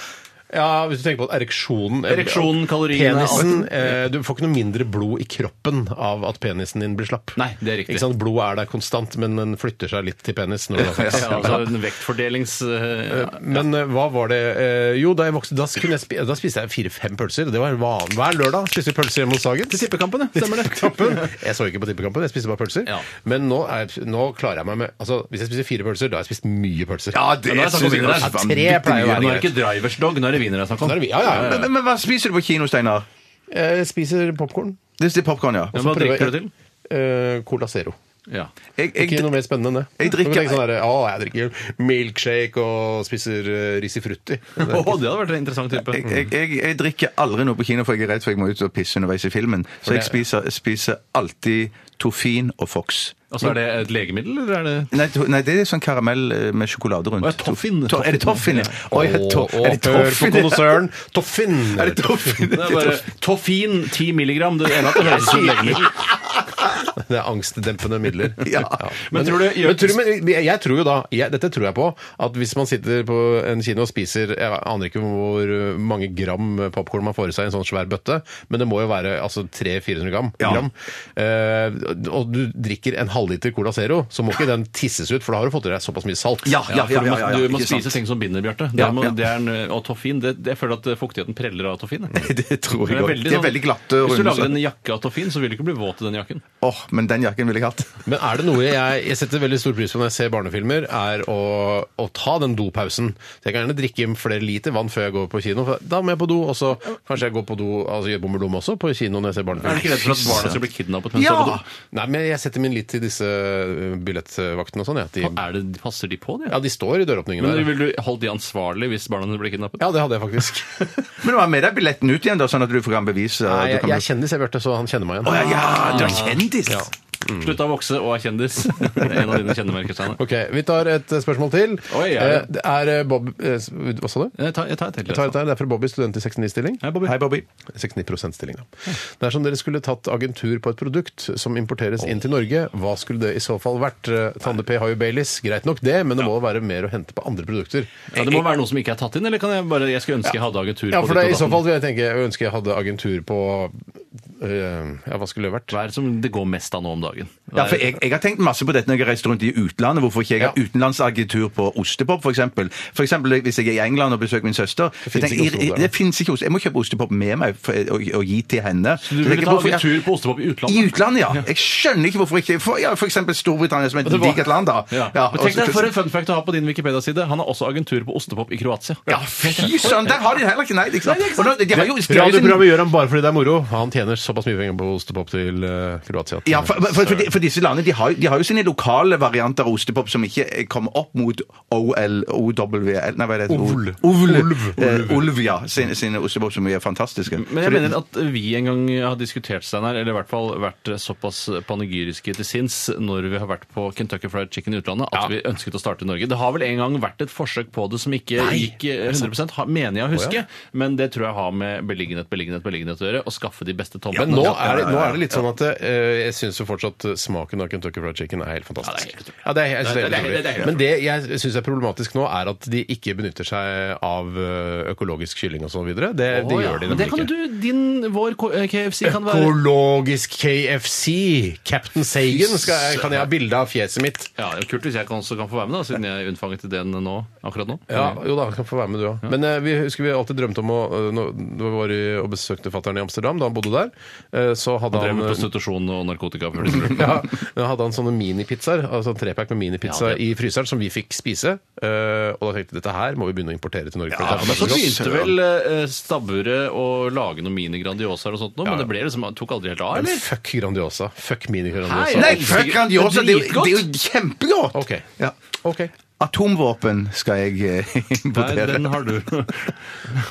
Speaker 7: Ja, hvis du tenker på at ereksjonen eh,
Speaker 10: Ereksjonen, kaloriene,
Speaker 7: Penisen eh, Du får ikke noe mindre blod i kroppen av at penisen din blir slapp.
Speaker 10: Nei, det er riktig.
Speaker 7: Ikke sant? Blodet er der konstant, men den flytter seg litt til penis. Når den har sex.
Speaker 10: Ja, altså en vektfordelings... eh,
Speaker 7: Men eh, hva var det eh, Jo, da jeg vokste, da, kunne jeg spi da spiste jeg fire-fem pølser. Det var en van Hver lørdag spiste vi pølser hjemme hos Sagen. Til tippekampen, Stemmer det. Jeg så ikke på tippekampen, jeg spiste bare pølser.
Speaker 10: Ja.
Speaker 7: Men nå, er, nå klarer jeg meg med Altså, Hvis jeg spiser fire pølser, da har jeg spist mye pølser.
Speaker 9: Ja, det
Speaker 10: nå er det
Speaker 9: synes jeg
Speaker 10: sånn
Speaker 9: også
Speaker 10: at
Speaker 9: var
Speaker 7: tre
Speaker 9: vanvittig
Speaker 7: pleier å
Speaker 9: mye.
Speaker 7: være
Speaker 10: Nå er det ikke drivers dog, nå er det wiener det er snakk om.
Speaker 7: Da er vi- Ja, ja. ja.
Speaker 9: Men, men hva spiser du på kino, Steinar?
Speaker 7: Jeg spiser popkorn.
Speaker 9: Det er popkorn, ja.
Speaker 10: Men hva drikker du til?
Speaker 7: Cola Zero.
Speaker 10: Ja.
Speaker 9: Jeg,
Speaker 7: Ikke
Speaker 9: jeg,
Speaker 7: noe mer spennende enn det.
Speaker 9: jeg drikker-
Speaker 7: Du kan tenke sånn der, å, jeg drikker milkshake og spiser eh, risifrutti.
Speaker 10: Å, det hadde vært en interessant type.
Speaker 9: jeg, jeg, jeg drikker aldri noe på kino, for jeg er redd for jeg må ut og pisse underveis i filmen. Så jeg spiser, spiser alltid Toffin og Fox.
Speaker 10: Og så er det et legemiddel, eller er det
Speaker 9: Nei, to, nei, det er sånn karamell eh, med sjokolade rundt.
Speaker 10: Å, ja, Toffin.
Speaker 9: To, er det Toffin? ja? Å, er det to-
Speaker 7: Og- og
Speaker 9: er det
Speaker 7: hør på
Speaker 9: Toffin?
Speaker 7: kondosøren! Toffin!
Speaker 9: Er det Toffin?
Speaker 10: Det er bare Toffin 10 milligram. Det ene at det høres ut som legemiddel.
Speaker 7: Det er angstdempende midler.
Speaker 9: Ja.
Speaker 7: Men, tror du, men, tror, men jeg, jeg tror jo da, jeg, dette tror jeg på, at hvis man sitter på en kino og spiser Jeg aner ikke hvor mange gram popkorn man får i seg i en sånn svær bøtte, men det må jo være altså 300-400 gram. gram. Eh, og du drikker en halvliter Cola Zero, så må ikke den tisses ut, for da har du fått i deg såpass mye salt.
Speaker 9: Ja, ja, ja.
Speaker 10: for du må,
Speaker 9: ja, ja,
Speaker 10: du må
Speaker 9: ikke sant.
Speaker 10: spise ting som binder, Bjarte. Det
Speaker 9: Ja,
Speaker 10: må-
Speaker 9: ja.
Speaker 10: det er en- Og toffin det, det- Jeg føler at fuktigheten preller av toffin. jeg.
Speaker 9: Det tror jeg
Speaker 10: Det er
Speaker 9: òg.
Speaker 10: veldig
Speaker 9: De er
Speaker 10: sånn-
Speaker 9: veldig glatte og
Speaker 10: Hvis du
Speaker 9: runde.
Speaker 10: lager en
Speaker 9: sånn.
Speaker 10: jakke av toffin, så vil du ikke bli våt i den jakken.
Speaker 9: Åh, men den jakken ville jeg hatt.
Speaker 7: Men er det noe jeg, jeg setter veldig stor pris på når jeg ser barnefilmer, er å, å ta den dopausen. Så jeg kan gjerne drikke flere liter vann før jeg går på kino. For da må jeg på do, og så kanskje jeg går på do altså gjør bommelom også på kino når jeg
Speaker 10: Er
Speaker 7: ser
Speaker 10: du ikke
Speaker 7: barnefilmer.
Speaker 10: redd for at barna skal bli kidnappet? Mens
Speaker 9: Ja!
Speaker 10: de er på
Speaker 7: Nei, men jeg setter min lit til disse ø, billettvaktene og sånn. Ja.
Speaker 10: do?
Speaker 7: De,
Speaker 10: Er det, passer de på det?
Speaker 7: ja, de står i døråpningen
Speaker 10: Men
Speaker 7: der.
Speaker 10: Vil du holde de ansvarlig hvis barna dine blir kidnappet?
Speaker 7: Ja, det hadde jeg faktisk.
Speaker 9: Men du har med deg billetten ut igjen, da, sånn at du får kan bevise
Speaker 7: Nei,
Speaker 9: du
Speaker 7: jeg,
Speaker 9: kan
Speaker 7: jeg er kjendis, jeg, Bjarte, så han kjenner meg
Speaker 9: Å,
Speaker 7: igjen.
Speaker 9: ja, ja, du er kjendis!
Speaker 10: Slutt å vokse og er kjendis. En av dine kjennemerker, Steinar.
Speaker 7: Ok, Vi tar et ø, spørsmål til.
Speaker 10: Oi, ja, ja.
Speaker 7: Eh, Det er ø, Bob ø, s- Hva sa du?
Speaker 10: Jeg tar, Eh, jeg tar et til.
Speaker 7: Jeg tar dette her, Det er fra Bobby, student i 69-stilling.
Speaker 10: Hei, Bobby.
Speaker 9: Hei, Bobby.
Speaker 7: 69 stilling, da. Dersom dere skulle tatt agentur på et produkt som importeres inn til Norge, hva skulle det i så fall vært? Eh, Tande P har jo Baileys, greit nok det, men det må jo være mer å hente på andre produkter.
Speaker 10: Ja, det må være noe som ikke er tatt inn, eller kan jeg bare Jeg skulle ønske jeg hadde agentur
Speaker 7: Ja, for
Speaker 10: ditt
Speaker 7: det, er
Speaker 10: og
Speaker 7: i så
Speaker 10: datten.
Speaker 7: fall vil jeg tenke jeg ønsker jeg hadde agentur på eh, Ja, hva skulle det vært?
Speaker 10: Hva er det som det går mest av nå om dagen?
Speaker 9: Ja, for jeg, jeg har tenkt masse på dette når jeg har reist rundt i utlandet. Hvorfor ikke jeg har
Speaker 7: Ja.
Speaker 9: utenlandsagentur på ostepop, f.eks.? For eksempel hvis jeg er i England og besøker min søster jeg
Speaker 7: finnes
Speaker 9: tenker,
Speaker 7: ikke
Speaker 9: i-
Speaker 7: ostepop der,
Speaker 9: i- det finnes ikke ost. Jeg må kjøpe ostepop med meg for, og, og gi til henne.
Speaker 10: Du
Speaker 9: Så
Speaker 10: ville
Speaker 9: tenker jeg,
Speaker 10: ta
Speaker 9: hvorfor-
Speaker 10: agentur på ostepop i
Speaker 9: I
Speaker 10: utlandet?
Speaker 9: utlandet, ja. Jeg skjønner ikke hvorfor ikke. For, ja, for eksempel Storbritannia, som er et digert land, da.
Speaker 10: Ja.
Speaker 9: Ja,
Speaker 10: Men tenk
Speaker 9: og så-
Speaker 10: deg for en fun fact å ha på din Wikipedia-side. Han har også agentur på ostepop i Kroatia.
Speaker 9: ja, fy søren! Der har de heller ikke Nei, ikke sant? Og nå- de har jo- de har jo sin-
Speaker 7: Radioprogrammet gjør han bare fordi det er moro. Han tjener såpass mye penger på ostepop til eh, Kroatia. at-
Speaker 9: Ja, for, for, for, de- for disse landene de har, de har jo sine lokale varianter av ostepop som ikke kommer opp mot OL, OWL Nei, hva er det?
Speaker 7: Ovl.
Speaker 9: Ovl.
Speaker 7: Olv.
Speaker 9: Eh, Olv, ja. Sine, sine ostepop som er fantastiske.
Speaker 10: Men jeg
Speaker 9: Fordi-
Speaker 10: mener at vi en gang har diskutert Steinar, eller i hvert fall vært såpass panegyriske til sinns når vi har vært på Kentucky Fried Chicken i utlandet, at vi ønsket å starte i Norge. Det har vel en gang vært et forsøk på det som ikke gikk eh, 100 ha- mener jeg å huske, men det tror jeg har med beliggenhet, beliggenhet, beliggenhet å gjøre, å skaffe de beste tomme
Speaker 7: Men nå er, det, nå er det litt sånn at eh, jeg syns jo fortsatt smaken av Kentucky Fried Chicken er helt fantastisk. Ja, det er helt, jeg synes det er helt
Speaker 10: det er helt
Speaker 7: utrolig. Men det jeg syns er problematisk nå, er at de ikke benytter seg av eh, økologisk kylling og sånn videre. Det, det
Speaker 10: Å, ja.
Speaker 7: gjør de
Speaker 10: Men det
Speaker 7: nemlig
Speaker 10: kan
Speaker 7: ikke.
Speaker 10: jo du, din, vår K- eh, KFC kan være
Speaker 7: Økologisk KFC! Captain Sagan skal jeg, kan jeg ha bilde av fjeset mitt.
Speaker 10: Ja, det er Kult hvis jeg kan, også kan få være med, da, siden jeg unnfanget ideen nå, akkurat nå.
Speaker 7: Ja, jo da, kan få være med du òg. Men eh, vi husker vi alltid drømte om å eh, når- når vi var i, og besøkte fattern i Amsterdam, da han bodde der. eh, så hadde
Speaker 10: Han drev
Speaker 7: han,
Speaker 10: med prostitusjon og narkotika før de skulle
Speaker 7: ja, da hadde han sånne minipizzaer, altså en trepack med minipizza
Speaker 10: Ja, det-
Speaker 7: i fryseren, som vi fikk spise. eh, og da tenkte jeg dette her må vi begynne å importere til Norge. for
Speaker 10: Ja,
Speaker 7: dette er
Speaker 10: men så
Speaker 7: for godt.
Speaker 10: begynte vel eh, stabburet å lage noen mini-Grandiosaer og sånt nå, men det ble liksom, tok aldri helt av,
Speaker 7: Men
Speaker 10: eller?
Speaker 7: Fuck Grandiosa. Fuck
Speaker 10: Hei,
Speaker 7: mini-Grandiosa.
Speaker 9: Nei,
Speaker 10: Det er
Speaker 9: fuck Grandiosa! Det er jo-
Speaker 10: dritgodt.
Speaker 9: det er jo kjempegodt!
Speaker 7: OK.
Speaker 9: Ja.
Speaker 7: Ok.
Speaker 9: Atomvåpen skal jeg eh,
Speaker 10: Nei,
Speaker 9: importere.
Speaker 10: den har du.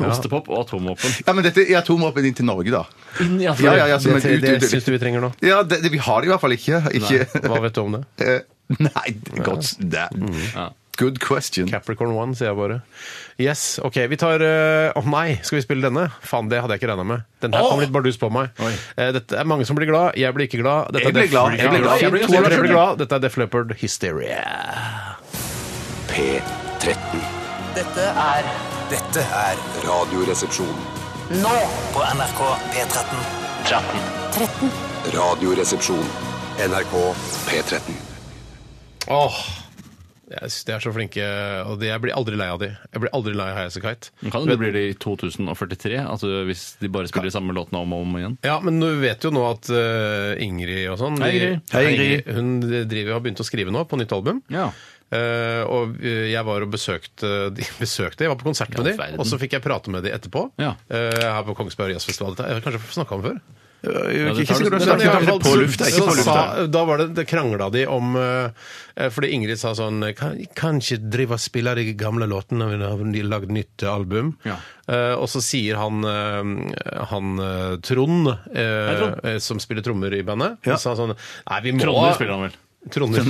Speaker 10: Ostepop og atomvåpen.
Speaker 9: Ja, men dette er atomvåpen inn til Norge, da.
Speaker 10: Inn i
Speaker 9: Ja, ja, ja, som
Speaker 7: Det,
Speaker 9: en
Speaker 7: det, det
Speaker 9: utrydde-
Speaker 7: syns du vi trenger nå?
Speaker 9: Ja, det, det, vi har det i hvert fall ikke. ikke
Speaker 7: Hva vet du om det?
Speaker 9: Eh, Nei, godt s- det- Good question.
Speaker 7: Capricorn One, sier jeg bare. Yes, ok, vi tar eh, Å nei, skal vi spille denne? Faen, det hadde jeg ikke regna med. Den her kom litt bardus på meg. Eh, dette er mange som blir glad. Jeg blir ikke glad. Dette
Speaker 9: Jeg
Speaker 7: er
Speaker 9: blir
Speaker 7: Def-
Speaker 9: glad. Jeg blir glad.
Speaker 7: Ja,
Speaker 9: Jeg blir
Speaker 7: to
Speaker 9: glad.
Speaker 7: av dere blir glad. Dette er Def Leppard Hysteria.
Speaker 1: P13.
Speaker 2: Dette er
Speaker 6: Dette er Radioresepsjon.
Speaker 2: nå på NRK P13.
Speaker 6: Radioresepsjon. NRK P13.
Speaker 7: Åh, jeg synes de er så flinke, og det, jeg blir aldri lei av de. Jeg blir aldri lei av Highasakite.
Speaker 10: Men Kan jo det bli det i 2043, altså hvis de bare spiller de samme låtene om og om igjen?
Speaker 7: Ja, men du vet jo nå at eh, Ingrid og sånn
Speaker 10: Hei,
Speaker 7: de-
Speaker 10: Ingrid.
Speaker 9: Hei, Ingrid.
Speaker 7: Hun driver, har begynt å skrive nå på nytt album.
Speaker 10: Ja.
Speaker 7: Eh, og eh, jeg var og besøkte de, besøkte, jeg var på konsert med
Speaker 10: Ja,
Speaker 7: de,
Speaker 10: verden.
Speaker 7: og så fikk jeg prate med de etterpå.
Speaker 10: Ja.
Speaker 7: Eh, her på Kongsberg Jazzfestival. Dette- Jeg har kanskje snakka om før?
Speaker 10: Ja,
Speaker 9: Ikke
Speaker 10: det tar du-
Speaker 9: sikkert du
Speaker 10: det tar
Speaker 9: har
Speaker 10: du
Speaker 7: Men i hvert
Speaker 9: snakket om
Speaker 7: fall
Speaker 9: det på
Speaker 7: så-
Speaker 9: lufta.
Speaker 7: så
Speaker 9: Ikke på lufta.
Speaker 7: sa- Da var det, det krangla de om eh, Fordi Ingrid sa sånn Kan, kan ikke drive og spille de gamle låtene når vi har lagd nytt album.
Speaker 10: Ja.
Speaker 7: Eh, og så sier han, eh, han eh, Trond, eh,
Speaker 10: Trond.
Speaker 7: eh, som spiller trommer i bandet, han sa sånn Nei, vi må
Speaker 10: Tronder spiller han vel?
Speaker 7: Tronder.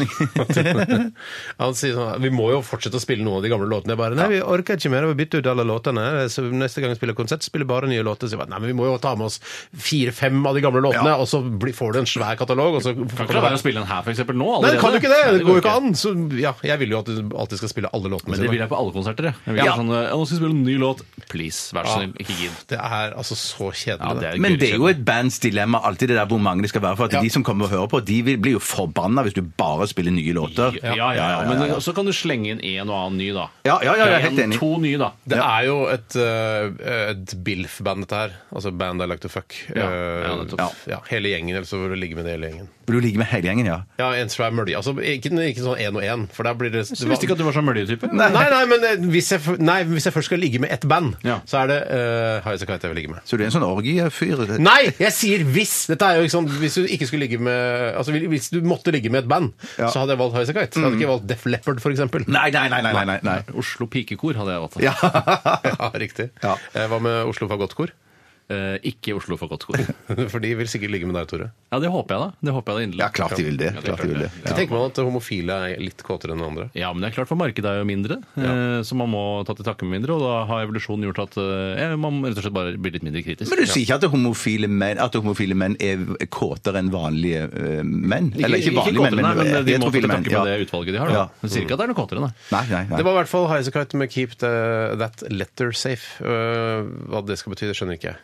Speaker 7: han sier sånn Vi må jo fortsette å spille noen av de gamle låtene. Jeg bare Nei, vi orker ikke mer. Vi bytter ut alle låtene. Så neste gang vi spiller konsert, spiller vi bare nye låter. Så jeg bare Nei, men vi må jo ta med oss fire-fem av de gamle låtene, og så blir, får du en svær katalog, og så
Speaker 10: Kan ikke la være å spille den her for eksempel nå
Speaker 7: Nei,
Speaker 10: allerede.
Speaker 7: kan du ikke det?
Speaker 10: Nei,
Speaker 7: Det går jo ikke an. Så ja, jeg vil jo at du alltid skal spille alle låtene
Speaker 10: Men det vil
Speaker 7: sine.
Speaker 10: jeg på alle konserter, jeg. jeg vil
Speaker 7: Ja.
Speaker 10: ja. sånn, eh, nå skal vi spille en ny låt. Please, vær så snill, ikke gidd.
Speaker 7: Det er altså så
Speaker 10: Ja,
Speaker 7: kjedelig.
Speaker 10: det
Speaker 7: det.
Speaker 10: er
Speaker 9: Men det er jo
Speaker 10: gøy.
Speaker 9: et bands dilemma alltid det der hvor mange det skal være. For at de som kommer og hører på, de vil, blir jo forbanna hvis du bare spiller nye låter.
Speaker 10: Ja, ja, ja, Men så kan du slenge inn en og annen ny, da.
Speaker 9: Ja, ja, ja, jeg er helt
Speaker 10: En,
Speaker 9: enig.
Speaker 10: To nye, da.
Speaker 7: Det er jo et, eh, et Bilf-band, dette her. Altså Band I Like To Fuck.
Speaker 10: Ja,
Speaker 7: Eh,
Speaker 10: ja, nettopp.
Speaker 7: ja, hele gjengen, eller så vil du ligge med det hele gjengen.
Speaker 9: Vil du ligge med hele gjengen, ja?
Speaker 7: Ja, en svær mølje. Altså, ikke, ikke sånn én og én, for der blir det
Speaker 10: Jeg visste ikke at du var sånn møljetype.
Speaker 7: Nei, nei, men eh, hvis jeg, f- nei, hvis jeg først skal ligge med ett band,
Speaker 10: Ja.
Speaker 7: så er det uh, Highasakite jeg vil ligge med.
Speaker 9: Så du er en sånn orgiefyr? det-
Speaker 7: Nei, jeg sier hvis! Dette er jo ikke sånn, Hvis du ikke skulle ligge med Altså, hvis du måtte ligge med et band,
Speaker 9: Ja.
Speaker 7: så hadde jeg valgt Highasakite. Jeg hadde ikke valgt Def Leppard, for eksempel.
Speaker 9: Nei, nei, nei, nei, nei, nei, nei.
Speaker 10: Oslo Pikekor hadde jeg valgt.
Speaker 9: Ja.
Speaker 7: Ja, riktig.
Speaker 9: Ja.
Speaker 7: Eh, Hva med Oslo Fagottkor?
Speaker 10: Eh, ikke Oslo Fagottkor. Ja,
Speaker 7: For de vil sikkert ligge med deg, Tore.
Speaker 10: det håper jeg, da. Det håper jeg da inderlig.
Speaker 9: Ja, klart de vil det.
Speaker 10: Ja,
Speaker 9: Klart de vil det.
Speaker 7: Så tenker man at homofile er litt kåtere enn andre.
Speaker 10: Ja, men det er klart, for markedet er jo mindre, eh, så man må ta til takke med mindre. Og da har evolusjonen gjort at eh, ja, man rett og slett bare blir litt mindre kritisk.
Speaker 9: Men du sier ikke at homofile menn, at homofile menn er kåtere enn vanlige eh, menn? Eller ikke vanlige menn,
Speaker 10: kåtere, nei, men de
Speaker 9: heterofile
Speaker 10: må få til
Speaker 9: menn.
Speaker 10: takke med det utvalget de har. Da.
Speaker 9: Ja.
Speaker 10: Men sier ikke at det er noe kåtere, nei.
Speaker 9: Nei, nei, nei.
Speaker 7: Det var i hvert fall Highasakite med 'Keep the, That Letter Safe'. Eh, hva det skal bety, det skjønner ikke jeg.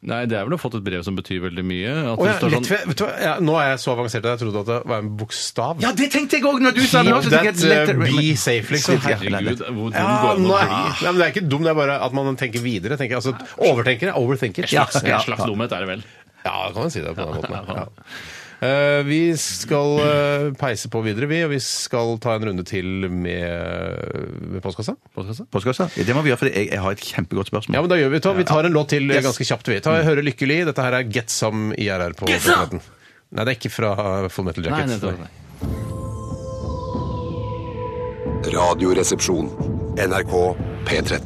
Speaker 10: Nei, det er vel å ha fått et brev som betyr veldig mye. At
Speaker 7: Å
Speaker 10: det
Speaker 7: ja,
Speaker 10: står
Speaker 7: lett,
Speaker 10: sånn,
Speaker 7: ved- vet du hva? Ja, nå er jeg så avansert at jeg trodde at det var en bokstav.
Speaker 9: Ja, det tenkte jeg òg når du sa det! nå, så
Speaker 7: Keep
Speaker 9: tenkte jeg
Speaker 7: that
Speaker 9: at
Speaker 7: uh,
Speaker 9: letter-
Speaker 7: be safe, liksom.
Speaker 9: Ja,
Speaker 10: Herregud, hvor dum
Speaker 7: Ja,
Speaker 10: går det an å
Speaker 7: nei.
Speaker 10: bli?
Speaker 7: nei, men Det er ikke dum, det er bare at man tenker videre. Tenker, altså, overtenker er overthinker.
Speaker 9: Ja,
Speaker 7: Slags,
Speaker 10: En
Speaker 7: ja.
Speaker 10: slags dumhet er det vel.
Speaker 7: kan man si det på den måten.
Speaker 10: Ja,
Speaker 7: Ja. Eh, vi skal eh, peise på videre, vi, og vi skal ta en runde til med, med postkassa.
Speaker 10: Postkassa?
Speaker 9: Postkassa? Ja, Det må vi gjøre, for jeg, jeg har et kjempegodt spørsmål.
Speaker 7: Ja, men da gjør Vi ta, vi tar en låt til eh,
Speaker 9: Yes.
Speaker 7: ganske kjapt. vi. Ta, Hører 'Lykkelig'. Dette her er Get Some IRR på P13. Nei, det er ikke fra Full Metal
Speaker 10: Nei,
Speaker 7: Jacket.
Speaker 10: nettopp. Nei.
Speaker 6: Radioresepsjon. NRK P13.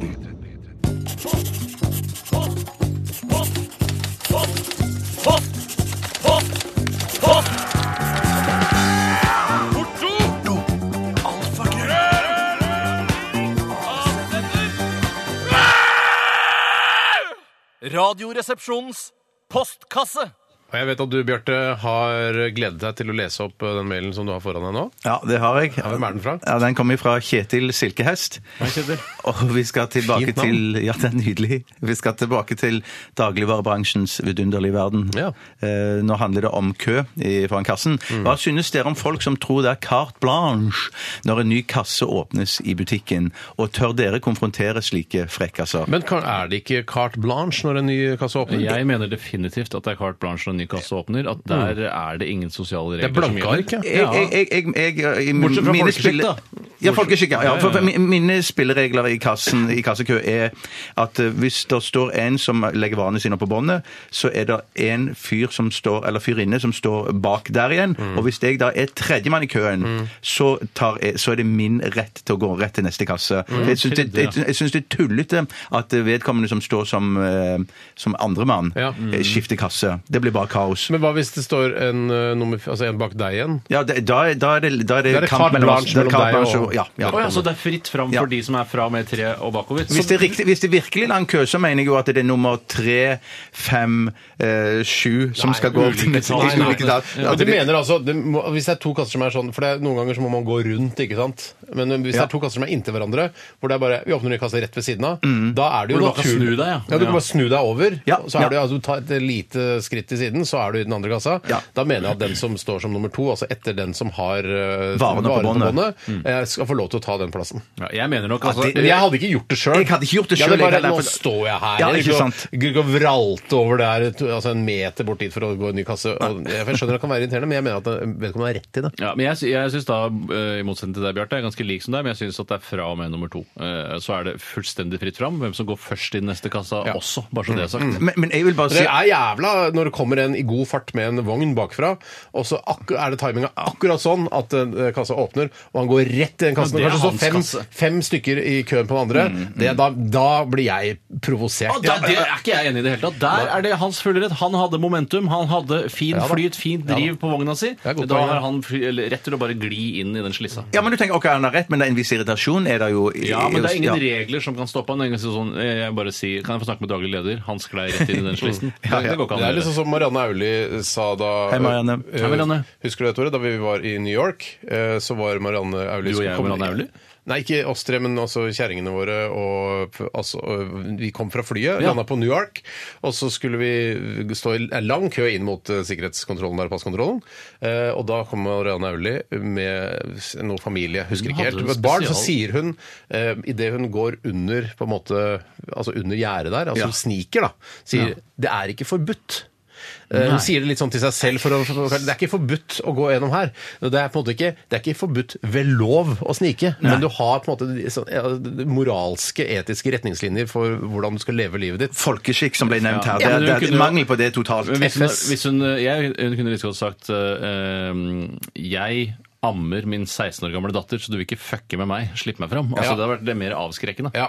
Speaker 5: Radioresepsjonens Postkasse.
Speaker 7: Og jeg vet at du, Bjarte, har gledet deg til å lese opp eh, den mailen som du har foran deg nå.
Speaker 9: Ja, det har jeg.
Speaker 7: Ja, hvem er den fra?
Speaker 9: Ja, den kommer fra Kjetil Silkehest. Og vi skal tilbake
Speaker 7: Fint navn.
Speaker 9: til Ja, det er nydelig. Vi skal tilbake til dagligvarebransjens vidunderlige verden.
Speaker 7: Ja. Mm.
Speaker 9: Eh, nå handler det om kø i- foran kassen. Hva synes dere om folk som tror det er carte blanche når en ny kasse åpnes i butikken? Og tør dere konfrontere slike frekkaser?
Speaker 7: Men kan- er det ikke carte blanche når en ny kasse åpner?
Speaker 10: Jeg mener definitivt at det er carte blanche når en ny kasse åpner. At der er det ingen sosiale regler.
Speaker 7: Det er blanke
Speaker 10: som gjelder.
Speaker 7: ark, ja.
Speaker 9: jeg, jeg, jeg, jeg, jeg, i
Speaker 10: Bortsett fra
Speaker 9: mine
Speaker 10: folkeskikk,
Speaker 9: spille-
Speaker 10: da.
Speaker 9: Ja, folkeskikk. Ja, ja, for, for mi- mine spilleregler i, kassen, i kassekø er at eh, hvis det står en som legger varene sine opp på båndet, så er det en fyr som står, eller fyrinne som står bak der igjen. Og hvis jeg da er tredjemann i køen, så, tar jeg, så er det min rett til å gå rett til neste kasse. Jeg syns det,
Speaker 10: Tredje, ja.
Speaker 9: jeg, jeg synes det er tullete at vedkommende som står som, eh, som andremann,
Speaker 7: Ja.
Speaker 9: eh, skifter kasse. Det blir bare kaos.
Speaker 7: Men hva hvis det står en, eh, nummer, f- altså en bak deg igjen?
Speaker 9: Ja, det, da, er- da er det, da er det,
Speaker 7: Da er det
Speaker 9: kamp
Speaker 7: carte
Speaker 9: mellom oss.
Speaker 7: blanche
Speaker 9: Da er det
Speaker 7: mellom
Speaker 9: carte
Speaker 7: deg
Speaker 9: blanche
Speaker 7: og-
Speaker 9: og- ja, ja.
Speaker 10: Å ja, så det er fritt fram
Speaker 9: Ja.
Speaker 10: for de som er fra og med tre og bakover.
Speaker 9: Hvis det, er riktig, hvis det virkelig er lang kø, så mener jeg jo at det er nummer tre, fem, eh, sju som skal gå opp til
Speaker 10: ulike
Speaker 9: neste
Speaker 10: tall.
Speaker 9: de
Speaker 10: Nei,
Speaker 9: ulike
Speaker 10: nei.
Speaker 9: tall.
Speaker 7: Ja,
Speaker 9: At
Speaker 7: men du
Speaker 9: det-
Speaker 7: mener altså, det må, Hvis det er to kasser som er sånn For det er, noen ganger så må man gå rundt, ikke sant? Men hvis det
Speaker 9: Ja.
Speaker 7: er to kasser som er inntil hverandre, hvor det er bare vi åpner en ny kasse rett ved siden av, da er det jo
Speaker 10: Hvor du bare kan
Speaker 7: naturlig-
Speaker 10: snu deg, ja.
Speaker 7: du
Speaker 10: Ja.
Speaker 7: kan bare snu deg over.
Speaker 9: Ja,
Speaker 7: Så er
Speaker 9: ja.
Speaker 7: du, altså, du tar et lite skritt til siden, så er du i den andre kassa.
Speaker 9: Ja.
Speaker 7: Da mener jeg at den som står som nummer to, altså etter den som har uh,
Speaker 9: Varene på båndet.
Speaker 7: eh, skal få lov til å ta den plassen.
Speaker 10: Ja, jeg mener nok
Speaker 9: At
Speaker 10: altså,
Speaker 9: det-
Speaker 7: Men jeg hadde ikke gjort det sjøl.
Speaker 9: Jeg hadde ikke gjort det selv, jeg
Speaker 7: bare,
Speaker 9: heller,
Speaker 7: nå
Speaker 9: for-
Speaker 7: står jeg her.
Speaker 9: Ja,
Speaker 7: jeg
Speaker 9: ikke
Speaker 7: gikk og-
Speaker 9: sant.
Speaker 7: gikk og vralte over der to- altså en meter bort dit for å gå i en ny kasse. Og, jeg skjønner det kan være irriterende, men jeg mener at det- vedkommende har rett til det.
Speaker 10: Ja, men jeg, sy- jeg syns da, eh, i motsetning til deg, Bjarte, jeg er ganske lik som deg, men jeg syns at det er fra og med nummer to. Eh, Så er det fullstendig fritt fram hvem som går først i den neste kassa
Speaker 7: Ja.
Speaker 10: også, bare så det er sagt.
Speaker 9: Men, men jeg vil bare
Speaker 7: Men
Speaker 9: si
Speaker 7: Det er jævla når det kommer en i god fart med en vogn bakfra, og så akku- er det timinga akkurat sånn at eh, kassa åpner, og han går rett i den kassen.
Speaker 10: Ja, det er
Speaker 7: Kanskje
Speaker 10: hans
Speaker 7: så fem,
Speaker 10: kasse.
Speaker 7: fem stykker i køen på den andre.
Speaker 9: Mm,
Speaker 7: Det, da, da blir jeg provosert.
Speaker 10: Og da, det er ikke jeg enig i det hele tatt. Der er det hans fulle rett. Han hadde momentum, han hadde fin
Speaker 7: Ja da.
Speaker 10: flyt, fint
Speaker 7: Ja da.
Speaker 10: driv på vogna si.
Speaker 7: er et godt
Speaker 10: Da
Speaker 7: poeng, ja.
Speaker 10: har han fly, eller, rett til å bare gli inn i den slissa.
Speaker 9: Ja, men du tenker, ok, han har rett, men det er en viss irritasjon er det jo i-
Speaker 10: Ja, men det er ingen
Speaker 9: ja.
Speaker 10: regler som kan stoppe han. Det er ingen Sånn, jeg bare sier, kan jeg få snakke med daglig leder? Han sklei rett inn i den slissen.
Speaker 9: Ja,
Speaker 10: Det-
Speaker 9: ja.
Speaker 10: Det går ikke
Speaker 7: Det
Speaker 10: an å
Speaker 7: er
Speaker 10: gjøre.
Speaker 7: liksom som Marianne Aulie sa da
Speaker 9: Hei, Marianne.
Speaker 7: Eh,
Speaker 10: Hei, Marianne.
Speaker 7: Husker du det, Tore? Da vi var i New York, eh, så var Marianne Aulie
Speaker 10: Du og jeg og Marianne Aulie?
Speaker 7: Nei, ikke oss tre, men også kjerringene våre. Og, altså, og vi kom fra flyet,
Speaker 10: Ja.
Speaker 7: landet landa på New York, og så skulle vi stå i en lang kø inn mot eh, sikkerhetskontrollen der, passkontrollen. Eh, og da kom Marianne Aulie med s- noe familie, jeg husker
Speaker 10: Hun
Speaker 7: ikke helt.
Speaker 10: hadde
Speaker 7: Det
Speaker 10: en
Speaker 7: var Et barn, så
Speaker 10: spesial-
Speaker 7: sier hun, eh, idet hun går under på en måte, altså under gjerdet der, altså
Speaker 9: Ja.
Speaker 7: hun sniker, da, sier det er ikke forbudt. Eh, Hun sier det litt sånn til seg selv. For å, for å, det er ikke forbudt å gå gjennom her. Det er på en måte ikke, det er ikke forbudt ved lov å snike, men du har på en måte de- sånn, ja, de moralske, etiske retningslinjer for hvordan du skal leve livet ditt.
Speaker 9: Folkeskikk som ble nevnt her. Det
Speaker 10: Ja,
Speaker 9: er,
Speaker 10: men
Speaker 9: det
Speaker 10: hun
Speaker 9: er
Speaker 10: kunne jo-
Speaker 9: mangel på det totalt.
Speaker 10: Men hvis hun,
Speaker 7: FS.
Speaker 10: hvis hun, jeg, hun kunne like godt sagt eh, ehm, Jeg ammer min 16 år gamle datter, så du vil ikke fucke med meg. Slipp meg fram. Altså,
Speaker 7: Ja.
Speaker 10: Det hadde vært det mer avskrekkende.
Speaker 7: Ja.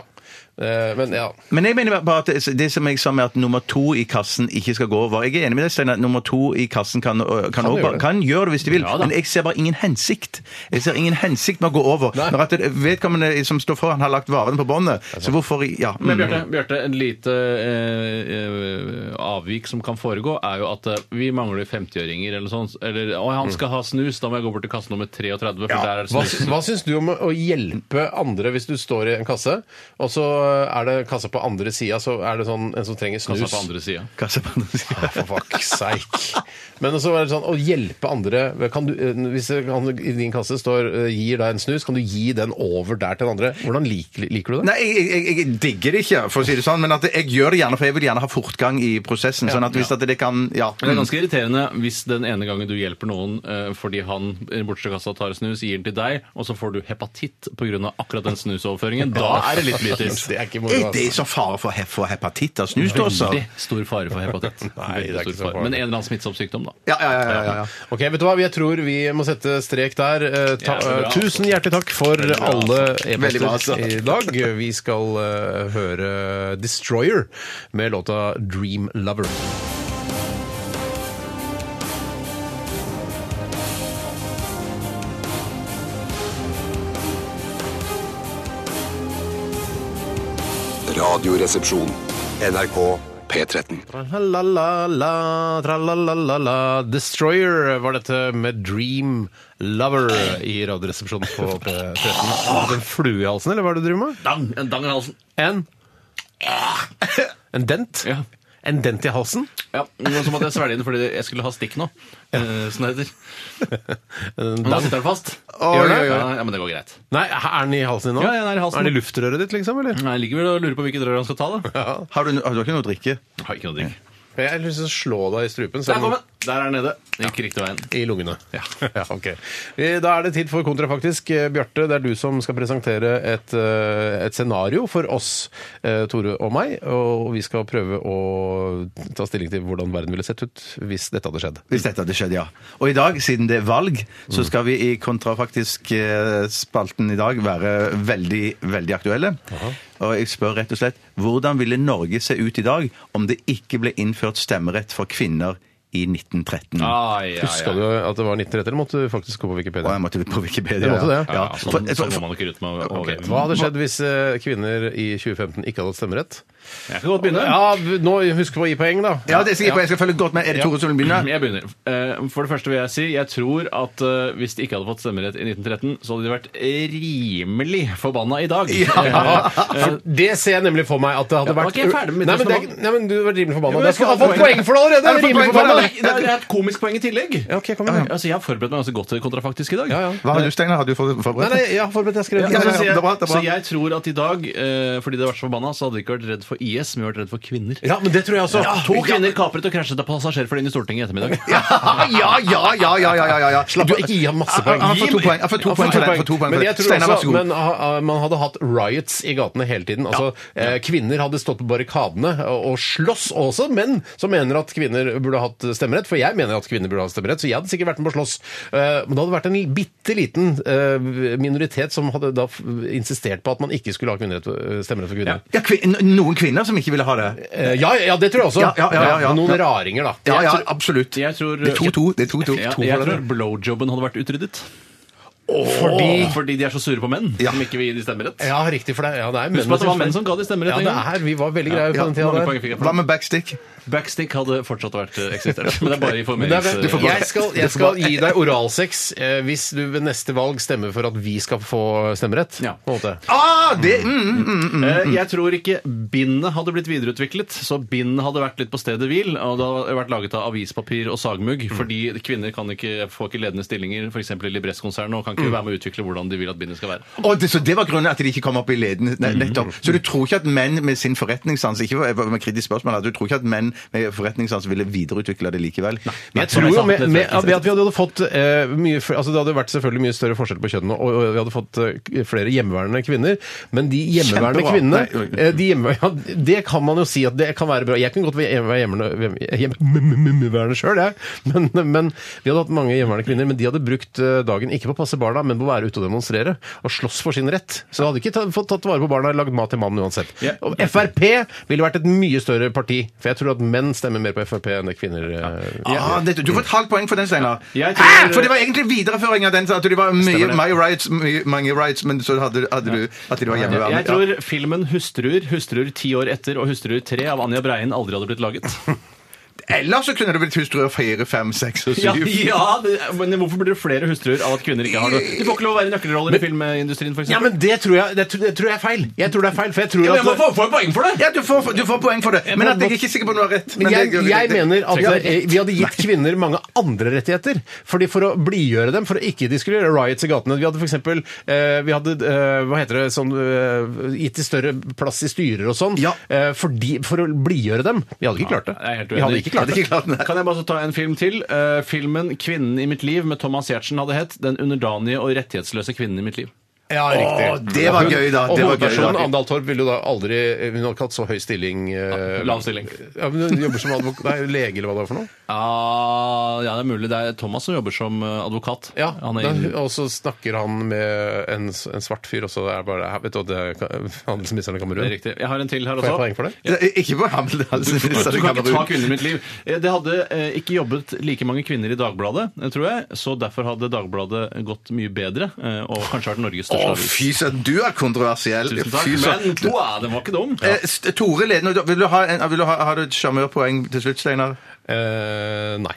Speaker 7: Eh, Men ja.
Speaker 9: Men jeg mener bare at det, det som jeg sa med at nummer to i kassen ikke skal gå over Jeg er enig med deg, Steinar. at Nummer to i kassen kan, øh, kan, også
Speaker 7: gjøre
Speaker 9: bare-
Speaker 7: det.
Speaker 9: kan gjøre det hvis de vil.
Speaker 10: Ja da.
Speaker 9: men jeg ser bare ingen hensikt. Jeg ser ingen hensikt med å gå over.
Speaker 7: Nei.
Speaker 9: Når at det- vedkommende som står foran, har lagt varene på båndet. Så hvorfor i- Ja.
Speaker 10: Men
Speaker 9: mm.
Speaker 10: Bjarte, Bjarte, en lite eh, eh, avvik som kan foregå, er jo at eh, vi mangler 50-øringer eller sånn. Eller å, han skal ha snus, da må jeg gå bort til kasse nummer 33, for der er det
Speaker 7: Mm. Hva,
Speaker 10: snus.
Speaker 7: hva syns du om å hjelpe andre hvis du står i en kasse, og så eh, er det kassa på andre sida, så er det sånn en som trenger snus?
Speaker 10: Kassa Altså, på andre sida.
Speaker 9: Kassa på andre siden.
Speaker 7: Ja, For fuck's sake. Men også er det sånn, å hjelpe andre kan du, eh, Hvis det kan, i din kasse står eh, 'gir deg en snus', kan du gi den over der til den andre? Hvordan liker, liker du det?
Speaker 9: Nei, jeg, jeg, jeg digger det ikke, for å si det sånn, men at jeg gjør det gjerne, for jeg vil gjerne ha fortgang i prosessen. sånn at hvis at det kan Ja.
Speaker 10: Men det er ganske irriterende hvis den ene gangen du hjelper noen eh, fordi han eh, bortsett fra kassa tar snus, gir den til deg, og så får du hepatitt pga. akkurat den snusoverføringen. Da er det litt bittert.
Speaker 7: Det er ikke moro.
Speaker 9: Mm. Er det
Speaker 7: altså.
Speaker 9: så fare for, he- for hepatitt av snusdåser?
Speaker 10: Veldig stor fare for hepatitt.
Speaker 7: Nei, det er
Speaker 10: Veldig
Speaker 7: ikke
Speaker 10: stor
Speaker 7: så
Speaker 10: fare. Men en eller annen smittsom sykdom, da.
Speaker 9: Ja, ja, ja, ja, ja, ja.
Speaker 7: Ok, vet du hva? Jeg tror vi må sette strek der. Eh, Ta,
Speaker 10: Jævlig bra,
Speaker 7: eh, tusen hjertelig takk for alle
Speaker 9: Veldig bra, altså.
Speaker 7: e-poster i dag. Vi skal eh, høre Destroyer med låta 'Dream Lover'.
Speaker 6: Radioresepsjon. NRK P13.
Speaker 7: Tralalala, tralalala. Destroyer var dette med Dream Lover i Radioresepsjonen på P13. Hadde du En flue i halsen, eller hva er det du driver med?
Speaker 10: Dang! En dang i halsen.
Speaker 7: En En dent?
Speaker 10: Ja.
Speaker 7: En dent i halsen?
Speaker 10: Ja, men Så måtte jeg svelge den fordi jeg skulle ha stikk nå. Eh, Sånn det heter.
Speaker 7: En
Speaker 10: Men da
Speaker 7: dent.
Speaker 10: sitter den fast.
Speaker 7: Oi,
Speaker 10: Gjør det?
Speaker 7: oi, oi.
Speaker 10: Ja, ja, men det går greit.
Speaker 7: Nei, er den i halsen din nå?
Speaker 10: Ja, den er i halsen.
Speaker 7: Er den i luftrøret ditt, liksom? eller?
Speaker 10: Nei, Jeg liker vel å lure på hvilket rør han skal ta, da.
Speaker 9: Har du, har du ikke noe å drikke?
Speaker 10: Jeg har ikke noe digg.
Speaker 7: Jeg har lyst til å slå deg i strupen.
Speaker 10: Der
Speaker 7: selv om-
Speaker 10: kom den! Der er den nede. Den Gikk riktig veien.
Speaker 7: I lungene. Ja. ok. Eh, Da er det tid for kontrafaktisk. Eh, Bjarte, det er du som skal presentere et, eh, et scenario for oss, eh, Tore og meg. Og vi skal prøve å ta stilling til hvordan verden ville sett ut hvis dette hadde skjedd.
Speaker 9: Hvis dette hadde skjedd, ja. Og i dag, siden det er valg, så skal vi i kontrafaktisk eh, spalten i dag være veldig, veldig aktuelle. Og jeg spør rett og slett hvordan ville Norge se ut i dag om det ikke ble innført stemmerett for kvinner i 1913?
Speaker 10: Ai, ai, ai.
Speaker 7: Huska du at det var 1930, eller måtte du faktisk gå på
Speaker 9: Og
Speaker 7: Wikipedia?
Speaker 9: jeg måtte på Wikipedia.
Speaker 7: Du måtte det?
Speaker 10: Ja, ja,
Speaker 9: For-
Speaker 10: sånn,
Speaker 9: for-
Speaker 10: sånn må man ikke ut med å å
Speaker 7: Ok,
Speaker 10: vite.
Speaker 7: Hva hadde skjedd hvis eh, kvinner i 2015 ikke hadde hatt stemmerett?
Speaker 10: Jeg kan godt begynne.
Speaker 7: Ja, nå husk å gi poeng, da.
Speaker 9: Ja, det skal jeg, jeg skal følge godt med. Er det Tore som vil begynne?
Speaker 10: Jeg begynner. Eh, For det første vil jeg si jeg tror at eh, hvis de ikke hadde fått stemmerett i 1913, så hadde de vært rimelig forbanna i dag.
Speaker 7: Ja,
Speaker 10: Eh,
Speaker 7: for det ser jeg nemlig for meg at det hadde
Speaker 10: Ja,
Speaker 7: vært
Speaker 10: ok, jeg er ferdig med mitt
Speaker 7: nei, men det er,
Speaker 10: resonnement.
Speaker 7: nei, men du har vært rimelig forbanna.
Speaker 10: Jo,
Speaker 7: Jeg
Speaker 10: jeg skal
Speaker 7: har
Speaker 10: ha
Speaker 7: fått
Speaker 10: poeng.
Speaker 7: poeng for det
Speaker 9: Jeg
Speaker 7: allerede!
Speaker 9: har
Speaker 7: Jeg
Speaker 9: fått
Speaker 7: er rimelig
Speaker 9: poeng for
Speaker 7: forbanna.
Speaker 10: det er- det er et komisk poeng i tillegg.
Speaker 7: Ja, ok, kom igjen.
Speaker 10: Altså, jeg har forberedt meg ganske godt til kontrafaktisk i dag.
Speaker 7: Ja, ja.
Speaker 9: Hva har du, Steinar? Har du fått
Speaker 7: Nei,
Speaker 9: forberedt
Speaker 7: nei,
Speaker 9: deg?
Speaker 7: jeg har forberedt jeg skrev.
Speaker 9: Ja,
Speaker 10: Så,
Speaker 9: ja,
Speaker 10: sier
Speaker 9: det er bra, det
Speaker 10: jeg,
Speaker 9: er bra.
Speaker 10: så jeg tror at i dag, eh, fordi det har vært så forbanna, så hadde de ikke vært redd for IS, men de hadde vært redd for kvinner.
Speaker 7: Ja, men det tror jeg også.
Speaker 10: To kvinner kapret og krasjet av passasjerflyene i Stortinget i ettermiddag.
Speaker 9: Ja, ja, ja, ja, ja, ja, ja, ja.
Speaker 7: Slapp av, ikke gi ham masse poeng.
Speaker 9: Han får to poeng. Han får to
Speaker 7: Ja,
Speaker 9: poeng.
Speaker 7: for
Speaker 9: for det, han får to poeng. for
Speaker 7: Men
Speaker 9: det.
Speaker 7: jeg tror
Speaker 9: Steinar, vær så
Speaker 7: også,
Speaker 9: god.
Speaker 7: men ah, ah, man hadde hatt riots i gatene hele tiden. Altså, eh, Kvinner hadde stått på barrikadene og og slåss og også, menn som mener at kvinner burde hatt stemmerett. For jeg mener at kvinner burde hatt stemmerett, så jeg hadde sikkert vært med på å slåss. Eh, Men det hadde vært en bitte liten eh, minoritet som hadde da f- insistert på at man ikke skulle ha kvinnerett, eh, stemmerett for kvinner.
Speaker 9: Ja, kvin noen kvinner som ikke ville ha det.
Speaker 7: Eh, Ja, ja, det tror jeg også.
Speaker 9: Ja, ja, ja, ja, ja.
Speaker 7: Noen raringer, da.
Speaker 9: Ja, ja, absolutt.
Speaker 10: Jeg tror,
Speaker 9: Det er 2-2. Det er 2-2.
Speaker 10: Ja,
Speaker 9: To
Speaker 10: jeg
Speaker 9: var det.
Speaker 10: tror blowjobben hadde vært utryddet.
Speaker 7: Fordi
Speaker 10: Fordi de er så sure på menn som ikke vil gi de stemmerett.
Speaker 7: Ja, riktig. for det, ja, det er
Speaker 10: Husk på at det var menn
Speaker 7: selvfølgelig.
Speaker 10: som ga de stemmerett.
Speaker 7: Ja,
Speaker 10: en
Speaker 7: det
Speaker 10: gang.
Speaker 7: er, vi var veldig greie på
Speaker 9: Ja,
Speaker 7: den
Speaker 10: Hvor mange
Speaker 7: tida
Speaker 10: poeng
Speaker 7: der.
Speaker 10: fikk
Speaker 9: Hva
Speaker 10: jeg for det?
Speaker 9: med backstick?
Speaker 10: Backstick hadde fortsatt vært eh, eksisterende. Men det er bare i
Speaker 7: Men det
Speaker 10: formerings...
Speaker 7: er, bra.
Speaker 10: Ja,
Speaker 7: jeg, skal, jeg skal gi deg oralsex eh, hvis du ved neste valg stemmer for at vi skal få stemmerett.
Speaker 10: Ja.
Speaker 7: På en måte.
Speaker 9: Ah, det, mm, mm, mm.
Speaker 10: eh, Jeg tror ikke bindet hadde blitt videreutviklet, så bindet hadde vært litt på stedet hvil. Og det hadde vært laget av avispapir og
Speaker 7: Mm.
Speaker 10: sagmugg, fordi kvinner kan ikke, får ikke ledende stillinger, f.eks. i Libresse-konsernet, og kan
Speaker 7: Mm.
Speaker 10: ikke være med å utvikle hvordan de vil at bindet skal være.
Speaker 9: Og det, så det var grunnen at de ikke kom opp i ledende Nei, nettopp. Så du tror ikke at menn med sin forretningssans ikke var med kritisk spørsmål, at du tror ikke at menn med forretningssans ville videreutvikle det likevel?
Speaker 7: Jeg tror jo
Speaker 10: sant,
Speaker 7: med,
Speaker 10: det tror
Speaker 7: med,
Speaker 10: jeg.
Speaker 7: at vi at vi hadde fått eh, mye fl- altså Det hadde vært selvfølgelig mye større forskjell på kjønnene, og, og vi hadde fått eh, flere hjemmeværende kvinner, men de hjemmeværende
Speaker 9: Kjempebra.
Speaker 7: kvinnene
Speaker 9: Nei, oi.
Speaker 7: eh, de hjemme, ja, Det kan man jo si at det kan være bra. Jeg kunne godt være hjemme- være hjemmeværende hjemme, sjøl, jeg. Men, men vi hadde hatt mange hjemmeværende kvinner, men de hadde brukt eh, dagen ikke på å passe barna, men på å være ute og demonstrere og slåss for sin rett. Så de hadde ikke ta, fått tatt vare på barna eller lagd mat til mannen uansett.
Speaker 10: Ja.
Speaker 7: Og Frp ville vært et mye større parti, for jeg tror at menn stemmer mer på Frp enn det kvinner eh,
Speaker 9: Ah, det, du får et halvt poeng for den, Steinar.
Speaker 10: Jeg tror-
Speaker 9: Hæ? For det var egentlig videreføring av den. så At det var mye,
Speaker 10: det.
Speaker 9: mye rights, mye, mange rights, men så hadde, hadde du at det var hjemmeværende.
Speaker 10: Jeg tror filmen 'Hustruer', 'Hustruer ti år etter' og 'Hustruer 3' av Anja Breien aldri hadde blitt laget.
Speaker 9: Ja. Eller så kunne det blitt hustruer fire, fem, seks og syv.
Speaker 10: Men hvorfor blir det flere hustruer av at kvinner ikke har det? De får ikke lov å være nøkkelroller i filmindustrien, f.eks.
Speaker 7: Ja, men det tror jeg, det, tror- det tror jeg er feil. Jeg tror det er feil, for jeg tror at
Speaker 10: få poeng for det!
Speaker 9: Ja, du får, du får poeng for det. Men at jeg er ikke sikker på om du har rett.
Speaker 7: men jeg,
Speaker 9: det-
Speaker 7: jeg
Speaker 9: det-
Speaker 7: mener at
Speaker 9: Ja.
Speaker 7: eh, vi hadde gitt kvinner mange andre rettigheter. Fordi For å blidgjøre dem, for å ikke de skulle gjøre riots i gatene. Vi hadde f.eks. Eh, vi hadde, eh, hva heter det, sånn eh, Gitt de større plass i styrer og sånn.
Speaker 9: Ja.
Speaker 7: Eh, fordi, for å blidgjøre dem. Vi hadde ikke klart det.
Speaker 10: jeg er helt
Speaker 7: vi hadde
Speaker 10: uenig.
Speaker 7: ikke klart det.
Speaker 9: Ikke klart, nei.
Speaker 10: Kan jeg bare så ta en film til? Eh, filmen 'Kvinnen i mitt liv' med Thomas Giertsen hadde hett 'Den underdanige og rettighetsløse kvinnen i mitt liv'.
Speaker 7: Ja, riktig.
Speaker 9: Å, det var gøy, da.
Speaker 7: Og
Speaker 9: Det var gøy,
Speaker 7: hovedpersonen
Speaker 9: da.
Speaker 7: Andal Torp ville jo da aldri Hun hadde ikke hatt så høy stilling. Eh,
Speaker 10: Lav stilling.
Speaker 7: Ja, men hun jobber som advokat, nei, lege, eller hva det var for noe.
Speaker 10: Ah, ja, det er mulig. Det er Thomas som jobber som eh, advokat.
Speaker 7: Ja,
Speaker 10: Han er
Speaker 7: da-
Speaker 10: inn-
Speaker 7: og så snakker han med en, s- en svart fyr, og så er det bare "Hæ, Vet du hva, det er ka- handelsministeren i
Speaker 10: det
Speaker 7: Kamerun?
Speaker 10: er riktig. Jeg har en til her
Speaker 7: Får
Speaker 10: også.
Speaker 7: jeg poeng for det?
Speaker 9: Ikke på Hamlet. altså,
Speaker 10: Du
Speaker 9: så det
Speaker 10: kan ikke
Speaker 9: være-
Speaker 10: ta kvinner i mitt liv. Eh, Det hadde eh, ikke jobbet like mange kvinner i Dagbladet, eh, tror jeg, så derfor hadde Dagbladet gått mye bedre, eh, og kanskje vært Norges
Speaker 9: Å,
Speaker 10: største avis.
Speaker 9: fy søren, du er kontroversiell!
Speaker 10: Tusen
Speaker 9: Fy søren.
Speaker 10: takk. Men
Speaker 9: Du-
Speaker 10: wow, den var ikke dum.
Speaker 9: Eh, St- Tore leder nå. Vil du ha, en, vil du ha, har du et sjarmørpoeng til slutt, Steinar?
Speaker 7: Eh, nei.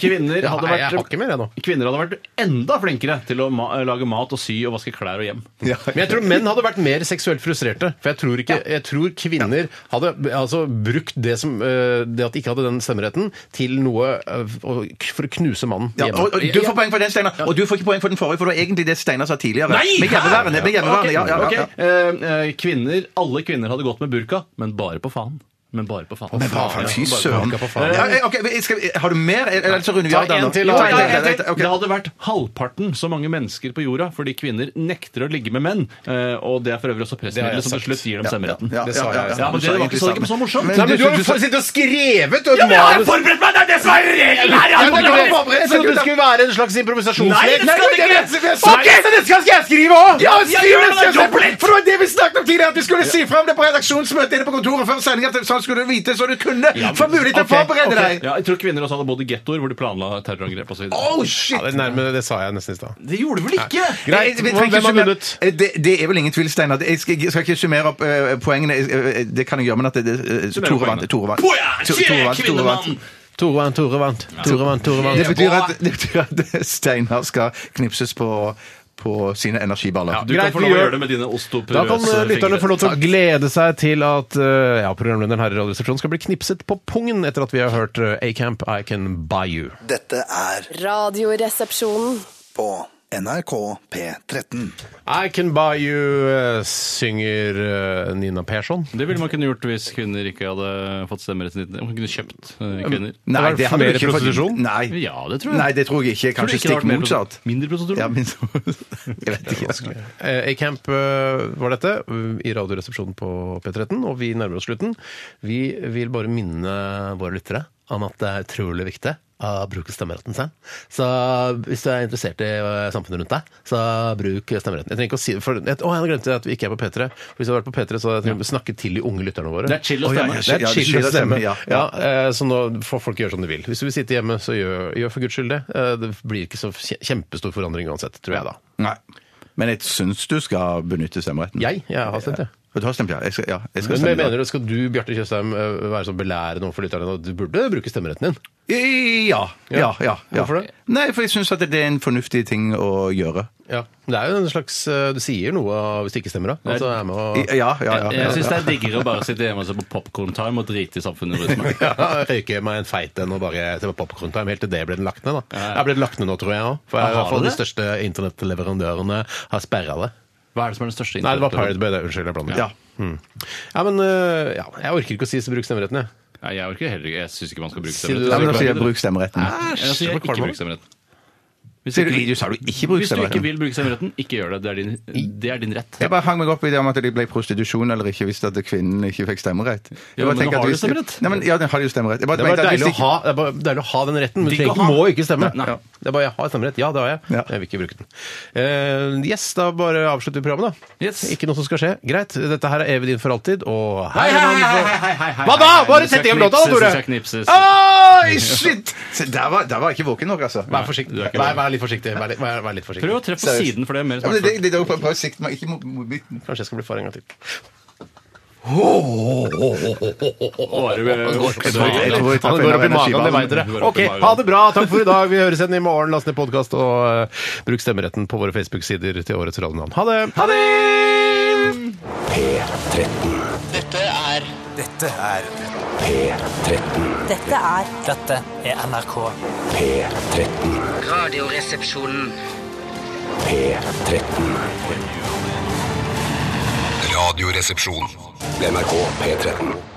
Speaker 10: Kvinner
Speaker 7: Ja,
Speaker 10: hadde
Speaker 7: nei, jeg har
Speaker 10: vært
Speaker 7: ikke mer, jeg nå.
Speaker 10: Kvinner hadde vært enda flinkere til å ma lage mat og sy og vaske klær og hjem.
Speaker 7: Men jeg tror menn hadde vært mer seksuelt frustrerte. For jeg tror, ikke, jeg tror kvinner hadde altså, brukt det, som, eh, det at de ikke hadde den stemmeretten, til noe eh, å- for å knuse mannen
Speaker 9: Ja, og,
Speaker 7: hjemme.
Speaker 9: og du får poeng for den, Steinar. Og du får ikke poeng for den forrige, for det var egentlig det Steinar sa tidligere. Med hjemmeværende. Med hjemmeværende. Ja, ja, ja, ja.
Speaker 10: Ok, eh, eh, kvinner, alle kvinner hadde gått med burka, men bare på faen. Men bare på faen.
Speaker 9: Men hva faen, fy søren.
Speaker 7: banka på faen.
Speaker 9: Ja, eh, ok, vi- skal vi- Har du mer, altså eller så runder vi
Speaker 7: Ta
Speaker 9: av der
Speaker 7: en
Speaker 9: nå?
Speaker 7: til,
Speaker 9: Jo,
Speaker 7: da.
Speaker 9: ta en
Speaker 10: Ja, ja,
Speaker 9: til,
Speaker 10: ja,
Speaker 9: ok.
Speaker 10: Det hadde vært halvparten så mange mennesker på jorda fordi kvinner nekter å ligge med menn. eh, Og det er for øvrig også
Speaker 7: Det
Speaker 10: pressmiddelet
Speaker 7: har jeg
Speaker 10: som til
Speaker 7: sagt.
Speaker 10: slutt gir dem stemmeretten.
Speaker 9: Ja,
Speaker 7: Det sa jeg.
Speaker 10: Ja, men det var ikke så, det var ikke så morsomt.
Speaker 9: Men
Speaker 7: Nei, men
Speaker 9: du-
Speaker 7: du har
Speaker 9: du-
Speaker 7: jo
Speaker 9: du-
Speaker 7: sittet og skrevet og et manus
Speaker 10: forberedt meg! Det er det som er regelen her!
Speaker 7: Ja, men det er ikke det.
Speaker 9: forberedt
Speaker 7: Jeg trodde det skulle være en slags
Speaker 10: Nei,
Speaker 7: improvisasjonslek.
Speaker 10: det skal det ikke!
Speaker 7: Ok, så det skal skal jeg skrive òg!
Speaker 9: Ja, skriv
Speaker 10: gjør
Speaker 9: det!
Speaker 10: det,
Speaker 9: skriv
Speaker 10: jobb
Speaker 9: det! For det var det vi snakket om tidligere, at vi skulle si frem det på redaksjonsmøtet inne på kontoret før sending, at sånn skulle du vite, så du kunne få mulighet til å
Speaker 7: ok,
Speaker 9: forberede
Speaker 7: ok.
Speaker 9: deg.
Speaker 10: Ja, jeg tror kvinner også hadde bodd i gettoer hvor de planla terrorangrep osv.
Speaker 9: Oh, shit!
Speaker 7: det, nærmere, det sa jeg nesten i stad.
Speaker 10: Det gjorde vel ikke?
Speaker 9: Jeg-
Speaker 7: Greit.
Speaker 9: jeg trenger ikke
Speaker 7: Hvem har
Speaker 9: summere-
Speaker 7: vunnet?
Speaker 9: Eh, Det, det er vel ingen tvil, Steinar. Jeg skal, jeg skal ikke summere opp eh, poengene. Eh, eh, Det kan jeg gjøre, men at det, det, eh,
Speaker 10: Summere
Speaker 9: Tore
Speaker 10: poengene.
Speaker 9: vant. Tore vant.
Speaker 10: Boja,
Speaker 9: To- Tore vant, Tore vant.
Speaker 10: kvinnemann!
Speaker 7: Tore vant, Tore vant. Tore vant, Tore
Speaker 9: Det
Speaker 7: vant.
Speaker 9: betyr at, det betyr at Steinar skal knipses på, på sine energiballer.
Speaker 10: Du kan
Speaker 7: Greit,
Speaker 10: få
Speaker 7: vi
Speaker 10: lov å
Speaker 7: gjør-
Speaker 10: gjøre det med dine
Speaker 7: Da kan
Speaker 10: ostoporøse
Speaker 7: eh, lytterne få lov til å glede seg til at eh, ja, programlederen her i Radioresepsjonen skal bli knipset på pungen etter at vi har hørt eh, A-Camp, I Can Buy You.
Speaker 4: Dette er
Speaker 3: Radioresepsjonen.
Speaker 4: på NRK P13.
Speaker 7: I Can Buy You eh, synger eh, Nina Persson.
Speaker 10: Det ville man kunne gjort hvis kvinner ikke hadde fått stemmerett. i 19 Man kunne kjøpt eh, kvinner.
Speaker 7: Har det vært
Speaker 9: hadde
Speaker 7: mer
Speaker 9: du ikke fått-
Speaker 7: prostitusjon?
Speaker 9: Nei.
Speaker 10: Ja, det tror jeg.
Speaker 9: Nei, det tror jeg ikke.
Speaker 10: Tror du
Speaker 9: Kanskje
Speaker 10: ikke det
Speaker 9: stikk
Speaker 10: hadde vært mer
Speaker 9: motsatt.
Speaker 10: prostitusjon? Mindre prostitusjon?
Speaker 9: Ja, min, jeg vet ikke.
Speaker 7: Eh, A-Camp eh, var dette eh, i Radioresepsjonen på P13, og vi nærmer oss slutten. Vi vil bare minne våre lyttere om at det er utrolig viktig å bruke stemmeretten sin. Så hvis du er interessert i eh, samfunnet rundt deg, så bruk stemmeretten. Jeg trenger ikke å si det, for jeg, å, jeg glemte at vi ikke er på P3. Hvis jeg hadde vært på P3, så hadde jeg tenkt å snakke til de unge lytterne våre.
Speaker 10: Det er chill å
Speaker 9: Å, ja,
Speaker 10: stemme.
Speaker 9: men-
Speaker 7: Det er
Speaker 9: Ja,
Speaker 7: chill å stemme.
Speaker 9: ja.
Speaker 7: Ja, eh, så nå får folk gjøre som de vil. Hvis du vil sitte hjemme, så gjør, gjør for guds skyld det. Eh, Det blir ikke så kje- kjempestor forandring uansett, tror jeg da.
Speaker 9: Nei. Men jeg syns du skal benytte stemmeretten.
Speaker 7: Jeg? Jeg har stemt, ja.
Speaker 9: Ja. Du har stemt, ja. Jeg skal, ja. Jeg skal
Speaker 7: Men
Speaker 9: stemme,
Speaker 7: jeg
Speaker 9: ja.
Speaker 7: mener du, Skal du Bjarte Tjøstheim, eh, være så belærende overfor lytterne at du burde bruke stemmeretten din?
Speaker 9: Ja. ja, ja, ja.
Speaker 7: Hvorfor det?
Speaker 9: Nei, for jeg syns at det er en fornuftig ting å gjøre.
Speaker 7: Ja. Det er jo en slags eh, Du sier noe av- hvis det ikke stemmer, da. Altså, jeg er med og
Speaker 9: I- Ja, ja, ja.
Speaker 10: Jeg, jeg syns det er diggere å bare sitte hjemme og se på Popcorn-time og drite i samfunnet rundt meg.
Speaker 7: ja, røyke meg en feit en og bare se på popkorntime. Helt til det ble den lagt ned, da. Jeg ble den lagt ned nå, tror jeg òg. For jeg, i
Speaker 10: Har
Speaker 7: hvert fall
Speaker 10: det?
Speaker 7: de største internettleverandørene har sperra det.
Speaker 10: Hva er det som er den største
Speaker 7: Nei, det var Pirate Bay. det. Unnskyld, jeg blander.
Speaker 9: Ja.
Speaker 7: Mm. ja, men eh, ja, Jeg orker ikke å si så bruk stemmeretten, jeg.
Speaker 10: Nei, jeg orker heller ikke. Jeg syns ikke man skal bruke
Speaker 7: Sier du
Speaker 10: stemmerett.
Speaker 7: det?
Speaker 9: Ja, men da sier jeg bruk stemmeretten.
Speaker 10: Jeg sier ikke bruk stemmerett. Hvis
Speaker 9: Sier du,
Speaker 10: ikke-
Speaker 9: du sa du ikke bruk
Speaker 10: Hvis du ikke
Speaker 9: stemmeretten?
Speaker 10: vil bruke stemmeretten, ikke gjør det. Det er din, det er din rett.
Speaker 9: Jeg bare hang meg opp i det om at de ble i prostitusjon eller ikke hvis at kvinnen ikke fikk stemmerett. Jeg
Speaker 10: Ja,
Speaker 9: bare
Speaker 10: men nå
Speaker 9: tenker at
Speaker 10: har du
Speaker 9: hvis-
Speaker 10: stemmerett.
Speaker 9: Nei, men, ja, den har jo stemmerett. Jeg bare
Speaker 7: Det er
Speaker 9: tenkte
Speaker 7: bare
Speaker 9: at hvis
Speaker 7: deilig å
Speaker 9: ikke-
Speaker 7: ha, det er bare deilig å ha den retten, men du
Speaker 10: Digg å
Speaker 7: trenger ikke,
Speaker 10: ha.
Speaker 7: må ikke stemme.
Speaker 10: Nei, nei.
Speaker 7: Det er bare jeg har stemmerett. Ja, det har jeg.
Speaker 9: Ja.
Speaker 7: Jeg vil ikke bruke den. Eh, yes, da bare avslutter vi programmet, da.
Speaker 10: Yes.
Speaker 7: Ikke noe som skal skje. Greit. Dette her er evig din for alltid, og
Speaker 10: Hei,
Speaker 7: hei,
Speaker 10: hei,
Speaker 7: mann,
Speaker 10: hei,
Speaker 7: for-
Speaker 10: hei, hei, hei, hei.
Speaker 7: Hva da? Bare
Speaker 10: Nå
Speaker 7: sett
Speaker 10: skal
Speaker 7: i gang låta,
Speaker 10: knipses,
Speaker 7: da, Tore!
Speaker 10: nå skal knipses.
Speaker 7: Oi,
Speaker 9: Shit!
Speaker 7: shit!
Speaker 9: Se, Der var, der var jeg ikke våken nok, altså.
Speaker 7: Vær forsiktig.
Speaker 10: Du er ikke
Speaker 7: Vær, vær litt forsiktig. Vær litt, vær, vær litt forsiktig.
Speaker 10: Prøv å treffe på siden, for det er mer
Speaker 9: Ja, men det,
Speaker 10: smertefullt.
Speaker 9: det, det, prøv å sikte meg ikke mot mot midten.
Speaker 7: Kanskje jeg skal bli far en gang til.
Speaker 9: Jeg tror jeg traff
Speaker 7: Han
Speaker 9: en
Speaker 7: går
Speaker 9: av
Speaker 7: opp i magen, det
Speaker 9: energiballene.
Speaker 7: vet dere.
Speaker 10: Du går opp
Speaker 7: Ok,
Speaker 10: i magen.
Speaker 7: ha det bra. Takk for i dag. Vi høres igjen i morgen. Last ned podkast, og eh, bruk stemmeretten på våre Facebook-sider til årets radionavn. Ha det! Ha det!
Speaker 1: P13.
Speaker 2: Dette er
Speaker 1: P13.
Speaker 11: Dette er
Speaker 2: Dette er NRK.
Speaker 1: P13.
Speaker 11: Radioresepsjonen.
Speaker 1: P13.
Speaker 6: Radioresepsjon.
Speaker 1: NRK P13.